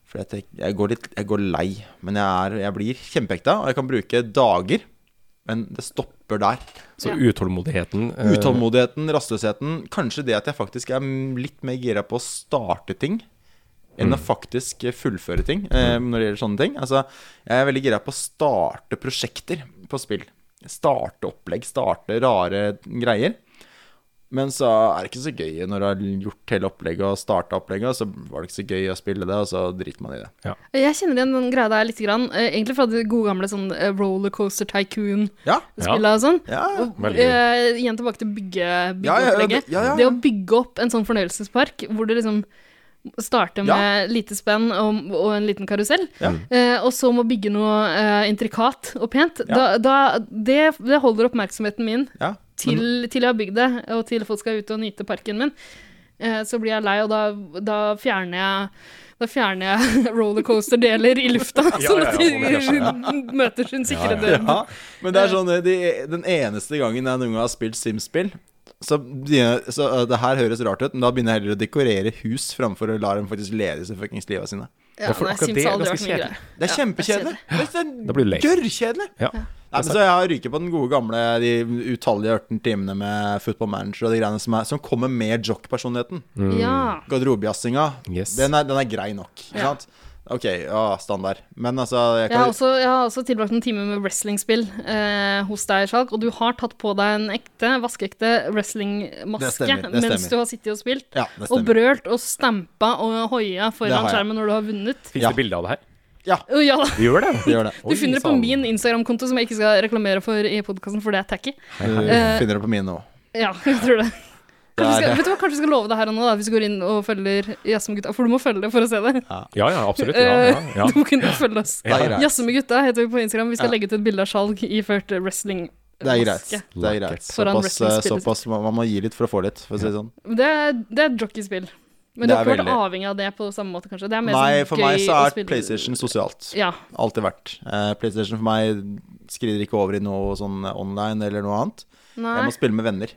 Speaker 1: For jeg, tenk- jeg, går litt, jeg går lei, men jeg, er, jeg blir kjempeekta, og jeg kan bruke dager, men det stopper der.
Speaker 4: Så
Speaker 2: Ja.
Speaker 4: utålmodigheten eh,
Speaker 1: Utålmodigheten, rastløsheten, kanskje det at jeg faktisk er m- litt mer gira på å starte ting enn å faktisk fullføre ting eh, når det gjelder sånne ting. Altså, jeg er veldig gira på å starte prosjekter på spill. Starte opplegg, starte rare greier. Men så er det ikke så gøy når du har gjort hele opplegget og starta opplegget, og så var det ikke så gøy å spille det, og så driter man i det.
Speaker 2: Jeg kjenner igjen den greia der litt, grann, eh, egentlig fra det gode gamle sånn eh, rollercoaster tycoon-spillet
Speaker 1: Ja,
Speaker 2: og sånn.
Speaker 1: ja, ja.
Speaker 4: veldig gøy.
Speaker 2: Eh, igjen tilbake til bygge,
Speaker 1: Ja, ja, ja,
Speaker 2: byggeopplegget.
Speaker 1: det- ja, ja, ja.
Speaker 2: Det å bygge opp en sånn fornøyelsespark hvor du liksom starter med lite spenn og, og en liten karusell,
Speaker 1: Ja.
Speaker 2: eh, og så må bygge noe eh, intrikat og pent,
Speaker 1: Ja.
Speaker 2: da, da, det, det holder oppmerksomheten min
Speaker 1: ja.
Speaker 2: til, til jeg har bygd det, og til folk skal ut og nyte parken min. Eh, så blir jeg lei, og da, da fjerner jeg da fjerner jeg rollercoaster-deler i lufta, sånn at de møter sin sikre død.
Speaker 1: Ja, men det er sånn de, Den eneste gangen jeg noen gang har spilt Sims-spill så, begynner jeg- så uh, det her høres rart ut, men da begynner jeg heller å dekorere hus framfor å la dem faktisk leve disse fuckings liva sine.
Speaker 2: Ja,
Speaker 4: Ja, for
Speaker 2: nei,
Speaker 4: akkurat
Speaker 2: Sims
Speaker 4: det er
Speaker 2: har aldri vært
Speaker 4: ganske
Speaker 2: min
Speaker 4: kjedelig.
Speaker 2: greie.
Speaker 1: Det er
Speaker 2: Ja,
Speaker 1: kjempekjedelig. Det
Speaker 4: Da blir du
Speaker 1: er
Speaker 4: lei.
Speaker 1: gørrkjedelig.
Speaker 4: Ja.
Speaker 1: Nei, men så jeg ryker på den gode gamle de utallige ørten timene med football manager og de greiene som, er, som kommer med jock-personligheten.
Speaker 2: Ja.
Speaker 1: Garderobejazzinga.
Speaker 4: Mm. Yes.
Speaker 1: Den, er- den er grei nok. Ikke sant? Ok, ja, standard. Men altså jeg
Speaker 2: Jeg har,
Speaker 1: kan,
Speaker 2: også, jeg har også tilbrakt en time med wrestlingspill eh, hos deg, Sjalk, og du har tatt på deg en ekte, vaskeekte
Speaker 1: Det
Speaker 2: wrestlingmaske
Speaker 1: stemmer, det
Speaker 2: mens
Speaker 1: stemmer.
Speaker 2: du har sittet og spilt,
Speaker 1: Ja, det
Speaker 2: og
Speaker 1: stemmer.
Speaker 2: brølt og stampa og hoia
Speaker 1: Det
Speaker 2: foran
Speaker 1: har jeg.
Speaker 2: skjermen når du har vunnet.
Speaker 4: Fins
Speaker 1: Ja.
Speaker 4: det bilde av det her?
Speaker 2: Å, ja, da.
Speaker 4: Vi gjør det.
Speaker 1: Vi gjør det.
Speaker 2: Du finner det på min Instagram-konto, som jeg ikke skal reklamere for i podkasten, for det er tacky.
Speaker 1: Du
Speaker 2: Eh,
Speaker 1: finner det på mine nå.
Speaker 2: Ja, jeg tror det.
Speaker 1: Det
Speaker 2: Kanskje vi skal,
Speaker 1: er-
Speaker 2: vet du hva, kanskje vi skal love det her og nå, da, hvis du går inn og følger Jazz med gutta. For du må følge det for å se det.
Speaker 4: Ja, ja, absolutt. Ja, ja, ja.
Speaker 2: Eh, Du må kunne følge oss.
Speaker 1: Det er greit.
Speaker 2: Jazz med gutta heter vi på Instagram. Vi skal
Speaker 1: Ja.
Speaker 2: legge ut et bilde av Skjalg iført wrestling.
Speaker 1: Det er greit.
Speaker 2: maske.
Speaker 1: Det er greit.
Speaker 2: Foran
Speaker 1: Såpass, eh,
Speaker 2: wrestling-spillet.
Speaker 1: såpass man, man må gi litt for å få litt, for å si det sånn.
Speaker 2: Det er, det er et jockeyspill. Men
Speaker 1: Det
Speaker 2: du
Speaker 1: er
Speaker 2: har ikke vært
Speaker 1: veldig.
Speaker 2: avhengig av det på samme måte, kanskje? Det er mer
Speaker 1: Nei,
Speaker 2: sånn
Speaker 1: for
Speaker 2: gøy
Speaker 1: meg så
Speaker 2: å
Speaker 1: er
Speaker 2: spille-
Speaker 1: PlayStation sosialt.
Speaker 2: Ja.
Speaker 1: Alltid vært. Eh, PlayStation for meg skrider ikke over i noe sånn online eller noe annet. Jeg
Speaker 2: Nei.
Speaker 1: må spille med venner.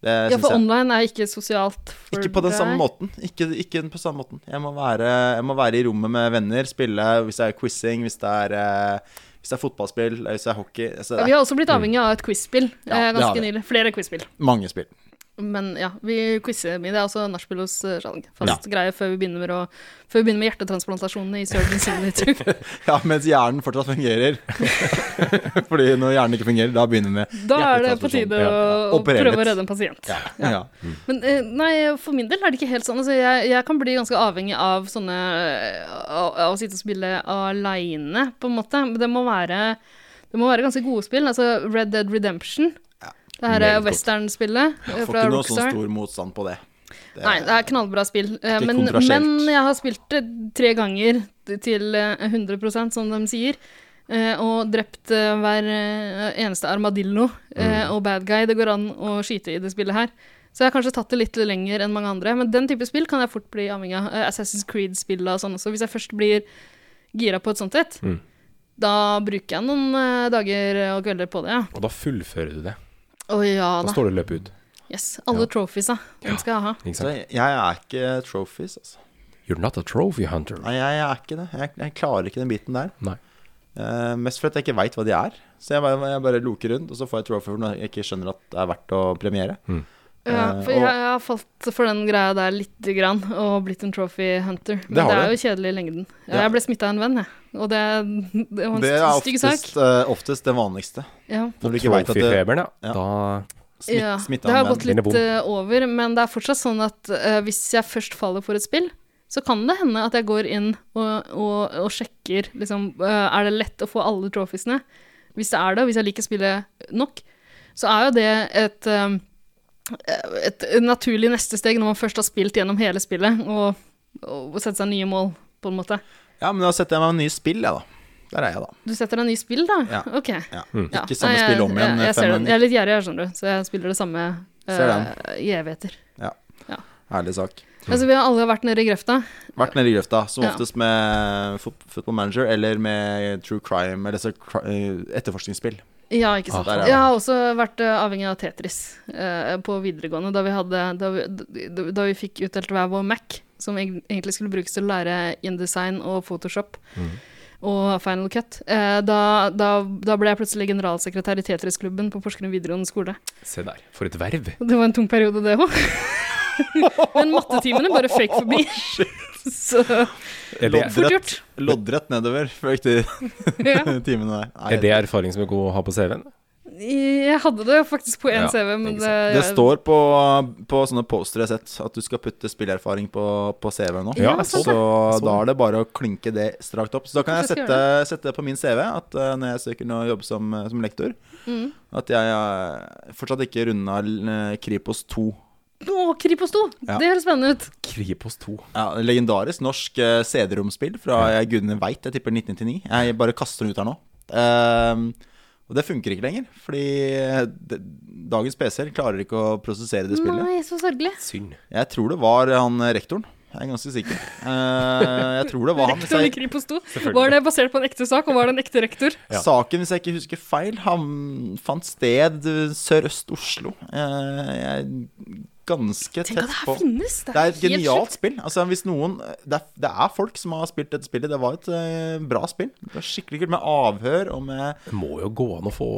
Speaker 1: Det
Speaker 2: Ja,
Speaker 1: syns
Speaker 2: for
Speaker 1: jeg.
Speaker 2: online er ikke sosialt for
Speaker 1: Ikke på den samme
Speaker 2: deg.
Speaker 1: måten. Ikke, ikke på samme måten. Jeg må, være, jeg må være i rommet med venner, spille hvis det er quizing, hvis det er, eh, hvis det er fotballspill, hvis det er hockey altså,
Speaker 2: Ja,
Speaker 1: Det
Speaker 2: vi
Speaker 1: er
Speaker 2: har også blitt avhengig av et quiz-spill
Speaker 1: Ja,
Speaker 2: eh,
Speaker 1: det har
Speaker 2: ganske
Speaker 1: vi.
Speaker 2: nylig. Flere quiz-spill.
Speaker 1: mange spill.
Speaker 2: Men ja, vi quizer mye. Det er også nachspiel hos eh, Skjalg. Fast greie før vi begynner med, å, før vi begynner med hjertetransplantasjonene i Surgeon Simulator.
Speaker 1: Ja, mens hjernen fortsatt fungerer. Fordi når hjernen ikke fungerer, da begynner vi med
Speaker 2: Da er det på tide å, å
Speaker 1: Operere
Speaker 2: prøve å
Speaker 1: litt.
Speaker 2: redde en pasient.
Speaker 1: ja. ja.
Speaker 2: Men eh, nei, for min del er det ikke helt sånn. Altså, jeg, jeg kan bli ganske avhengig av sånne eh, Av av å sitte og spille aleine, på en måte. Men det må være det må være ganske gode spill. Altså Red Dead Redemption. Det her
Speaker 4: Meget
Speaker 2: er
Speaker 4: godt.
Speaker 2: westernspillet eh,
Speaker 1: Får
Speaker 2: fra
Speaker 1: ikke noe sånn
Speaker 2: Rockstar.
Speaker 1: stor motstand på det. det
Speaker 2: Nei, det er knallbra spill. Eh,
Speaker 1: Ikke
Speaker 2: Men,
Speaker 1: kontroversielt.
Speaker 2: men jeg har spilt det tre ganger til eh, 100 som de sier. eh, Og drept eh, hver eh, eneste armadillo eh, og bad guy. Det går an å skyte i det spillet her. Så jeg har kanskje tatt det litt lenger enn mange andre. Men den type spill kan jeg fort bli avhengig av. Eh, Assassin's Creed-spill og sånn også. Hvis jeg først blir gira på et sånt et, da bruker jeg noen eh, dager og kvelder på det, ja.
Speaker 4: Og da fullfører du det.
Speaker 2: Å ja
Speaker 4: Da
Speaker 2: da.
Speaker 4: står det løp ut.
Speaker 2: Yes. Alle trophiesa. Den skal jeg ha.
Speaker 4: Ikke
Speaker 1: Så
Speaker 4: sant?
Speaker 1: jeg, jeg er ikke trophies, altså.
Speaker 4: You're not a trophy hunter.
Speaker 1: Nei, jeg, er ikke det. Jeg, jeg klarer ikke den biten der.
Speaker 4: Nei.
Speaker 1: Eh, mest fordi jeg ikke veit hva de er. Så jeg bare, jeg bare loker rundt, og så får jeg trophy for noe jeg ikke skjønner at det er verdt å premiere.
Speaker 2: Ja,
Speaker 1: Eh, og-
Speaker 2: for jeg, jeg har falt for den greia der lite grann, og blitt en trophy hunter. Men
Speaker 1: Det
Speaker 2: det,
Speaker 1: har
Speaker 2: er
Speaker 1: du.
Speaker 2: jo kjedelig i lengden. Ja,
Speaker 1: Ja.
Speaker 2: Jeg ble smitta av en venn, jeg. Og det, det var en
Speaker 1: Det er
Speaker 2: stygg
Speaker 1: oftest,
Speaker 2: sak.
Speaker 1: eh, oftest det vanligste.
Speaker 2: Ja.
Speaker 1: Når du ikke veit at det
Speaker 4: Trophyfeberen,
Speaker 1: Ja.
Speaker 4: ja. Da
Speaker 1: smitt,
Speaker 2: ja.
Speaker 1: smitta
Speaker 2: Det har
Speaker 1: av
Speaker 2: gått
Speaker 1: menn.
Speaker 4: Den er
Speaker 2: litt
Speaker 4: vond.
Speaker 2: eh, over, men det er fortsatt sånn at eh, hvis jeg først faller for et spill, så kan det hende at jeg går inn og, og, og sjekker liksom, eh, Er det lett å få alle trophiesene? Hvis det er det, og hvis jeg liker spillet nok, så er jo det et eh, et naturlig neste steg når man først har spilt gjennom hele spillet, og, og setter seg nye mål, på en måte.
Speaker 1: Ja, men da setter jeg meg med nye spill, jeg, da. Der er jeg, da.
Speaker 2: Du setter deg nye spill, da?
Speaker 1: Ja.
Speaker 2: Ok.
Speaker 1: Ja.
Speaker 2: Mm. Ja.
Speaker 1: Ikke samme
Speaker 2: Nei, jeg-
Speaker 1: spill om igjen
Speaker 2: Jeg,
Speaker 1: fem
Speaker 2: jeg, ser den. jeg
Speaker 1: ganger.
Speaker 2: er litt gjerrig, jeg, skjønner du, så jeg spiller det samme
Speaker 1: Ser den.
Speaker 2: eh, i evigheter.
Speaker 1: Ærlig sak.
Speaker 2: Altså, vi har alle vært nede i grøfta.
Speaker 1: Vært nede i grøfta, som
Speaker 2: Ja.
Speaker 1: oftest med fot Football Manager eller med True Crime, eller så cri- eh, etterforskningsspill.
Speaker 2: Ja, ikke
Speaker 1: Ah,
Speaker 2: sant.
Speaker 1: der er
Speaker 2: jeg har også vært eh, avhengig av Tetris eh, på videregående, da vi, hadde, da, vi, da- da vi fikk utdelt hver vår Mac. som eg- egentlig skulle brukes til å lære InDesign og Photoshop og Final Cut. Eh, da, da, da ble jeg plutselig generalsekretær i Tetris-klubben på Porsgrunn videregående skole.
Speaker 4: Se der, for et verv.
Speaker 2: Og det var en tung periode, det òg. Men mattetimene bare føyk forbi. Så
Speaker 4: Er det,
Speaker 2: fort gjort.
Speaker 1: Loddrett nedover føk de
Speaker 2: Ja.
Speaker 1: timene der. Nei,
Speaker 4: er det erfaring som er god å ha på CV-en?
Speaker 2: Jeg hadde det faktisk på én
Speaker 4: Ja,
Speaker 2: CV, men
Speaker 4: ikke
Speaker 2: det,
Speaker 1: det står på, på sånne postere jeg har sett, at du skal putte spillerfaring på, på CV-en nå.
Speaker 4: Ja, jeg
Speaker 1: så
Speaker 4: så det. Jeg så
Speaker 1: da er det bare å klinke det strakt opp. Så da kan jeg
Speaker 2: Kanskje jeg Sånn. skal
Speaker 1: sette, sette det på min CV at eh, når jeg søker nå jobb som, eh, som lektor,
Speaker 2: Mm.
Speaker 1: at jeg eh, fortsatt ikke runda eh, Kripos 2.
Speaker 2: Å, Kripos 2!
Speaker 1: Ja.
Speaker 2: Det høres spennende ut.
Speaker 4: Kripos 2.
Speaker 1: Ja, legendarisk norsk eh, CD-romspill fra jeg gudene veit, jeg tipper 1999. Jeg bare kaster den ut her nå. Ehm, og det funker ikke lenger, fordi eh, det, dagens PC-er klarer ikke å prosessere det spillet.
Speaker 2: Nei, så sørgelig.
Speaker 4: Synd.
Speaker 1: Jeg tror det var han eh, rektoren. Jeg er ganske sikker. Eh, jeg tror det var han. Hvis
Speaker 2: Rektoren i
Speaker 1: jeg,
Speaker 2: Kripos 2. Var det basert på en ekte sak, og var det en ekte rektor?
Speaker 4: Ja.
Speaker 1: saken, hvis jeg ikke husker feil, han fant sted eh, sørøst Oslo. Eh, jeg er ganske tett
Speaker 2: Tenk at det her
Speaker 1: på
Speaker 2: finnes!
Speaker 1: det er et
Speaker 2: helt
Speaker 1: genialt
Speaker 2: sjukt.
Speaker 1: spill. Altså, hvis noen, det, er, det er folk som har spilt dette spillet. Det var et eh, bra spill. Det var Skikkelig kult med avhør og med
Speaker 4: Det må jo gå an å få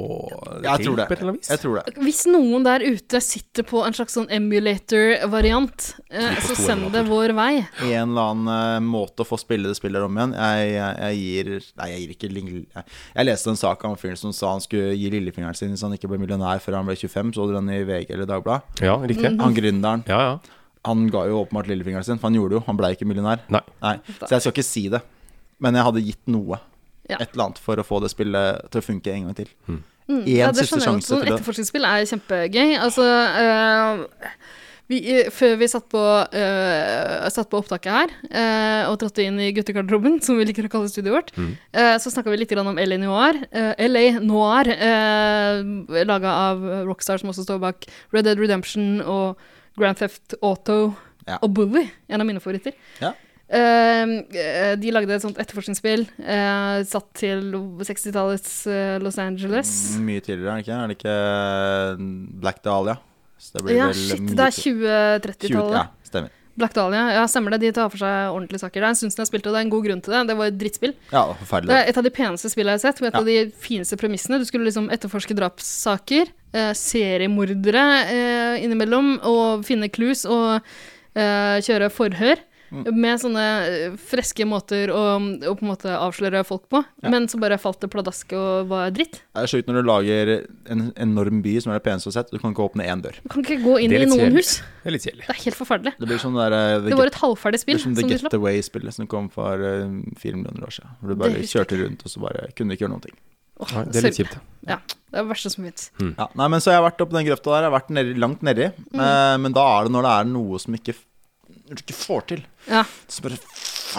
Speaker 1: Jeg tror det.
Speaker 4: på et eller annet vis.
Speaker 1: Jeg tror det.
Speaker 2: Hvis noen der ute sitter på en slags sånn emulator-variant, eh, så send det vår vei.
Speaker 1: I en eller annen eh, måte å få spille det spillet om igjen. Jeg, jeg, jeg gir Nei, jeg gir ikke ling- Jeg, jeg leste en sak om fyren som sa han skulle gi lillefingeren sin hvis han ikke ble millionær før han ble 25. Så du den i VG eller Dagbladet?
Speaker 4: Ja, riktig.
Speaker 2: Mhm.
Speaker 1: Han gründeren.
Speaker 4: Ja, ja.
Speaker 1: Han ga jo åpenbart lillefingeren sin, for han gjorde det jo. Han ble ikke millionær.
Speaker 4: Nei.
Speaker 1: Nei, Så jeg skal ikke si det. Men jeg hadde gitt noe.
Speaker 2: Ja. Mm.
Speaker 1: Et eller annet for å få det spillet til å funke en gang til. Én
Speaker 2: Ja, det
Speaker 1: siste
Speaker 2: skjønner jeg godt.
Speaker 1: sjanse
Speaker 2: Sånn
Speaker 1: til å
Speaker 2: etterforskningsspill er kjempegøy. Altså eh, vi, eh, Før vi satt på, eh, satt på opptaket her eh, og trådte inn i guttegarderoben, som vi liker å kalle studioet vårt,
Speaker 1: Mm.
Speaker 2: eh, så snakka vi litt grann om LA Noir. eh, LA Noir uh, Laga av Rockstar, som også står bak Red Dead Redemption og Grand Theft Auto
Speaker 1: Ja.
Speaker 2: og Bully, en av mine favoritter.
Speaker 1: Ja.
Speaker 2: Eh, de lagde et sånt etterforskningsspill eh, satt til 60-tallets eh, Los Angeles.
Speaker 1: Mye tidligere, er det ikke? Er det ikke Black Dahlia? Så det blir
Speaker 2: Ja,
Speaker 1: vel
Speaker 2: shit,
Speaker 1: mye
Speaker 2: det er
Speaker 1: ti-
Speaker 2: 2030-tallet.
Speaker 1: Ja, stemmer.
Speaker 2: Black Dahlia, ja, stemmer det. De tar for seg ordentlige saker. Det er en stund siden jeg spilte, og det er en god grunn til det. Det var et drittspill.
Speaker 1: Ja,
Speaker 2: Det
Speaker 1: forferdelig.
Speaker 2: er et av de peneste spillene jeg har sett, med et av de fineste premissene. Du skulle liksom etterforske drapssaker, eh, seriemordere eh, innimellom, og finne clues og eh, kjøre forhør.
Speaker 1: Mm.
Speaker 2: Med sånne eh, freske måter å, å på en måte avsløre folk på. Men så bare falt det pladask og var dritt.
Speaker 1: Det er sjukt når du lager en enorm by som er det peneste du har sett, du kan ikke åpne én dør.
Speaker 2: Du kan ikke gå inn
Speaker 4: Det er
Speaker 2: i
Speaker 4: litt
Speaker 2: noen
Speaker 4: kjedelig.
Speaker 2: hus.
Speaker 4: Det er litt kjedelig.
Speaker 2: Det er helt forferdelig.
Speaker 1: Det blir sånn der eh, The
Speaker 2: Det var
Speaker 1: Get-
Speaker 2: et halvferdig
Speaker 1: det
Speaker 2: spill
Speaker 1: blir som
Speaker 2: som
Speaker 1: The
Speaker 2: du slapp.
Speaker 1: Get Away-spillet som kom for eh, fire millioner år siden. Hvor du
Speaker 2: Det
Speaker 1: bare
Speaker 2: husker
Speaker 1: kjørte rundt, og så bare kunne du ikke gjøre noen ting.
Speaker 2: Åh,
Speaker 4: Nei, det er litt
Speaker 2: sørg.
Speaker 4: kjipt.
Speaker 2: Ja, det er det verste som fins.
Speaker 1: Ja, nei, men så jeg har vært oppe den grøfta der, jeg har vært nedi, langt nedi.
Speaker 2: Mm.
Speaker 1: Eh, men da er det når det er noe som ikke, når du ikke får til.
Speaker 2: Ja.
Speaker 1: Så bare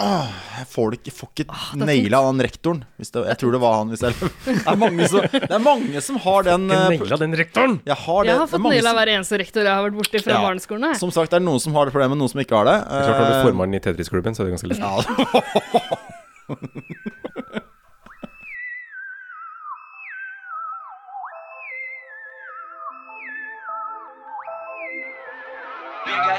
Speaker 1: åh, jeg får det ikke, jeg får ikke
Speaker 2: Ah, det er
Speaker 1: naila han rektoren. Hvis det, jeg tror det var han. Hvis jeg, det, er mange som, det er mange som har den eh,
Speaker 4: Naila den rektoren!
Speaker 1: Jeg har det.
Speaker 2: Jeg har
Speaker 1: det er
Speaker 2: fått
Speaker 1: mange
Speaker 2: nail av
Speaker 1: som,
Speaker 2: hver eneste rektor jeg har vært borti fra
Speaker 1: Ja.
Speaker 2: barneskolen. Jeg.
Speaker 1: som sagt, det er noen som har det problemet, noen som ikke har det.
Speaker 4: Det er klart, Har
Speaker 1: Eh,
Speaker 4: du formannen i Tetris-klubben, så er det ganske lett.
Speaker 1: ja,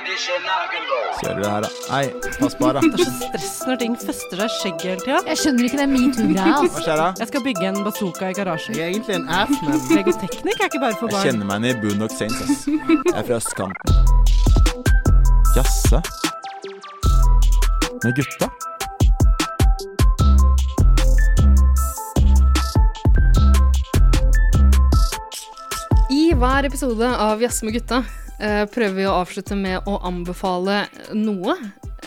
Speaker 1: kjører vi det her, da. Nei, pass på her, da.
Speaker 8: Stress når ting fester seg i skjegget hele tida.
Speaker 5: Jeg skjønner ikke den metoo-greia.
Speaker 1: Hva
Speaker 5: Altså.
Speaker 1: skjer da?
Speaker 8: Jeg skal bygge en bazooka i garasjen.
Speaker 1: Jeg er egentlig en ass, men
Speaker 8: Legoteknikk er ikke bare for
Speaker 1: Jeg
Speaker 8: barn.
Speaker 1: kjenner meg igjen i Boondock Saints, ass. Jeg er fra østkanten. Jasse. Med gutta.
Speaker 2: I hver episode av Jazz med gutta eh, prøver vi å avslutte med å anbefale noe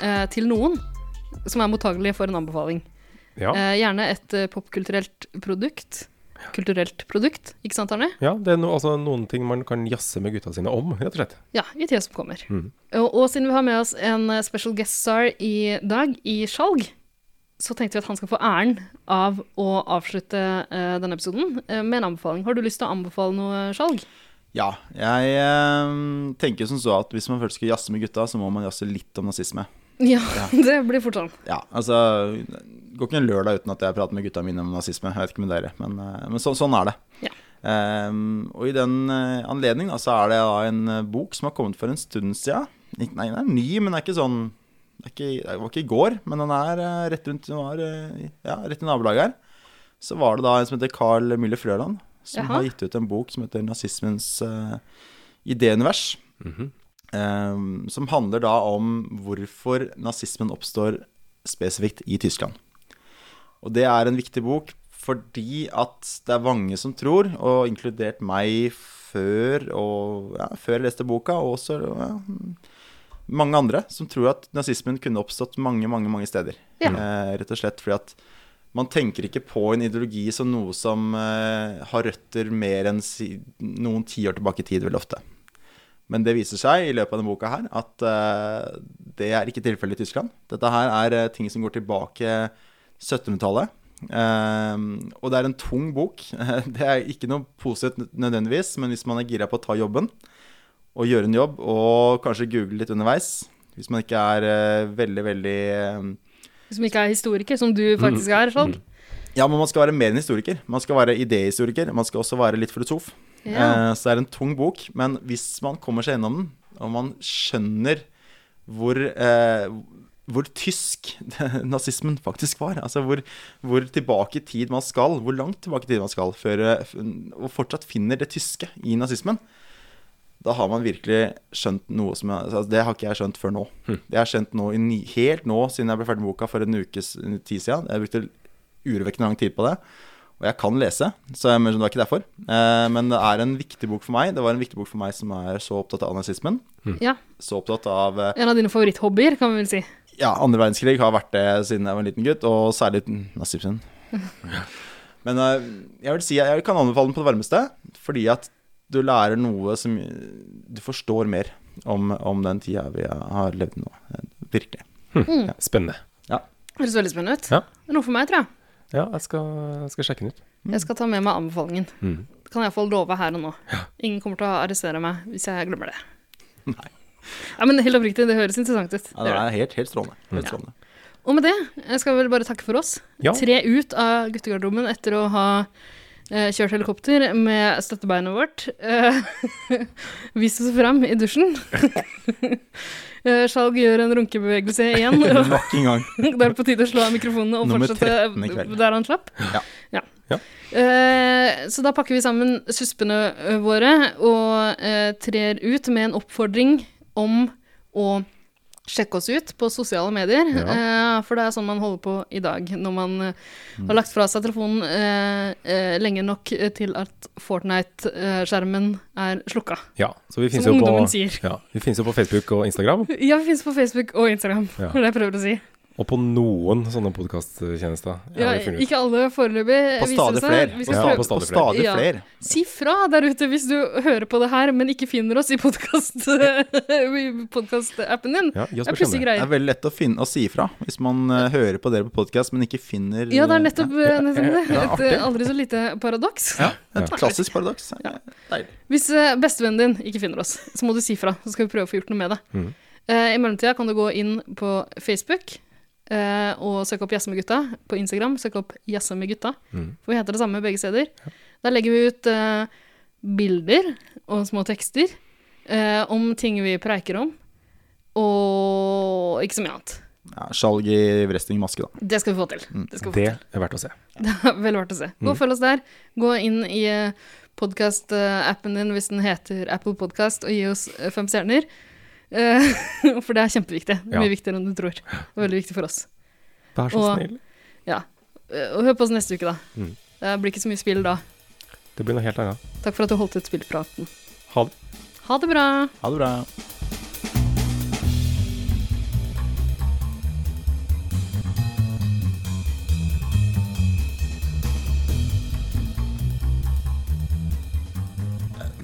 Speaker 2: eh, til noen som er mottagelig for en anbefaling.
Speaker 4: Ja,
Speaker 2: Eh, gjerne et eh, popkulturelt produkt. Kulturelt produkt, ikke sant, Arne?
Speaker 4: ja det er no, altså noen ting man kan jazze med gutta sine om, rett og slett.
Speaker 2: Ja, i tida som kommer. Og, og siden vi har med oss en eh, special guest star i dag, i Skjalg, så tenkte vi at han skal få æren av å avslutte eh, denne episoden eh, med en anbefaling. Har du lyst til å anbefale noe, Skjalg?
Speaker 1: Ja, jeg eh, tenker som så at hvis man først skal jazze med gutta, så må man jazze litt om nazisme.
Speaker 2: Ja, det blir fort sånn.
Speaker 1: Ja, altså det Går ikke en lørdag uten at jeg prater med gutta mine om nazisme. Jeg vet ikke med dere, men, eh, men så, sånn er det.
Speaker 2: Ja.
Speaker 1: Ehm, og i den eh, anledning da, så er det da en eh, bok som har kommet for en stund siden. Ikke- Nei, den er ny, men det er ikke sånn Det, er ikke, det var ikke i går, men han er eh, rett rundt han var, eh, ja, rett i nabolaget her. Så var det da en som heter Carl Müller Frøland, som
Speaker 2: Jaha.
Speaker 1: har gitt ut en bok som heter 'Nazismens eh, idéunivers'. eh, som handler da om hvorfor nazismen oppstår spesifikt i Tyskland. Og det er en viktig bok fordi at det er mange som tror, og inkludert meg før, og, ja, før jeg leste boka, og også ja, mange andre, som tror at nazismen kunne oppstått mange, mange, mange steder.
Speaker 2: Ja.
Speaker 1: Eh, rett og slett fordi at man tenker ikke på en ideologi som noe som eh, har røtter mer enn si, noen tiår tilbake i tid, veldig ofte. Men det viser seg i løpet av denne boka her at eh, det er ikke tilfellet i Tyskland. Dette her er eh, ting som går tilbake 1700-tallet. Eh, og det er en tung bok. Det er ikke noe positivt nø- nødvendigvis, men hvis man er gira på å ta jobben og gjøre en jobb, og kanskje google litt underveis Hvis man ikke er eh, veldig, veldig eh,
Speaker 2: Hvis man ikke er historiker, som du faktisk er. Sånn.
Speaker 1: Ja, men man skal være mer enn historiker. Man skal være idéhistoriker. Man skal også være litt filosof.
Speaker 2: Ja.
Speaker 1: Eh, Så det er en tung bok, men hvis man kommer seg gjennom den, og man skjønner hvor, eh, hvor tysk nazismen faktisk var, altså hvor, hvor tilbake i tid man skal, hvor langt tilbake i tid man skal, før, eh, f- og fortsatt finner det tyske i nazismen, da har man virkelig skjønt noe som jeg, altså Det har ikke jeg skjønt før nå. Det har jeg skjønt nå i, ny- helt nå, siden jeg ble ferdig med boka for en ukes en tid siden. Jeg brukte urovekkende lang tid på det. Og jeg kan lese, så jeg, men det var ikke derfor. Eh, men det er en viktig bok for meg. Det var en viktig bok for meg som er så opptatt av nazismen.
Speaker 2: Ja.
Speaker 1: Så opptatt av eh,
Speaker 2: En av dine favoritthobbyer, kan vi vel si.
Speaker 1: Ja, andre verdenskrig har vært det siden jeg var en liten gutt, og særlig nazismen. Men eh, jeg vil si jeg kan anbefale den på det varmeste, fordi at du lærer noe som Du forstår mer om, om den tida vi har levd nå. Eh, Virkelig.
Speaker 2: Mm.
Speaker 4: Spennende.
Speaker 2: Høres veldig spennende ut.
Speaker 4: Ja.
Speaker 2: Det er noe for meg, tror jeg.
Speaker 4: Ja, jeg skal, jeg skal sjekke den ut.
Speaker 2: Jeg skal ta med meg anbefalingen.
Speaker 4: Mm.
Speaker 2: Det kan jeg iallfall love her og nå. Ingen kommer til å arrestere meg hvis jeg glemmer det. Nei. Ja, men helt oppriktig, det høres interessant
Speaker 1: Ja,
Speaker 2: ut. Det
Speaker 1: det
Speaker 2: gjør det.
Speaker 1: er helt, helt strålende. Helt strålende.
Speaker 2: Og med det jeg skal vel bare takke for oss.
Speaker 4: Ja.
Speaker 2: Tre ut av guttegarderoben etter å ha eh, kjørt helikopter med støttebeinet vårt. Eh, Vis oss fram i dusjen. Eh, Skjalg gjør en runkebevegelse igjen. og
Speaker 1: Nok en gang.
Speaker 2: Da er det på tide å slå av mikrofonene og
Speaker 1: Nummer
Speaker 2: fortsette
Speaker 1: 13 i kveld.
Speaker 2: der han slapp.
Speaker 1: Ja.
Speaker 4: Ja.
Speaker 2: Eh, så da pakker vi sammen suspene eh, våre og eh, trer ut med en oppfordring om å sjekke oss ut på sosiale medier. eh, for det er sånn man holder på i dag, når man eh,
Speaker 1: Mm.
Speaker 2: har lagt fra seg telefonen eh, eh, lenge nok eh, til at Fortnite-skjermen eh, er slukka.
Speaker 4: Ja, så vi
Speaker 2: Som
Speaker 4: finnes jo på,
Speaker 2: ungdommen sier.
Speaker 4: ja, vi finnes jo på Facebook og Instagram,
Speaker 2: Ja, vi finnes på Facebook og Instagram,
Speaker 4: Ja.
Speaker 2: det er det jeg prøver å si.
Speaker 4: og på noen sånne podkasttjenester.
Speaker 2: Ja, ikke alle foreløpig.
Speaker 1: På
Speaker 2: viser
Speaker 1: stadig
Speaker 2: det seg.
Speaker 1: flere.
Speaker 2: Vi
Speaker 1: På
Speaker 4: Ja,
Speaker 2: skal prøve-
Speaker 1: stadig,
Speaker 4: på
Speaker 1: på
Speaker 4: stadig flere.
Speaker 1: stadig
Speaker 2: Ja.
Speaker 1: flere.
Speaker 2: Si fra der ute hvis du hører på det her, men ikke finner oss i podkast-appen din.
Speaker 4: Ja, gi oss
Speaker 2: det er plutselig
Speaker 4: beskjed om det.
Speaker 1: Det
Speaker 2: greier.
Speaker 1: er veldig lett å, finne, å si ifra hvis man eh, hører på dere på podkast, men ikke finner
Speaker 2: Ja, det er
Speaker 1: eh,
Speaker 2: nettopp, nettopp det.
Speaker 1: Ja,
Speaker 2: Et eh, aldri så lite paradoks.
Speaker 1: Et klassisk paradoks. Deilig.
Speaker 2: Hvis eh, bestevennen din ikke finner oss, så må du si fra. Så skal vi prøve å få gjort noe med det. Eh, I mellomtida kan du gå inn på Facebook eh, og søke opp Jazze med gutta. På Instagram søke opp Jazze med gutta. For vi heter det samme begge steder. Der legger vi ut eh, bilder og små tekster eh, om ting vi preiker om, og ikke så mye annet.
Speaker 1: Ja, Skjalg i wrestlingmaske, da.
Speaker 2: Det skal vi få til. Det skal vi få
Speaker 4: Det er verdt å se.
Speaker 2: Vel verdt å se.
Speaker 1: Mm.
Speaker 2: Gå og følg oss der. Gå inn i podkast-appen din hvis den heter Apple Podcast, og gi oss eh, fem stjerner. Eh, For det er kjempeviktig. Det er Mye
Speaker 4: Ja.
Speaker 2: viktigere enn du tror. Og veldig viktig for oss.
Speaker 4: Vær så
Speaker 2: Og-
Speaker 4: snill.
Speaker 2: Ja. Eh, Og hør på oss neste uke, da.
Speaker 1: Mm.
Speaker 2: Det blir ikke så mye spill da.
Speaker 4: Det blir noe helt annet.
Speaker 2: Takk for at du holdt ut spillpraten.
Speaker 4: Ha det.
Speaker 2: Ha det bra!
Speaker 1: Ha det bra.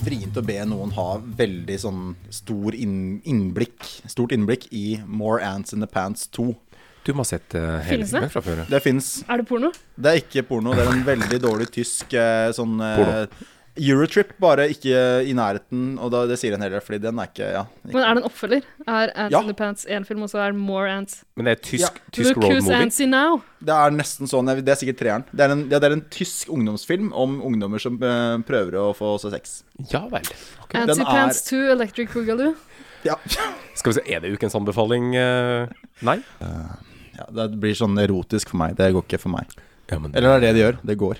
Speaker 1: Vrient å be noen ha veldig sånn stor inn, innblikk, stort innblikk i More Ants in the Pants 2.
Speaker 4: Du må ha sett eh, hele
Speaker 2: Finnes det?
Speaker 4: filmen fra før.
Speaker 1: Det fins.
Speaker 2: Er det porno?
Speaker 1: Det er ikke porno, det er en veldig dårlig tysk eh, sånn eh, Eurotrip, bare ikke i nærheten. Og da, det sier en heller, fordi den er ikke Ja.
Speaker 2: Men er det en oppfølger? Er Ants
Speaker 1: Ja.
Speaker 2: in the Pants én film, og så er More Ants
Speaker 4: Men det er tysk,
Speaker 1: Ja.
Speaker 4: tysk
Speaker 2: Look
Speaker 4: road
Speaker 2: who's
Speaker 4: movie.
Speaker 2: antsy now!
Speaker 1: Det er nesten sånn. jeg- Det er sikkert treeren. Det er en, ja, det er en tysk ungdomsfilm om ungdommer som eh, prøver å få seg sex.
Speaker 4: Ja vel.
Speaker 1: Den
Speaker 2: Antsy
Speaker 1: er-
Speaker 2: Pants 2 Electric Boogaloo.
Speaker 1: Ja.
Speaker 4: Skal vi se, er det ukens anbefaling? eh? Nei?
Speaker 1: Ja, det blir sånn erotisk for meg. Det går ikke for meg.
Speaker 4: Ja, men
Speaker 1: Eller det er det det gjør. Det går.